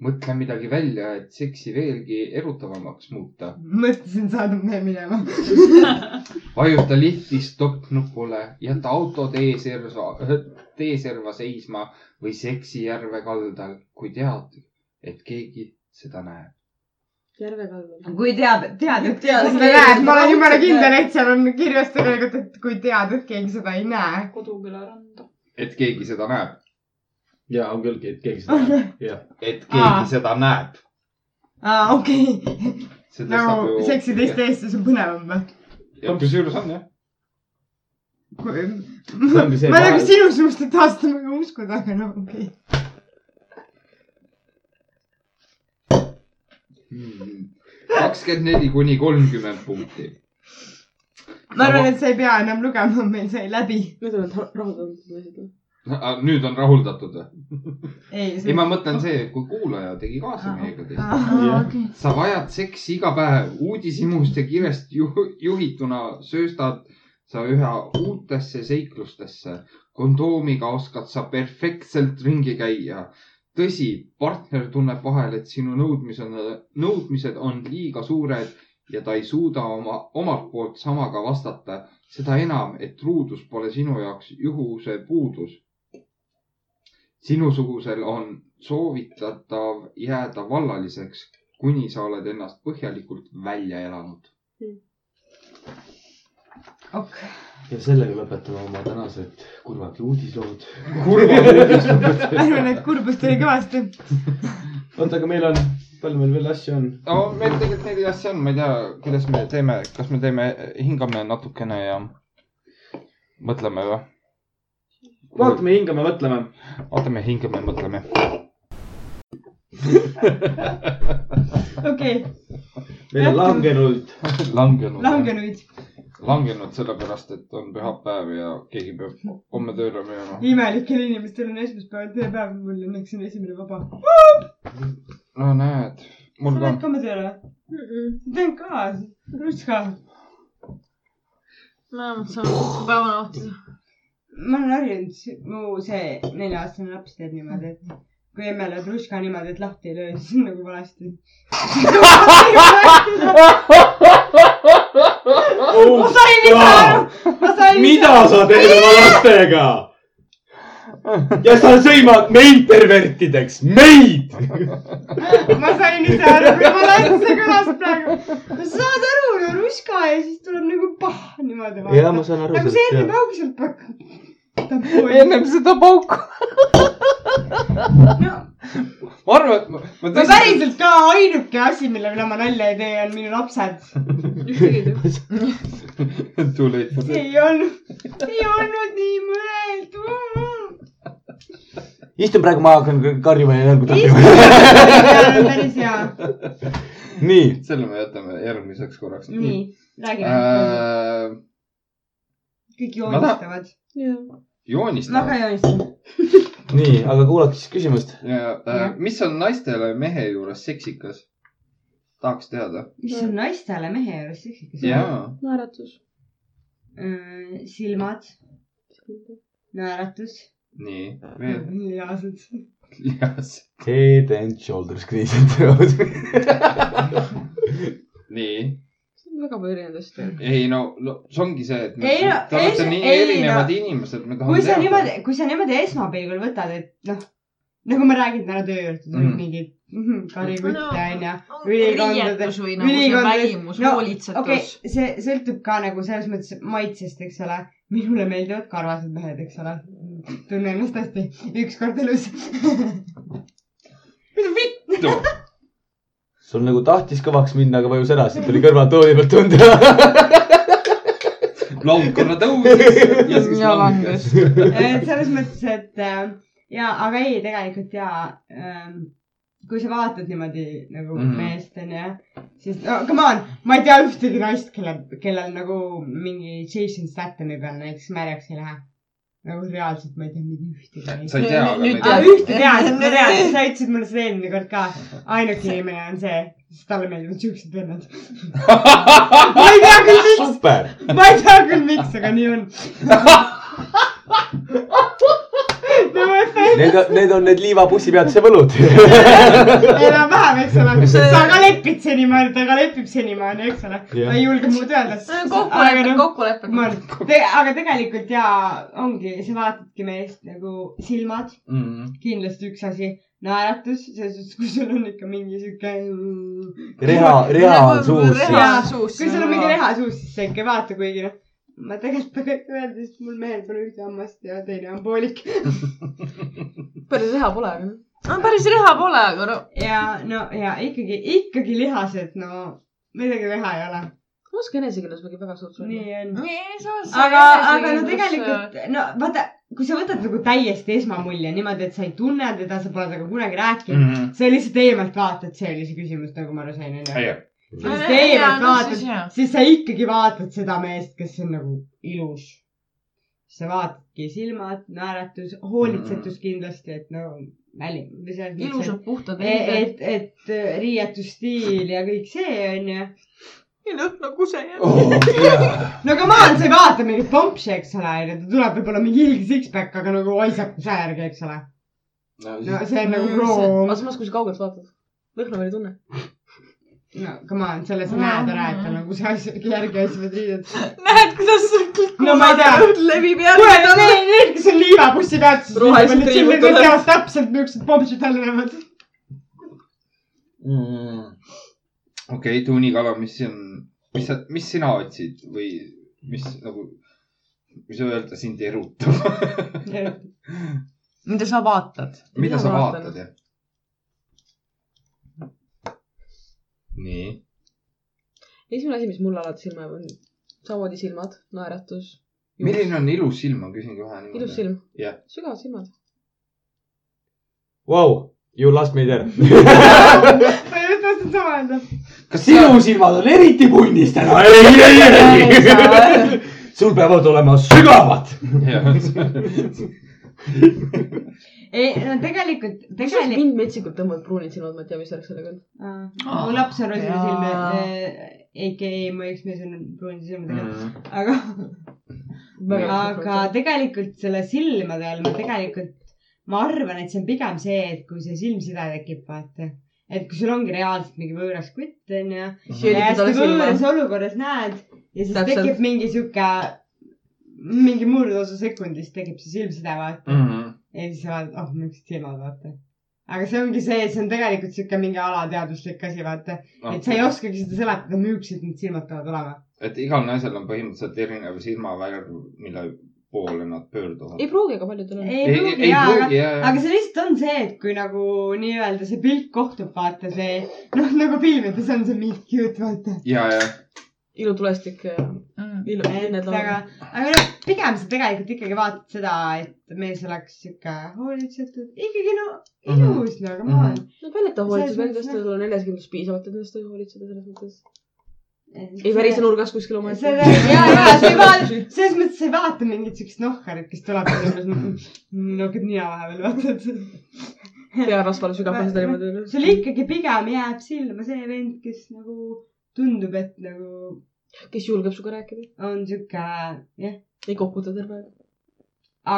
S1: mõtle midagi välja , et seksi veelgi erutavamaks muuta .
S5: mõtlesin , saad mehe minema .
S1: vajuta lifti stopp nupule , jäta auto teeserva , teeserva seisma või seksi järve kaldal , kui tead , et keegi seda näeb .
S4: järve kallal .
S5: kui teab , tead , et
S4: Tead,
S5: keegi seda
S4: keegi
S5: näeb ,
S4: seda
S5: ma olen jumala
S4: raudselt
S5: kindel ,
S4: näeb.
S5: et seal on kirjas tegelikult , et kui tead , et keegi seda ei näe .
S6: koduküla randa .
S1: et keegi seda näeb .
S3: ja on küll , et keegi seda näeb .
S1: et keegi
S5: Aa.
S1: Aa. seda näeb .
S5: aa , okei okay. , nagu seksi teiste eest , siis on põnevam või ?
S1: kusjuures on jah .
S3: see ongi see
S5: ma nagu
S3: vahel ,
S5: sinu suust ei tahtnud nagu uskuda , aga no okei okay. .
S1: Hmm. kakskümmend neli kuni kolmkümmend punkti .
S5: ma arvan , et sa ei pea enam lugema , meil sai läbi .
S4: Need on need rahuldatud naised või ?
S1: nüüd on rahuldatud või ?
S5: ei ,
S1: ei , ma mõtlen see , kui kuulaja tegi kaasa meiega teist .
S5: aa , okei .
S1: sa vajad seksi iga päev , uudishimust ja kirest ju- juhituna sööstad sa üha uutesse seiklustesse . kondoomiga oskad sa perfektselt ringi käia . tõsi , partner tunneb vahel , et sinu nõudmised , nõudmised on liiga suured ja ta ei suuda oma , omalt poolt samaga vastata . seda enam , et ruudus pole sinu jaoks juhuse puudus . sinusugusel on soovitatav jääda vallaliseks , kuni sa oled ennast põhjalikult välja elanud .
S3: ja sellega lõpetame oma tänased kurvad uudislood .
S5: ma arvan , et kurbust oli kõvasti .
S3: oota , aga meil on , palju meil veel asju on ?
S1: no meil tegelikult neli asja on , ma ei tea , kuidas me teeme , kas me teeme , hingame natukene ja mõtleme või ?
S3: vaatame , hingame , mõtleme .
S1: vaatame , hingame , mõtleme .
S5: okei ,
S3: meil on langenud .
S1: langenud .
S5: langenuid ,
S1: langenud sellepärast , et on pühapäev ja keegi peab homme tööle minema .
S5: imelikel inimestel on esmaspäeval tööpäev , mul õnneks on esimene vaba .
S1: no näed ,
S5: sa
S1: mul ka
S5: lähed . ka oma tööle ? teen ka , russ ka .
S4: ma arvan , et sa oled päevane lahti .
S5: ma olen harjunud , mu see nelja-aastane laps teeb niimoodi , et kui emmel on russ ka niimoodi , et lahti ei löö , siis on nagu valesti . ma sain ikka aru , ma sain .
S3: Oh, mida sa teed oma lastega ? ja sa sõimad meid pervertideks , meid .
S5: ma sain ise aru , kui ma lasin see kõlas praegu . saad aru , no ruska ja siis tuleb nagu pah niimoodi .
S3: Jaa, ma saan aru
S5: nagu
S3: sellest,
S5: seerib
S3: jah.
S5: augu sealt pakku .
S4: seda pauku .
S1: ma arvan , et ma, ma
S5: no päriselt ka ainuke asi , mille üle ma nalja ei tee , on minu lapsed .
S4: ühtegi ei tea .
S1: tõesti . too late for that .
S5: ei olnud , ei olnud nii mõeldud .
S3: istun praegu , ma hakkan karjuma ja jalgu
S5: päris hea .
S3: nii .
S1: selle me jätame järgmiseks korraks .
S5: nii , räägime .
S1: Äh,
S5: kõik
S1: ma tahan-
S5: joonistavad . ma
S1: joonistame
S5: ka . joonistan .
S3: nii , aga kuulake siis küsimust .
S1: ja äh, mis on naistele mehe juures seksikas ? tahaks teada .
S5: mis on naistele mehe juures seksikas ?
S1: jaa .
S4: naeratus .
S5: Äh, silmad , naeratus
S1: nii ,
S5: Äh.
S1: veel
S5: lihased .
S1: lihas .
S3: Head and shoulders kriisid
S1: nii ,
S4: väga palju erinevaid asju .
S1: ei no , no see ongi see , et me-
S5: Ei, no,
S1: te olete
S5: ei,
S1: nii
S5: ei,
S1: erinevad inimesed , me
S5: kui
S1: tahame
S5: sa
S1: teada .
S5: niimoodi , kui sa niimoodi esmapilgul võtad , et noh , nagu ma räägin , täna töö juurde tulid
S1: Mhm.
S5: mm. mingid mhm, Kari Kutt
S2: No,
S5: onju , ülikondade
S2: riietus või nagu see välimus , hoolitsetus
S5: okei
S2: okay. .
S5: okay, , see sõltub ka nagu selles mõttes maitsest , eks ole . minule meeldivad karvased mehed , eks ole . tunnen ennast hästi , ükskord elus .
S3: sul nagu tahtis kõvaks minna , aga vajus ära , siis tuli kõrvaltooli pealt tunda .
S1: laudkonna tõusis ja siis
S6: Ja
S1: langes .
S5: Äh, selles mõttes , et äh, ja , aga ei , tegelikult ja ähm, kui sa vaatad niimoodi nagu mm
S1: Mhm.
S5: -hmm. meest onju , siis no come on , ma ei tea ühtegi naist , kelle , kellel nagu mingi Jason Statham'i peal näiteks märjaks ei lähe . nagu reaalselt ma ei tea mitte ühtegi naist .
S1: sa ei tea , aga me
S5: aa ,
S1: teame .
S5: ühte tead , ma tean , sa ütlesid mulle seda eelmine kord ka . ainuke inimene on see , sest talle meeldivad siuksed vennad . ma ei tea küll miks ,
S3: super .
S5: ma ei tea küll miks , aga nii on . no ma ütlen
S3: Need , need on need liivapussi-peatuse võlud .
S5: enam-vähem , eks ole . sa ka lepid senimaani , ta ka lepib senimaani , eks ole .
S3: Jah.
S5: ma ei julge muud öelda .
S6: kokkulepe , kokkulepe .
S5: ma arvan , aga tegelikult jaa , ongi , sa vaatadki meest nagu silmad , kindlasti üks asi , naeratus , selles suhtes , kui sul on ikka mingi sihuke .
S3: reha , reha on suus .
S6: reha on suus .
S5: kui sul on mingi reha suus , siis sa ikka ei vaata , kuigi noh , ma tegelikult tahan ikka öelda , sest mul mehel pole ühte hammast ja teine on poolik .
S4: päris reha pole .
S2: päris reha pole , aga no
S5: ja no ja ikkagi , ikkagi lihased , no midagi teha ei ole .
S4: ma oskan enesekindlus mingi väga suurt sulle .
S5: nii on . aga
S6: aga ,
S5: aga no tegelikult , no vaata , kui sa võtad nagu täiesti esmamulje niimoodi , et sa ei tunne teda , sa pole temaga kunagi rääkinud mm. ,
S1: Mhm.
S5: sa lihtsalt eemalt vaatad , see oli see küsimus , nagu ma aru sain , onju . sa lihtsalt eemalt vaatad , siis sa ikkagi vaatad seda meest , kes on nagu ilus . sa vaatadki silmad , naeratus , hoolitsetus kindlasti , et no väli , või see on .
S2: ilusad puhtad riided .
S5: et , et äh, riietusstiil ja kõik see onju .
S3: Oh.
S5: no come on , sa ei vaata mingit pompsi , eks ole , onju , ta tuleb võib-olla mingi ilge six-pack , aga nagu aisakuse järgi , eks ole . no see on
S2: Mm,
S5: nagu proov
S4: aga . samas , kui sa kaugelt vaatad , lõhna veel ei tunne .
S5: no come on , selle sa näed ära , et
S2: Mm.
S5: tal on kuse asjade järgi asjad riided .
S6: näed , kuidas sul kõik
S5: no ma ei tea .
S6: levib
S5: kuule , need , need , kes on liivapussi peatuses ,
S4: Rohelised
S5: need
S4: triibud
S5: tšillid , need teavad täpselt , millised pomsid tal näevad .
S1: okei , tuunikala , mis on , mis sa , mis sina otsid või mis nagu , mis öelda sind erutab ?
S2: mida sa vaatad ?
S1: mida sa
S4: Mina vaatan.
S1: vaatad ja ? nii .
S4: esimene asi , mis mulle alati silma jääb , on samamoodi silmad , naeratus ,
S1: milline on ilus silm , ma küsin kohe niimoodi .
S4: ilus silm
S1: Jah. ,
S4: sügavad silmad .
S3: Vau , you lost me there .
S5: ma just tahtsin sama öelda .
S1: kas sinu
S7: sinu silmad on eriti punnis täna .
S3: sul peavad olema sügavad .
S5: ei , no tegelikult , tegelikult .
S4: mind metsikult tõmbavad pruunid silmad , ma ei tea , mis värk sellega on .
S5: mu laps on äh, rosinad
S2: Jaa.
S5: silmed , EKE mu eksmees on pruunide silmadega ,
S1: mm,
S5: aga , aga . tegelikult selle silmade all ma tegelikult , ma arvan , et see on pigem see , et kui see silmside tekib , vaata . et kui sul ongi reaalselt mingi võõras kutt , onju . ja hästi võõras olukorras näed ja siis
S4: Täpselt.
S5: Täpselt. tekib mingi sihuke , mingi murdosa sekundis tekib see silmside , vaata .
S1: mm,
S5: ja siis sa vaatad , oh , millised silmad , vaata . aga see ongi see , see on tegelikult sihuke mingi alateaduslik asi , vaata . et sa ei
S1: okei.
S5: oskagi seda seletada , millised need silmad peavad olema .
S1: et igal naisel on põhimõtteliselt erinev silmavärv , mille poole nad pöörduvad .
S4: ei pruugi , aga paljudel on .
S5: ei pruugi jaa , aga ,
S1: jaa ,
S5: aga see lihtsalt on see , et kui nagu nii-öelda see pilt kohtub , vaata see , noh , nagu filmides on see meet cute , vaata .
S1: jaa , jaa .
S4: ilutulestik , äh, ilu ,
S5: et
S4: linned
S5: aga
S4: laulavad .,
S5: aga noh , pigem sa tegelikult ikkagi vaatad seda , et mees oleks sihuke hoolitsetud , ikkagi no ilus , no aga ma olen .
S4: no paljud tahavad
S5: Selles
S4: hoolitseda ,
S5: mõttes,
S4: endast tal on enesekindlust piisavalt , et ennast hoolitseda selles mõttes . ei värise
S5: seda ,
S4: nurgas kuskil omaette .
S5: ja , ja sa ei vaata , selles mõttes sa ei vaata mingit siukest nohkarit , kes tuleb ja "Mm, umbes nokib nina vahepeal , vaata .
S4: pea rasvale sügavale seda niimoodi . noh.
S5: sul ikkagi pigem jääb silma see vend , kes nagu tundub , et nagu
S4: kes julgeb sinuga rääkida ,
S5: on sihuke jah ,
S4: ei koputa terve aeg .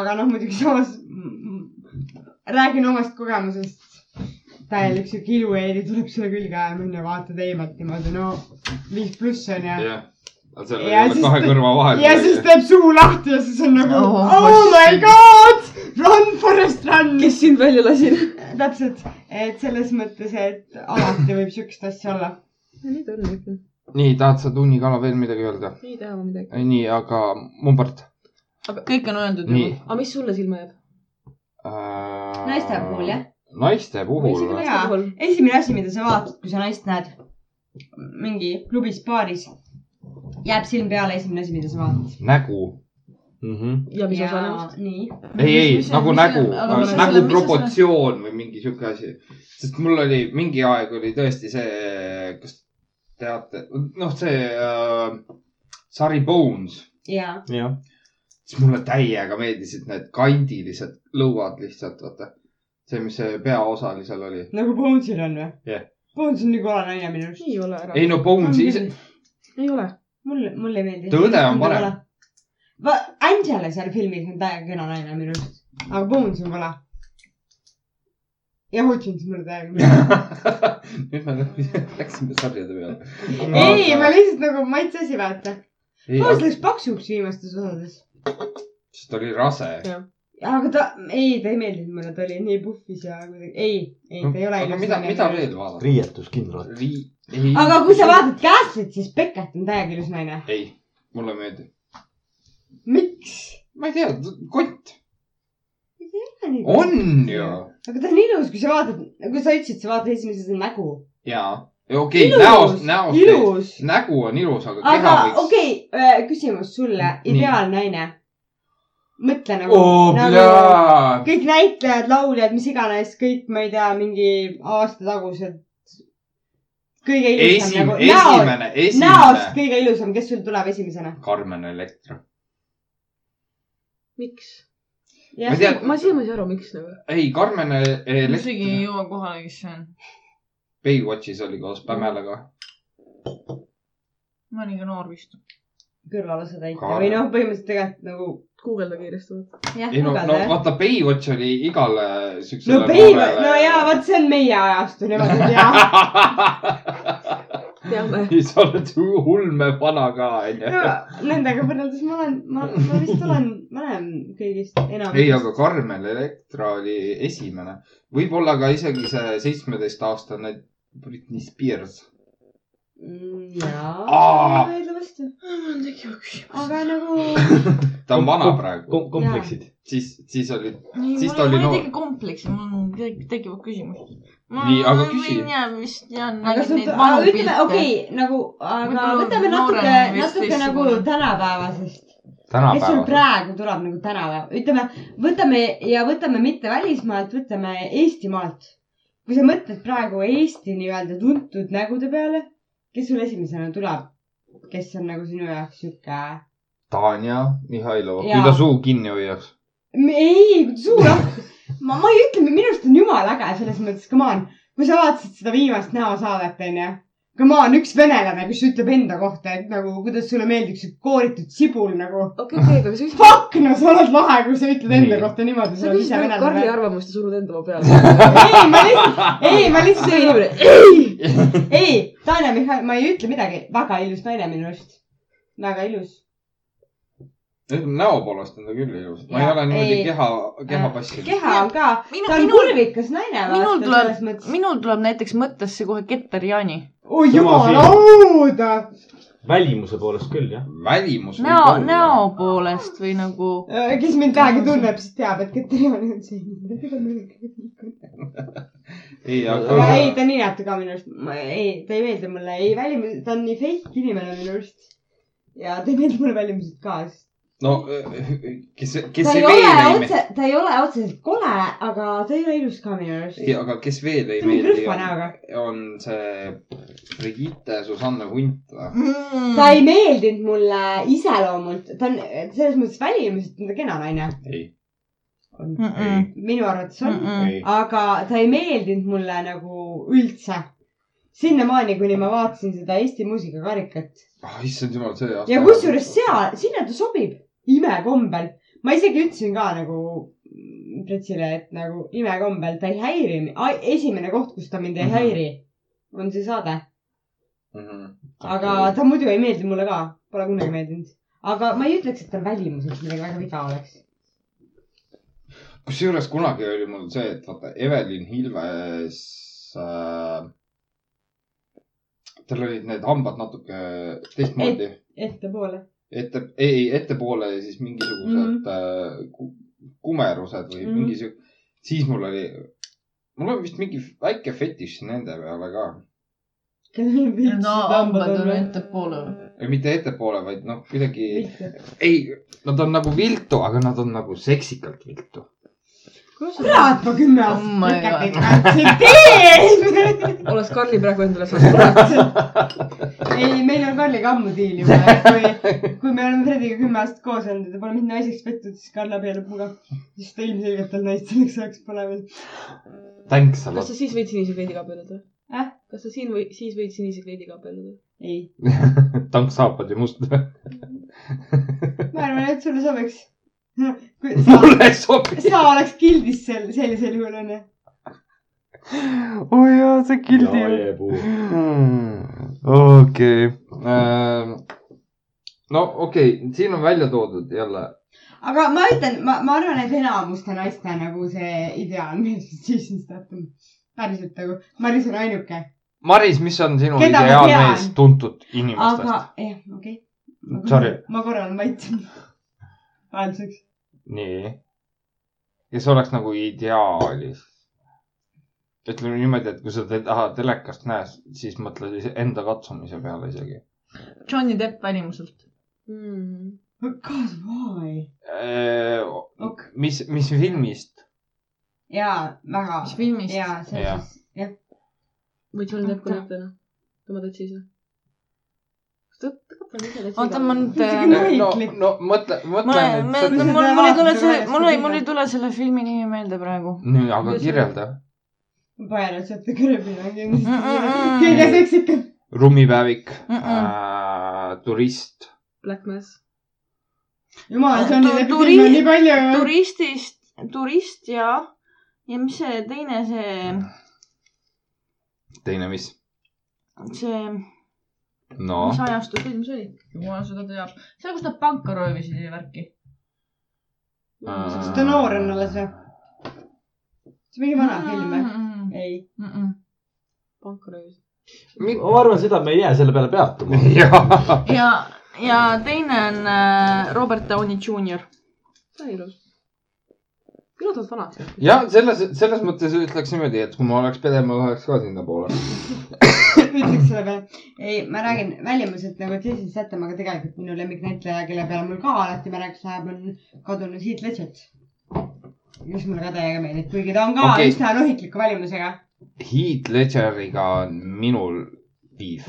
S5: aga noh , muidugi samas m- m- räägin omast kogemusest . täielik sihuke ilueeli tuleb sulle külge ajama , onju , vaatad eemalt niimoodi , no viis pluss onju .
S1: jah , seal ei
S5: Ja
S1: ole
S5: siis
S1: kahe
S5: ta-
S1: kõrva vahel .
S5: ja siis teeb suu lahti ja siis on nagu
S6: Oh,
S5: oh, oh my
S6: shit.
S5: god , run forest run .
S4: kes sind välja lasi ?
S5: täpselt , et selles mõttes , et alati võib siukest asja olla .
S4: nii ta on ikka .
S1: nii , tahad sa tunnikala veel midagi öelda ?
S4: ei taha ma midagi .
S1: nii , aga Mumbart
S8: kõik on öeldud
S1: Nii.
S8: juba .
S4: aga mis sulle silma jääb ?
S1: äh... .
S6: Naiste puhul, jah? ?
S1: naiste puhul
S4: isegi
S1: või ?
S4: meeste
S5: Jaa.
S4: puhul .
S5: esimene asi , mida sa vaatad , kui sa naist näed mingi klubis , baaris , jääb silm peale esimene asi , mida sa vaatad .
S1: nägu .
S3: Mhm,
S4: ja mis osa näost ?
S5: nii .
S1: ei , ei
S8: mis-
S1: nagu
S8: mis-
S1: nägu
S8: aga , mis-
S1: nägu
S8: mis- mis-
S1: proportsioon või mingi sihuke asi . sest mul oli mingi aeg oli tõesti see , kas teate , noh , see äh, sari Bones
S5: ja ,
S3: jah .
S1: siis mulle täiega meeldisid need kandilised lõuad lihtsalt , vaata . see , mis see peaosalisel oli .
S5: nagu Bonesil on või
S1: Jah.
S5: Bones on nii kõva naine minu arust .
S4: ei ole ära
S1: ei . no Bones ise ,
S4: ei ole .
S5: mulle , mulle ei meeldi .
S1: Tõde on parem. .
S5: Angela seal filmis on täiega kena naine minu arust , aga Bones on kala . ja Hutchins mulle täiega meeldib .
S1: nüüd me läksime sarjade peale .
S5: ei , ma lihtsalt nagu maitse asi vaata . Bones läks paksuks viimastes osades .
S1: sest ta oli rase .
S5: aga ta , ei , ta ei meeldinud mulle , ta oli nii puhvis ja kuidagi , ei , ei , ta ei ole
S1: aga mida , mida veel vaadata ?
S3: riietus kindlalt .
S1: Rii- , ei ,
S5: aga kui sa vaatad Gaslit , siis Beckett on täiega ilus naine .
S1: ei , mulle meeldib .
S5: miks ?
S1: ma ei tea , kott .
S5: aga
S1: on ju .
S5: ta on ilus , kui sa vaatad , kui sa ütlesid , sa vaatad esimeses nägu .
S1: jaa , okei ,
S5: Ilus!
S1: näost , näost .
S5: ilus .
S1: nägu on ilus , aga keha
S5: aga
S1: võiks .
S5: okei okay, , küsimus sulle ,
S1: Nii.
S5: ideaalnaine . mõtle nagu
S1: oo ,
S5: nagu
S1: jaa .
S5: kõik näitlejad , lauljad , mis iganes , kõik , ma ei tea , mingi aasta tagused . kõige ilusam
S1: esimene ,
S5: nagu näost ,
S1: esimene , esimene
S5: näost . kõige ilusam , kes sul tuleb esimesena ?
S1: Carmen Electra .
S4: miks ?
S1: ma ei tea ,
S4: ma siiamaani ei saa aru , miks nagu .
S1: ei , E- Carmen
S8: isegi ei
S1: Electra ,
S8: jõua kohale , kes see on .
S1: Baywatchis oli koos Pämmelaga .
S8: ma olen ikka noor vist .
S5: kõrvalosa täita
S1: Kaane.
S5: või noh , põhimõtteliselt tegelikult nagu
S4: guugelda kiiresti .
S5: jah ,
S1: ei no , no
S5: lugeda jah .
S1: vaata , Baywatch oli igale siuksele
S5: no Baywatch , no jaa , vaat see on meie ajastu , nemad ei tea .
S4: teame .
S1: siis sa oled hu- ulme vana ka , onju .
S5: Nendega võrreldes ma olen , ma , ma vist olen vanem kõigist enam .
S1: ei , aga Carmen Electra oli esimene . võib-olla ka isegi see seitsmeteistaastane Britney Spears . Aa.
S5: Mm, jaa , eeldavasti .
S4: mul tekib küsimus .
S5: aga nagu ,
S1: ta on vana praegu .
S3: kompleksid .
S1: siis , siis oli ,
S8: ei
S1: Siis , ta
S8: mul
S1: oli
S8: ei
S1: noor.
S8: tegi kompleksi , mul tek- tekivad küsimused .
S1: Nii, aga küsi.
S8: mina vist tean .
S5: aga sul , ütleme , okei , nagu , aga
S8: Võib-olla
S5: võtame natuke
S8: noorena , vist
S5: natuke nagu
S8: teistsugune.
S5: tänapäevasest . kes sul
S1: tänapäeval .
S5: praegu tuleb nagu tänapäeval , ütleme , võtame ja võtame mitte välismaalt , võtame Eestimaalt . kui sa mõtled praegu Eesti nii-öelda tuntud nägude peale , kes sul esimesena tuleb , kes on nagu sinu jaoks sihuke ,
S1: Tanja Mihhailova , kui
S5: Jaa.
S1: ta suu kinni hoiaks .
S5: ei , suu lahti . ma , ma ei ütle , minu arust on jumala äge selles mõttes , come on , kui sa vaatasid seda viimast näosaadet , onju . Come on , üks venelane , kes ütleb enda kohta , et nagu , kuidas sulle meeldiks see kooritud sibul nagu .
S4: okei , okei , aga siis
S5: Fuck , no sa oled lahe , kui sa ütled enda
S1: Nii.
S5: kohta niimoodi .
S4: sa nagu küsisid ainult Karli arvamust ja surud enda oma peale .
S5: ei , ma lihtsalt , ei , ma lihtsalt
S4: see
S5: ei ,
S4: inimene , ei .
S5: ei , Tanja Mihhail , ma ei ütle midagi , väga ilus naine minu arust . väga ilus .
S1: näo poolest on ta küll ilus . ma ei
S5: Jaa,
S1: ole niimoodi
S5: ei.
S1: keha , keha passinud .
S5: keha on ka ,
S8: minu ,
S5: ta on
S8: minul ,
S5: kurvikas naine .
S8: minul tuleb , minul tuleb näiteks mõttesse kohe Keter Jaani .
S5: oi
S3: Sama
S5: Oh, jumala õuda .
S3: välimuse poolest küll , jah .
S1: välimus .
S8: näo , näo poolest või nagu .
S5: Äh, kes mind vähegi tunneb , siis teab , et Katrin on see .
S1: ei ,
S5: aga
S1: aga .
S5: ei , ta on inetu ka minu arust . ei , ta ei meeldi mulle , ei välimus , ta on nii fake inimene minu arust . ja ta ei meeldi mulle välimused ka , sest
S1: no kes , kes
S5: ta
S1: ei
S5: ei
S1: veel
S5: ole
S1: ei meeldi ,
S5: otse , ta ei ole otseselt kole , aga ta ei ole ilus ka minu arust .
S1: ei , aga kes veel ei
S5: ta on nii
S1: meeldi ,
S5: krõhva näoga .
S1: on see Brigitte Susanne Hunt .
S5: Mm.
S1: Mm.
S5: ta ei meeldinud mulle iseloomult , ta on selles mõttes välimuselt on ta kena naine .
S1: ei ,
S8: Mm-mm.
S5: minu arvates on ,
S8: Mm-mm.
S1: ei ,
S5: aga ta ei meeldinud mulle nagu üldse . sinnamaani , kuni ma vaatasin seda Eesti muusikakarikat
S1: Ah, issand jumal , see aasta .
S5: ja kusjuures seal , sinna ta sobib imekombel . ma isegi ütlesin ka nagu mm, Pritsile , et nagu imekombel ta ei häiri , esimene koht , kus ta mind ei
S1: Mhm.
S5: häiri , on see saade .
S1: seal .
S5: aga ta muidu ei meeldi mulle ka , pole kunagi meeldinud . aga ma ei ütleks , et tal välimuses midagi väga viga oleks .
S1: kusjuures kunagi oli mul see , et vaata Evelyn Hilves äh, , tal olid need hambad natuke teistmoodi Et... ,
S5: ettepoole .
S1: ette , ei ettepoole ja siis mingisugused mm. äh, ku- kumerused või
S5: Mhm.
S1: mm. mingi siuke , siis mul oli , mul on vist mingi väike fetiš nende peale ka .
S5: kellel vilts
S8: no hambad on . ettepoole .
S1: ei , mitte ettepoole , vaid noh , kuidagi , ei , nad on nagu viltu , aga nad on nagu seksikalt viltu .
S5: kurat , ma kümme
S8: Oh my
S5: aastat
S8: God.
S5: ikka aktsepteerin .
S4: oleks Karli praegu endale saanud kurat .
S5: ei , meil on Karliga ammu diil juba , et kui , kui me oleme Frediga kümme aastat koos olnud ja ta pole mind naiseks petnud , siis Karl abiellub minuga . siis ta ilmselgelt tal naist selleks ajaks pole veel .
S1: tänks sa
S4: kas sa siis võid sinise kleidiga abielluda
S5: Äh? ?
S4: kas sa siin või siis võid sinise kleidiga abielluda ?
S5: ei ,
S1: oled , tänks saapad ja must .
S5: ma arvan , et sulle sobiks . sa,
S1: mulle sobib .
S5: sa oleks gildis sel , sellisel juhul onju .
S1: oo oh jaa , see kildi . okei . Ähm, no okei okay. , siin on välja toodud jälle .
S5: aga ma ütlen , ma , ma arvan , et enamuste naiste nagu see ideaal meeldis siis , mis ta on . päriselt nagu , Maris on ainuke ,
S1: Maris , mis on sinu
S5: Keda ma
S1: ideaalmees
S5: tean?
S1: tuntud inimestest
S5: aga
S1: aga... ?
S5: jah , okei
S1: Sorry. .
S5: ma korra olen vait . vahelduseks .
S1: nii . kes oleks nagu ideaalis ? ütleme niimoodi , et kui sa teda telekast näed , siis mõtle ise- enda katsumise peale isegi .
S8: Johnny Depp välimuselt .
S4: Mm-hmm.
S5: God why ? Ok.
S1: Äh, mis , mis filmist ?
S5: jaa , väga .
S8: mis filmist ?
S5: jaa , see
S1: Jaa.
S5: siis , jah .
S4: või John Depp näitena ? tema teeb siis või ?
S8: oota , ma nüüd äh,
S5: Isegi Ei,
S1: no
S5: klip- ,
S1: no mõtle ,
S8: ma ,
S1: mõtle
S8: ma , mul ,
S1: nüüd .
S8: mul ei tule
S5: vaatad
S8: see ,
S5: ühest
S8: mul ei ,
S5: või
S8: mul ei
S5: teisest.
S8: tule selle filmi nimi meelde praegu .
S1: nii , aga kirjelda .
S5: Paera sealt kõrvile on
S8: Mm, mm,
S5: kindlasti
S8: mm.
S5: kõige seksikam .
S1: rummipäevik
S8: Mm, mm.
S1: äh, , turist .
S4: Black Mass .
S5: jumal , Johnny
S8: Tu-
S5: Deppi
S8: turi-
S5: filme on nii palju .
S8: turistist , turist ja , ja mis see teine , see ,
S1: teine , mis ?
S8: see ,
S1: no
S8: mis ajastu film see oli ? jumal seda teab . seal , kus nad panka röövisid ja värki .
S1: Äh,
S5: Kas ta noor on alles või ? see on mingi vana
S8: Mm.
S5: film või ?
S8: või ?
S5: ei .
S8: mm,
S4: pankuröövis .
S3: ma arvan , seda me ei jää selle peale peatuma .
S1: jah ,
S8: ja , ja teine on äh, Robert Downey Jr .
S4: see on ilus . ilusad vanad .
S1: jah , selles , selles mõttes ütleks niimoodi , et kui ma oleks pere , ma läheks ka sinnapoole .
S5: ütleks selle peale . ei , ma räägin välimuselt nagu Jason Statham , aga tegelikult minu lemmiknäitleja , kelle peale mul ka alati märgiks läheb , on kadunud Heath Ledgert . mis mulle ka täiega meeldib , kuigi ta on ka
S1: Okei.
S5: okay. üsna nohikliku välimusega .
S1: Heath Ledgeriga on minul piif .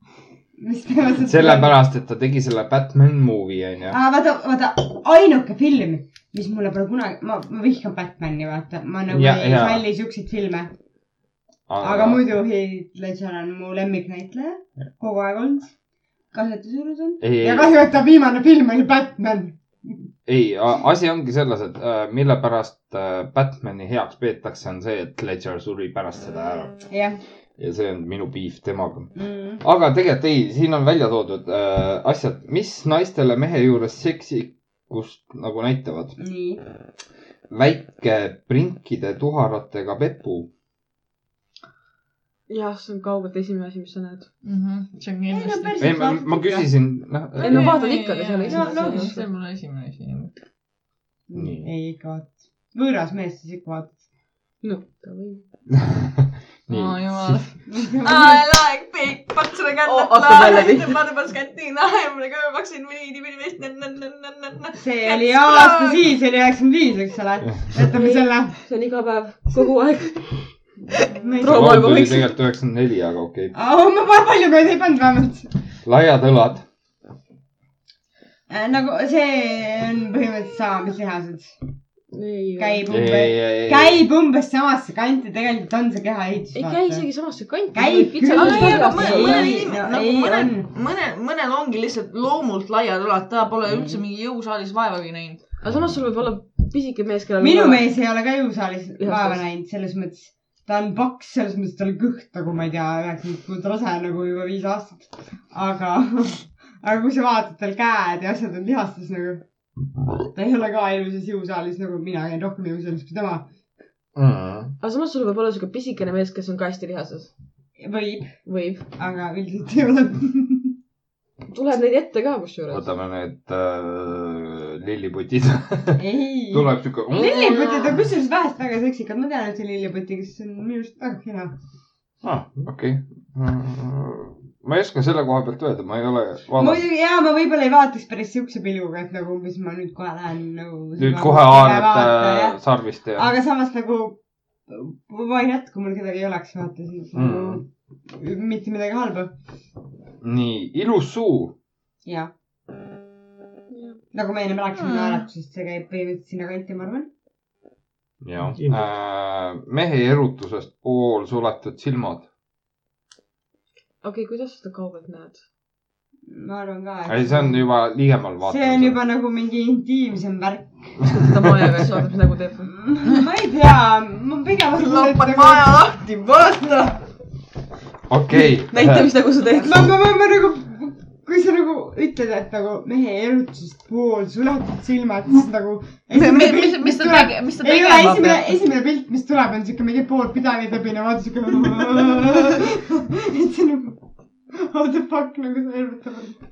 S5: mis teevad seda .
S1: sellepärast , et ta tegi selle Batman movie onju .
S5: ah, . vaata , vaata , ainuke film , mis mulle pole kunagi , ma , ma vihkan Batman'i , vaata . ma nagu
S1: Ja-
S5: ja, ei
S1: ja.
S5: salli siukseid filme . aga muidu Heath Ledger on mu lemmiknäitleja . kogu aeg olnud . kasetusjuures on .
S1: ei ,
S5: ja
S1: ei ,
S5: kahju , et ta viimane film oli Batman .
S1: ei , asi ongi selles , et äh, mille pärast äh, Batman'i heaks peetakse , on see , et Ledger suri pärast seda ära .
S5: jah
S1: ja see on minu piif temaga .
S5: mm. .
S1: aga tegelikult ei , siin on välja toodud äh, asjad , mis naistele mehe juures seksikust nagu näitavad .
S5: nii .
S1: väike prinkide tuharatega pepu .
S4: jah , see on kaugelt esimene asi , mis sa näed .
S8: see on kindlasti .
S1: ei , ma , ma . küsisin , noh .
S4: ei no vaatad ikka , aga seal
S8: jaa ,
S4: esimene
S8: loomulikult ,
S4: asi
S8: see . on mul esimene asi .
S1: Nii.
S5: Mm, ei ikka vaata . võõras mees siis ikka
S4: no ta võib .
S8: aa ,
S1: nii ,
S8: jumal
S1: siis .
S8: I like big butts and
S4: Oh, hakka jälle
S8: I
S4: pihta.
S8: like butts and I am like a vaccine mini mini mini mini
S5: vaata . see oli aasta siis oli üheksakümmend viis , eks ole . jätame selle .
S4: see on iga päev , kogu aeg .
S1: see
S4: Proua
S1: kool
S4: juba
S1: tuli
S4: võiks-
S1: tegelikult üheksakümmend neli , aga okei okay. .
S5: ma pa- palju kohe ei pannud vähemalt .
S1: laiad õlad .
S5: nagu see on põhimõtteliselt sama , mis lihased .
S4: ei , ei
S5: käib
S1: ei ,
S5: umbes ,
S1: ei , ei ,
S5: käib umbes samasse kanti , tegelikult on see kehaehitus .
S4: käi . isegi samasse kanti .
S5: käib
S8: mõnel
S5: küll .
S8: inimesel-
S5: ei ,
S8: nagu mõnel-
S5: on .
S8: mõnel , mõnel ongi lihtsalt loomult laiad õlad , ta pole üldse mingi jõusaalis vaevagi näinud .
S4: aga samas sul võib olla pisike mees , kellel .
S5: minu mees ei ole ka jõusaalis
S4: Lihastes.
S5: vaeva näinud , selles mõttes . ta on paks selles mõttes , et tal on kõht nagu ma ei tea , üheksakümmend kuud rase nagu juba viis aastat . aga , aga kui sa vaatad tal käed ja asjad on lihastes nagu . ta ei ole ka ilusas jõusaalis nagu mina käin rohkem jõusaalis kui tema .
S1: mm. .
S4: aga samas sul võib olla siuke pisikene mees , kes on ka hästi lihases .
S5: võib ,
S4: võib .
S5: aga üldiselt ei ole .
S4: tuleb neid ette ka kusjuures .
S1: võtame need äh, lilliputid .
S5: ei .
S1: tuleb siuke . "Mm,
S5: lilleputid on kusjuures vahest väga seksikad , ma tean ühte lilleputi , kes on minu arust väga kena .
S1: ah, . okei okay. . ma ei oska selle koha pealt öelda , ma ei ole vaadanud .
S5: muidugi ja ma võib-olla ei vaataks päris siukse pilguga , et nagu umbes ma nüüd kohe lähen nagu .
S1: nüüd kohe äh, haarad . sarvist ja .
S5: aga samas nagu why not , kui mul kedagi ei oleks , vaata siis
S1: Mm.
S5: nagu mitte midagi halba .
S1: nii , ilus suu .
S5: ja . nagu me enne rääkisime naeratusest , see käib põhimõtteliselt sinnakanti , ma arvan .
S1: jah
S3: Kindlalt.
S1: äh, . mehe erutusest pool suletud silmad .
S4: okei , kuidas sa seda kaugelt näed ?
S5: ma arvan ka .
S1: ei , see on juba ligemal
S5: see on . juba nagu mingi intiimsem värk .
S4: ta majaga siis vaatab , mis nägu teeb .
S5: ma ei tea , ma pigem arvan , et
S8: lappad
S5: nagu
S8: maja lahti , vaata .
S1: okei
S4: näita , mis nägu sa teed .
S5: ma , ma , ma , ma nagu , kui sa nagu ütled , et nagu mehe erutusest pool suletud silmad , siis nagu .
S8: mis , mis , mis ta tegi , mis ta
S5: ei ole ,
S8: tegema
S5: esimene ,
S8: peab ?
S5: esimene pilt , mis tuleb , on siuke mingi pool pidani tõbine , vaata siuke . et see nagu , what the fuck nagu see erutab .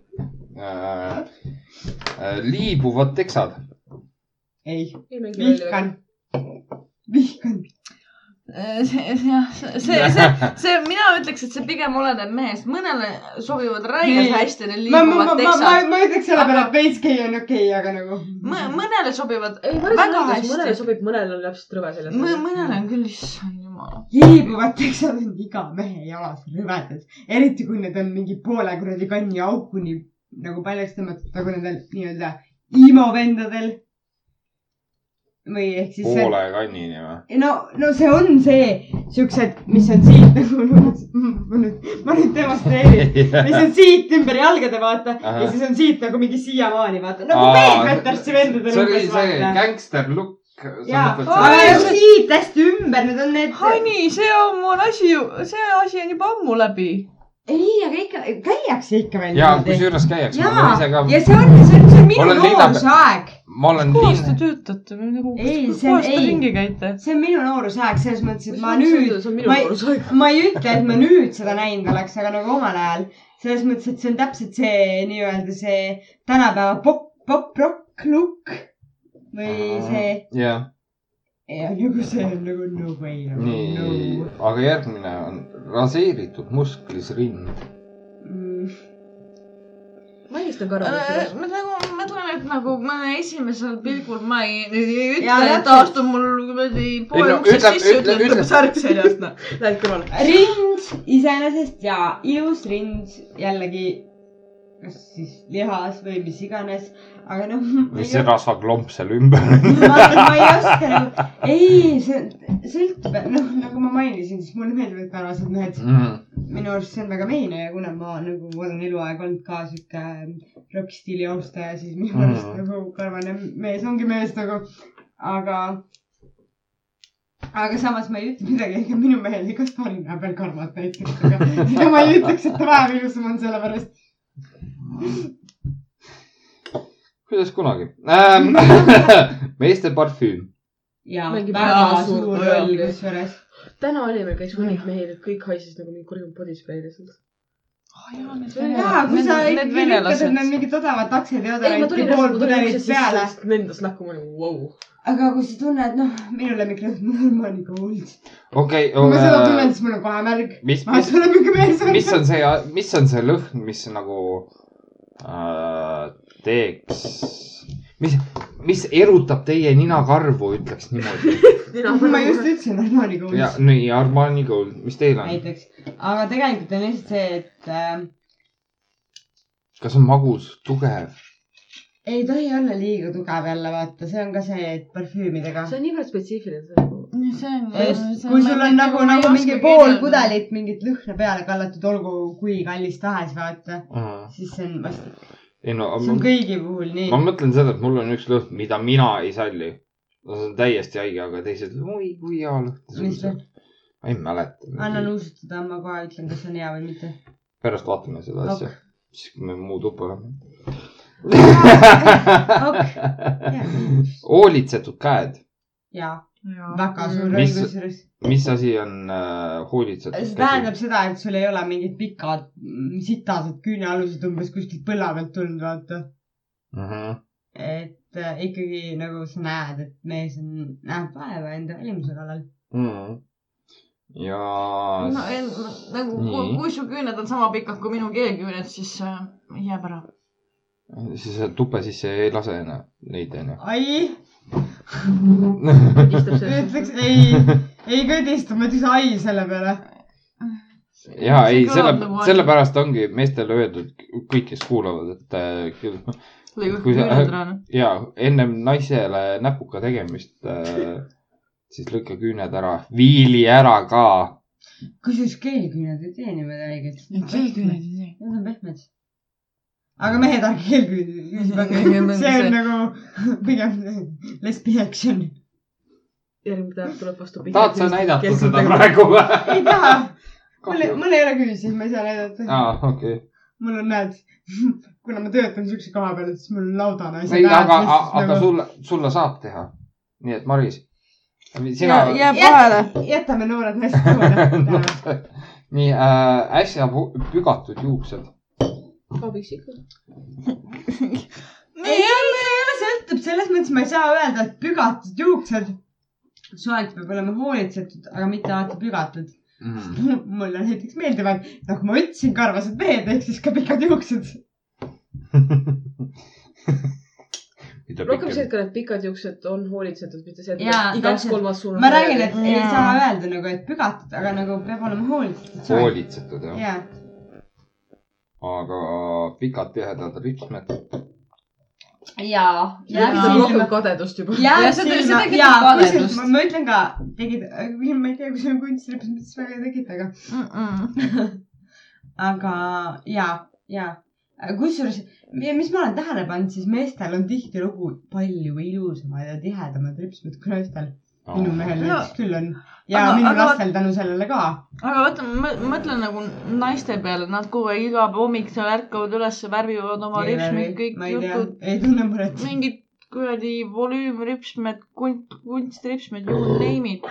S1: äh, . liibuvad teksad .
S5: ei , vihkan , vihkan .
S8: jah , Äh, see , see , see , mina ütleks , et see pigem oleneb mehest , mõnele sobivad
S5: Nii.
S8: räigelt hästi need
S5: ma , ma , ma , ma , ma
S8: liiguvad teksad ,,
S5: ma ütleks selle peale , et veits gei on okei okay, , aga nagu .
S8: mõnele sobivad
S4: ei , ma
S8: väga
S4: arvan , et mõnele
S8: hästi .
S4: sobib , mõnel on täpselt rõve seljas .
S8: mõnele on küll , issand jumal .
S5: liibuvad teksad on iga mehe jalas rõvedad , eriti kui need on mingi poole kuradi kanni aukuni nagu paljaks tõmmatud , nagu nendel nii-öelda imovendadel . või ehk siis .
S1: poole kannini või ?
S5: no , no see on see , siuksed , mis on siit nagu , ma nüüd , ma nüüd demonstreerin , mis on siit ümber jalgade , vaata , ja
S1: Ahah.
S5: siis on siit nagu mingi siiamaani , vaata , nagu
S1: Aa,
S5: Peetersi vendadel
S1: see oli
S5: umbes ,
S1: see
S5: vaata .
S1: gängster look .
S5: jaa , aga just siit hästi ümber , need on need
S8: Hani , see on mul asi , see asi on juba ammu läbi .
S5: ei , aga ikka , käiakse ikka veel .
S1: ja kusjuures käiakse , ma olen ise
S5: ja ,
S1: ka ,
S5: ja see on , see on , see on minu
S1: Olen linna peal.
S5: noorusaeg .
S1: ma olen
S8: kuidas te
S1: linn ,
S8: töötate või nagu ,
S5: Ei,
S8: kuidas
S5: see on-
S8: te
S5: ei.
S8: ringi käite ?
S5: see on minu noorusaeg selles mõttes , et ma nüüd ,
S4: see on minu
S5: ma ei-
S4: noorusaeg .
S5: ma ei ütle , et ma nüüd seda näinud oleks , aga nagu omal ajal selles mõttes , et see on täpselt see nii-öelda see tänapäeva pop , pop-rock look või see ,
S1: jah ,
S5: nagu see on nagu no way , nagu no
S1: nii , aga järgmine on raseeritud musklis rind .
S5: Mm,
S4: Maris on
S5: Äh,
S4: karv .
S8: ma nagu , ma tunnen , et nagu ma esimesel pilgul ma ei, ei ei
S5: Jaa,
S8: ütle , et
S5: täpselt.
S8: astun mul kuradi
S1: Ei,
S8: poole
S1: no
S8: uksest
S1: ütle-
S8: sisse ,
S1: ütle-
S8: ütleb , et
S1: ütle-
S8: tuleb särk seljast , noh .
S4: Lähed kõrvale .
S5: rind iseenesest ja ilus rind jällegi , kas siis lihas või mis iganes , aga noh .
S1: mis see rasvaklomp seal ümber on ?
S5: ma, ma ei oska nagu , ei , see sõltub , noh , nagu ma mainisin , siis mulle meeldivad karvased mehed .
S1: Mhm.
S5: minu arust see on väga mehine ja kuna ma nagu olen eluaeg olnud ka sihuke mm, rokkstiili austaja , siis minu arust
S1: Mhm.
S5: nagu karvane mees ongi mees nagu , aga , aga samas ma ei ütle midagi , ega minu mehel igas parim näeb veel karvad näiteks , aga ega ma ei ütleks , et ta vähem ilusam on , sellepärast
S1: kuidas kunagi ähm, . meeste parfüüm .
S5: ja
S4: Mängib
S5: väga
S4: väga suurt
S5: suur
S4: rolli.
S5: roll kusjuures .
S4: täna oli meil käis hunnik mehel , kõik haises nagu mingi kurjum bodisprei lihtsalt .
S5: jaa , kui sa ikkagi lükkad endale mingit odavat aktsiaid ja
S4: ei , ma tulin nagu
S5: odavat pool pudelit peale ,
S4: lendas lahku , ma olin vau .
S5: aga kui sa tunned , noh , minu lemmiklõhn , mul on Monika Old .
S1: okei
S5: kui ma seda
S1: okay,
S5: tunnen ,, siis mul on kohe märg .
S1: mis ,
S5: ma
S1: mis ,
S5: tunnen , kui mees on .
S1: mis on see , mis on see lõhn , mis nagu äh, teeks , mis , mis erutab teie ninakarvu , ütleks niimoodi .
S5: ma
S4: nagu-
S5: just ütlesin , et Monika
S1: ja
S5: Old
S1: nii , Armani Gold , mis teil on ,
S5: näiteks , aga tegelikult on lihtsalt see , et äh,
S1: kas on magus , tugev ?
S5: ei tohi olla liiga tugev jälle vaata , see on ka see , et parfüümidega .
S4: see on niivõrd spetsiifiline , see on nagu .
S8: see on
S5: kui sul on nagu , nagu mingi pool . pudelit mingit lõhna peale kallatud , olgu kui kallis tahes , vaata , siis see on vastik .
S1: ei no ,
S5: see on kõigi puhul nii
S1: ma . mõtlen seda , et mul on üks lõhn , mida mina ei salli . no see on täiesti haige , aga teised , oi kui hea lõhn .
S5: Mis lõhn?
S1: ma ei mäleta
S5: anna . nuusutada , ma kohe ütlen , kas on hea või mitte .
S1: pärast vaatame seda
S5: Ok.
S1: asja , siis kui me muu tuppa oleme . hoolitsetud käed ,
S5: ja ,
S8: jaa .
S5: väga suur
S1: Mis-
S5: õigus juures .
S1: mis asi on äh, hoolitsetud
S5: see ? tähendab seda , et sul ei ole mingid pikad mm, sitased küünealused umbes kuskilt põlla pealt tulnud , vaata .
S1: mm . -hmm.
S5: et äh, ikkagi nagu sa näed , et mees on , näeb vaeva enda välimuse kallal .
S1: Mm -hmm. ja
S8: no
S1: s-
S8: en, nagu
S1: Nii.
S8: kui- kui su küüned on sama pikad kui minu keelküüned , siis äh, jääb ära .
S1: siis sa tuppe sisse ei lase enam neid onju .
S5: ai ,
S4: istab seal .
S5: ütleks ei , ei kõdista , ma ütleks ai selle peale .
S1: ja ei , selle ,
S5: nagu
S1: sellepärast ongi meestele öeldud , kõik , kes kuulavad , et äh, küll-
S8: lõigud
S1: kui sa-
S8: küüned ära .
S1: ja ennem naisele näpuga tegemist äh, , siis lõika küüned ära , viili ära ka .
S5: kusjuures keelküüned ei tee niimoodi haiget .
S8: keelküüned ei tee .
S5: Need on pehmed . aga mehed , ärge keelküüned , see on nagu pigem lesbi action .
S4: järgmine päev tuleb vastu .
S1: tahad sa näidata seda ? praegu või ?
S5: ei taha , mul , mul ei ole küüsi , ma ei saa näidata .
S1: aa , okei .
S5: mul on , näed , kuna ma töötan siukse koha peal , et siis mul on laudane asi
S1: ei , aga ,
S5: nagu-
S1: aga . sulle , sulle saab teha . nii et , Maris , sina .
S8: jääb vahele .
S5: jätame noored naised kõrvale .
S1: nii äh, , äsja pu- pügatud juuksed .
S4: abiks ikka .
S5: ei , ei ole , sõltub selles mõttes , ma ei saa öelda , et pügatud juuksed . soeng peab olema hoolitsetud , aga mitte alati pügatud .
S1: Mm.
S5: mulle näiteks meeldivad , nagu ma ütlesin , karvased mehed ehk siis ka pikad juuksed .
S4: rohkem see , et ka need pikad juuksed on hoolitsetud , mitte see ,
S5: Jaa,
S4: et igaks
S5: täpselt.
S4: kolmas suunas .
S5: ma räägin , et ei
S8: Jaa.
S5: saa öelda nagu , et pügatud , aga nagu peab olema hoolitsetud .
S1: hoolitsetud jah
S5: jaa ,
S1: aga pikad tihedad ripsmed .
S5: jaa .
S4: ja
S8: Jaa.
S4: siis on rohkem kadedust juba .
S8: Ja
S5: jaa ,
S8: see- see tekitab kadedust.
S5: ma ütlen ka , tegid , ma ei tea , kui sul on kunstirips , mis väga ei tekita , aga , aga jaa , jaa . kusjuures , mis ma olen tähele pannud , siis meestel on tihtilugu palju ilusamad ja tihedamad ripsmed kui naistel . minu mehel
S8: No.
S5: näiteks küll on ja
S8: Aga-
S5: aga, minu
S8: aga-
S5: aga... lastel tänu sellele ka .
S8: aga vaata , ma mõtlen nagu naiste peale , nad kogu aeg iga hommik seal ärkavad üles , värvivad oma ripsmeid , kõik
S5: ma ei tea
S8: jutud ,,
S5: ei tunne muret .
S8: mingid kuradi volüümripsmed , kunst , kunstripsmed , you name it .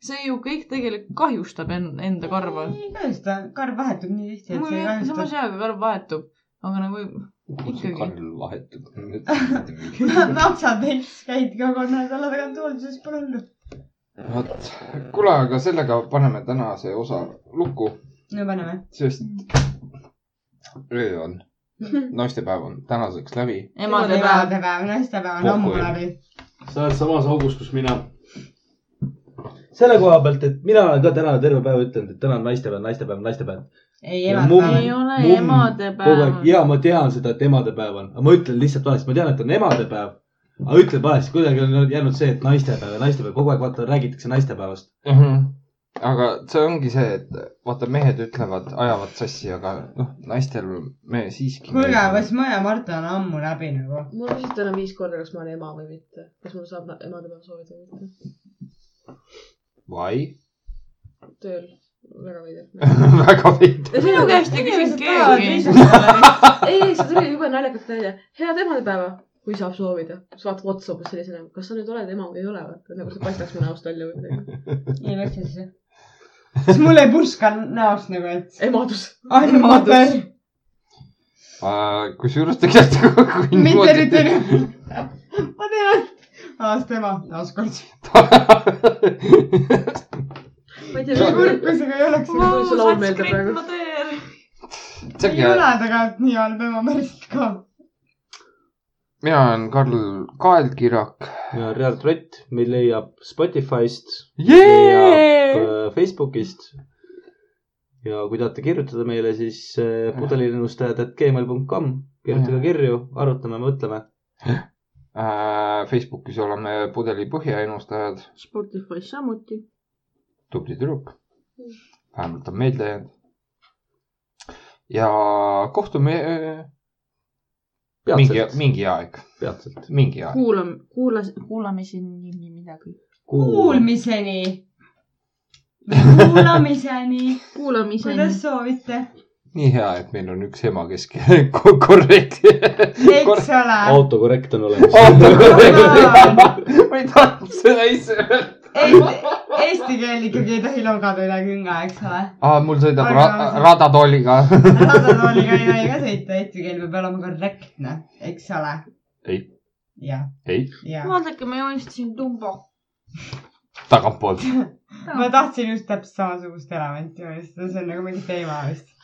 S8: see ju kõik tegelikult kahjustab en, enda karva .
S5: ei kahjusta , karv vahetub nii tihti , et
S8: mul
S5: see ei
S8: jah , samas
S5: kahjusta .
S8: jaa , kui karv vahetub , aga nagu ikkagi.
S1: Karl vahetub .
S5: napsad veits , käid ka kolme nädala tagant hoolduses , pole hullu .
S1: vot , kuule , aga sellega paneme tänase osa lukku ,
S5: no paneme .
S1: sest öö on , naistepäev on tänaseks läbi .
S8: emadepäev .
S5: päev , naistepäev on ammu
S1: Puhkul.
S5: läbi .
S9: sa oled samas augus , kus mina .
S3: selle koha pealt , et mina olen ka täna terve päev ütelnud , et täna on naistepäev , naistepäev , naistepäev .
S5: ei
S3: Ja
S5: elanud
S3: mummi-
S5: päeval
S8: ei . ole
S3: Mumm, kogu aeg ,
S8: emadepäev .
S3: ja ma tean seda , et emadepäev on , aga ma ütlen lihtsalt valesti , ma tean , et on emadepäev . aga ütlen valesti , kuidagi on jäänud see , et naistepäev ja naistepäev , kogu aeg vaata räägitakse naistepäevast .
S1: aga see ongi see , et vaata , mehed ütlevad , ajavad sassi , aga noh , naistel me siiski .
S5: kuulge , kas ma ja Marta on ammu läbi nagu ?
S4: mul küsiti täna viis korda , kas ma olen ema või mitte . kas mul saab na- emadepäeva soovida või mitte .
S1: vai ?
S4: tööl , väga veider .
S1: väga veider .
S4: minu
S8: käest ei küsinud keegi.
S4: ei , ei , see tuli jube naljakalt välja . head emadepäeva , kui saab soovida . siis vaatab otsa umbes sellisena , nagu. kas sa nüüd oled ema või ei ole , vaata nagu see paistaks mu näost välja või midagi .
S5: ei vasta siis . siis mul ei purska näost nagu , et
S4: emadus .
S5: on mater ,
S1: kusjuures tegelikult kui
S5: mitte nüüd
S1: niimoodi
S5: teine . ma tean , aasta ema , taaskord .
S4: ma ei tea ,
S5: nii
S4: mis mul
S5: kurb , kui see ka ei oleks .
S4: tuli see laul meelde praegu .
S5: ei
S1: Selge.
S5: ole tegelikult nii halb ema päriselt ka .
S1: mina olen Karl Kaelkirak .
S3: ja Realt Rott , meid leiab Spotify'st , leiab
S1: jee .
S3: äh, Facebook'ist . ja kui tahate kirjutada meile , siis äh, pudelinõustajad.gmail.com , kirjutage kirju , arutame , mõtleme .
S1: Äh, Facebookis oleme pudelipõhja ennustajad ,
S8: Spotify samuti .
S1: tubli tüdruk . vähemalt on meelde jäänud . ja kohtume äh, mingi ,
S3: peatselt ,
S1: mingi aeg ,
S3: peatselt .
S1: mingi aeg .
S8: kuulame , kuulas , kuulamiseni midagi .
S5: Kuulmiseni kuulamiseni ,
S8: kuulame ise .
S5: kuidas soovite ,
S1: nii hea , et meil on üks ema , kes ko- korrektne .
S5: eks ole .
S3: autokorrekt on olemas .
S1: ma ei tahtnud seda ise öelda .
S5: Eesti keel ikkagi ei tohi logada üle künga , eks ole .
S1: mul sõidab
S5: Aga-
S1: ra- , radatooliga .
S5: radatooliga ei tohi ka sõita , eesti keel peab olema korrektne , eks ole .
S1: Ei. .
S5: jah ,
S1: ei ,
S5: jah .
S8: vaadake , ma joonistasin tumba .
S1: tagantpoolt .
S5: ma tahtsin just täpselt samasugust elementi joonistada , see on nagu mingi teema vist .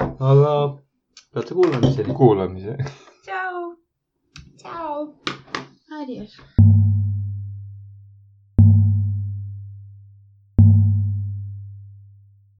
S3: aga peate kuulamiseni .
S1: kuulamise .
S8: tšau . tšau . Adios .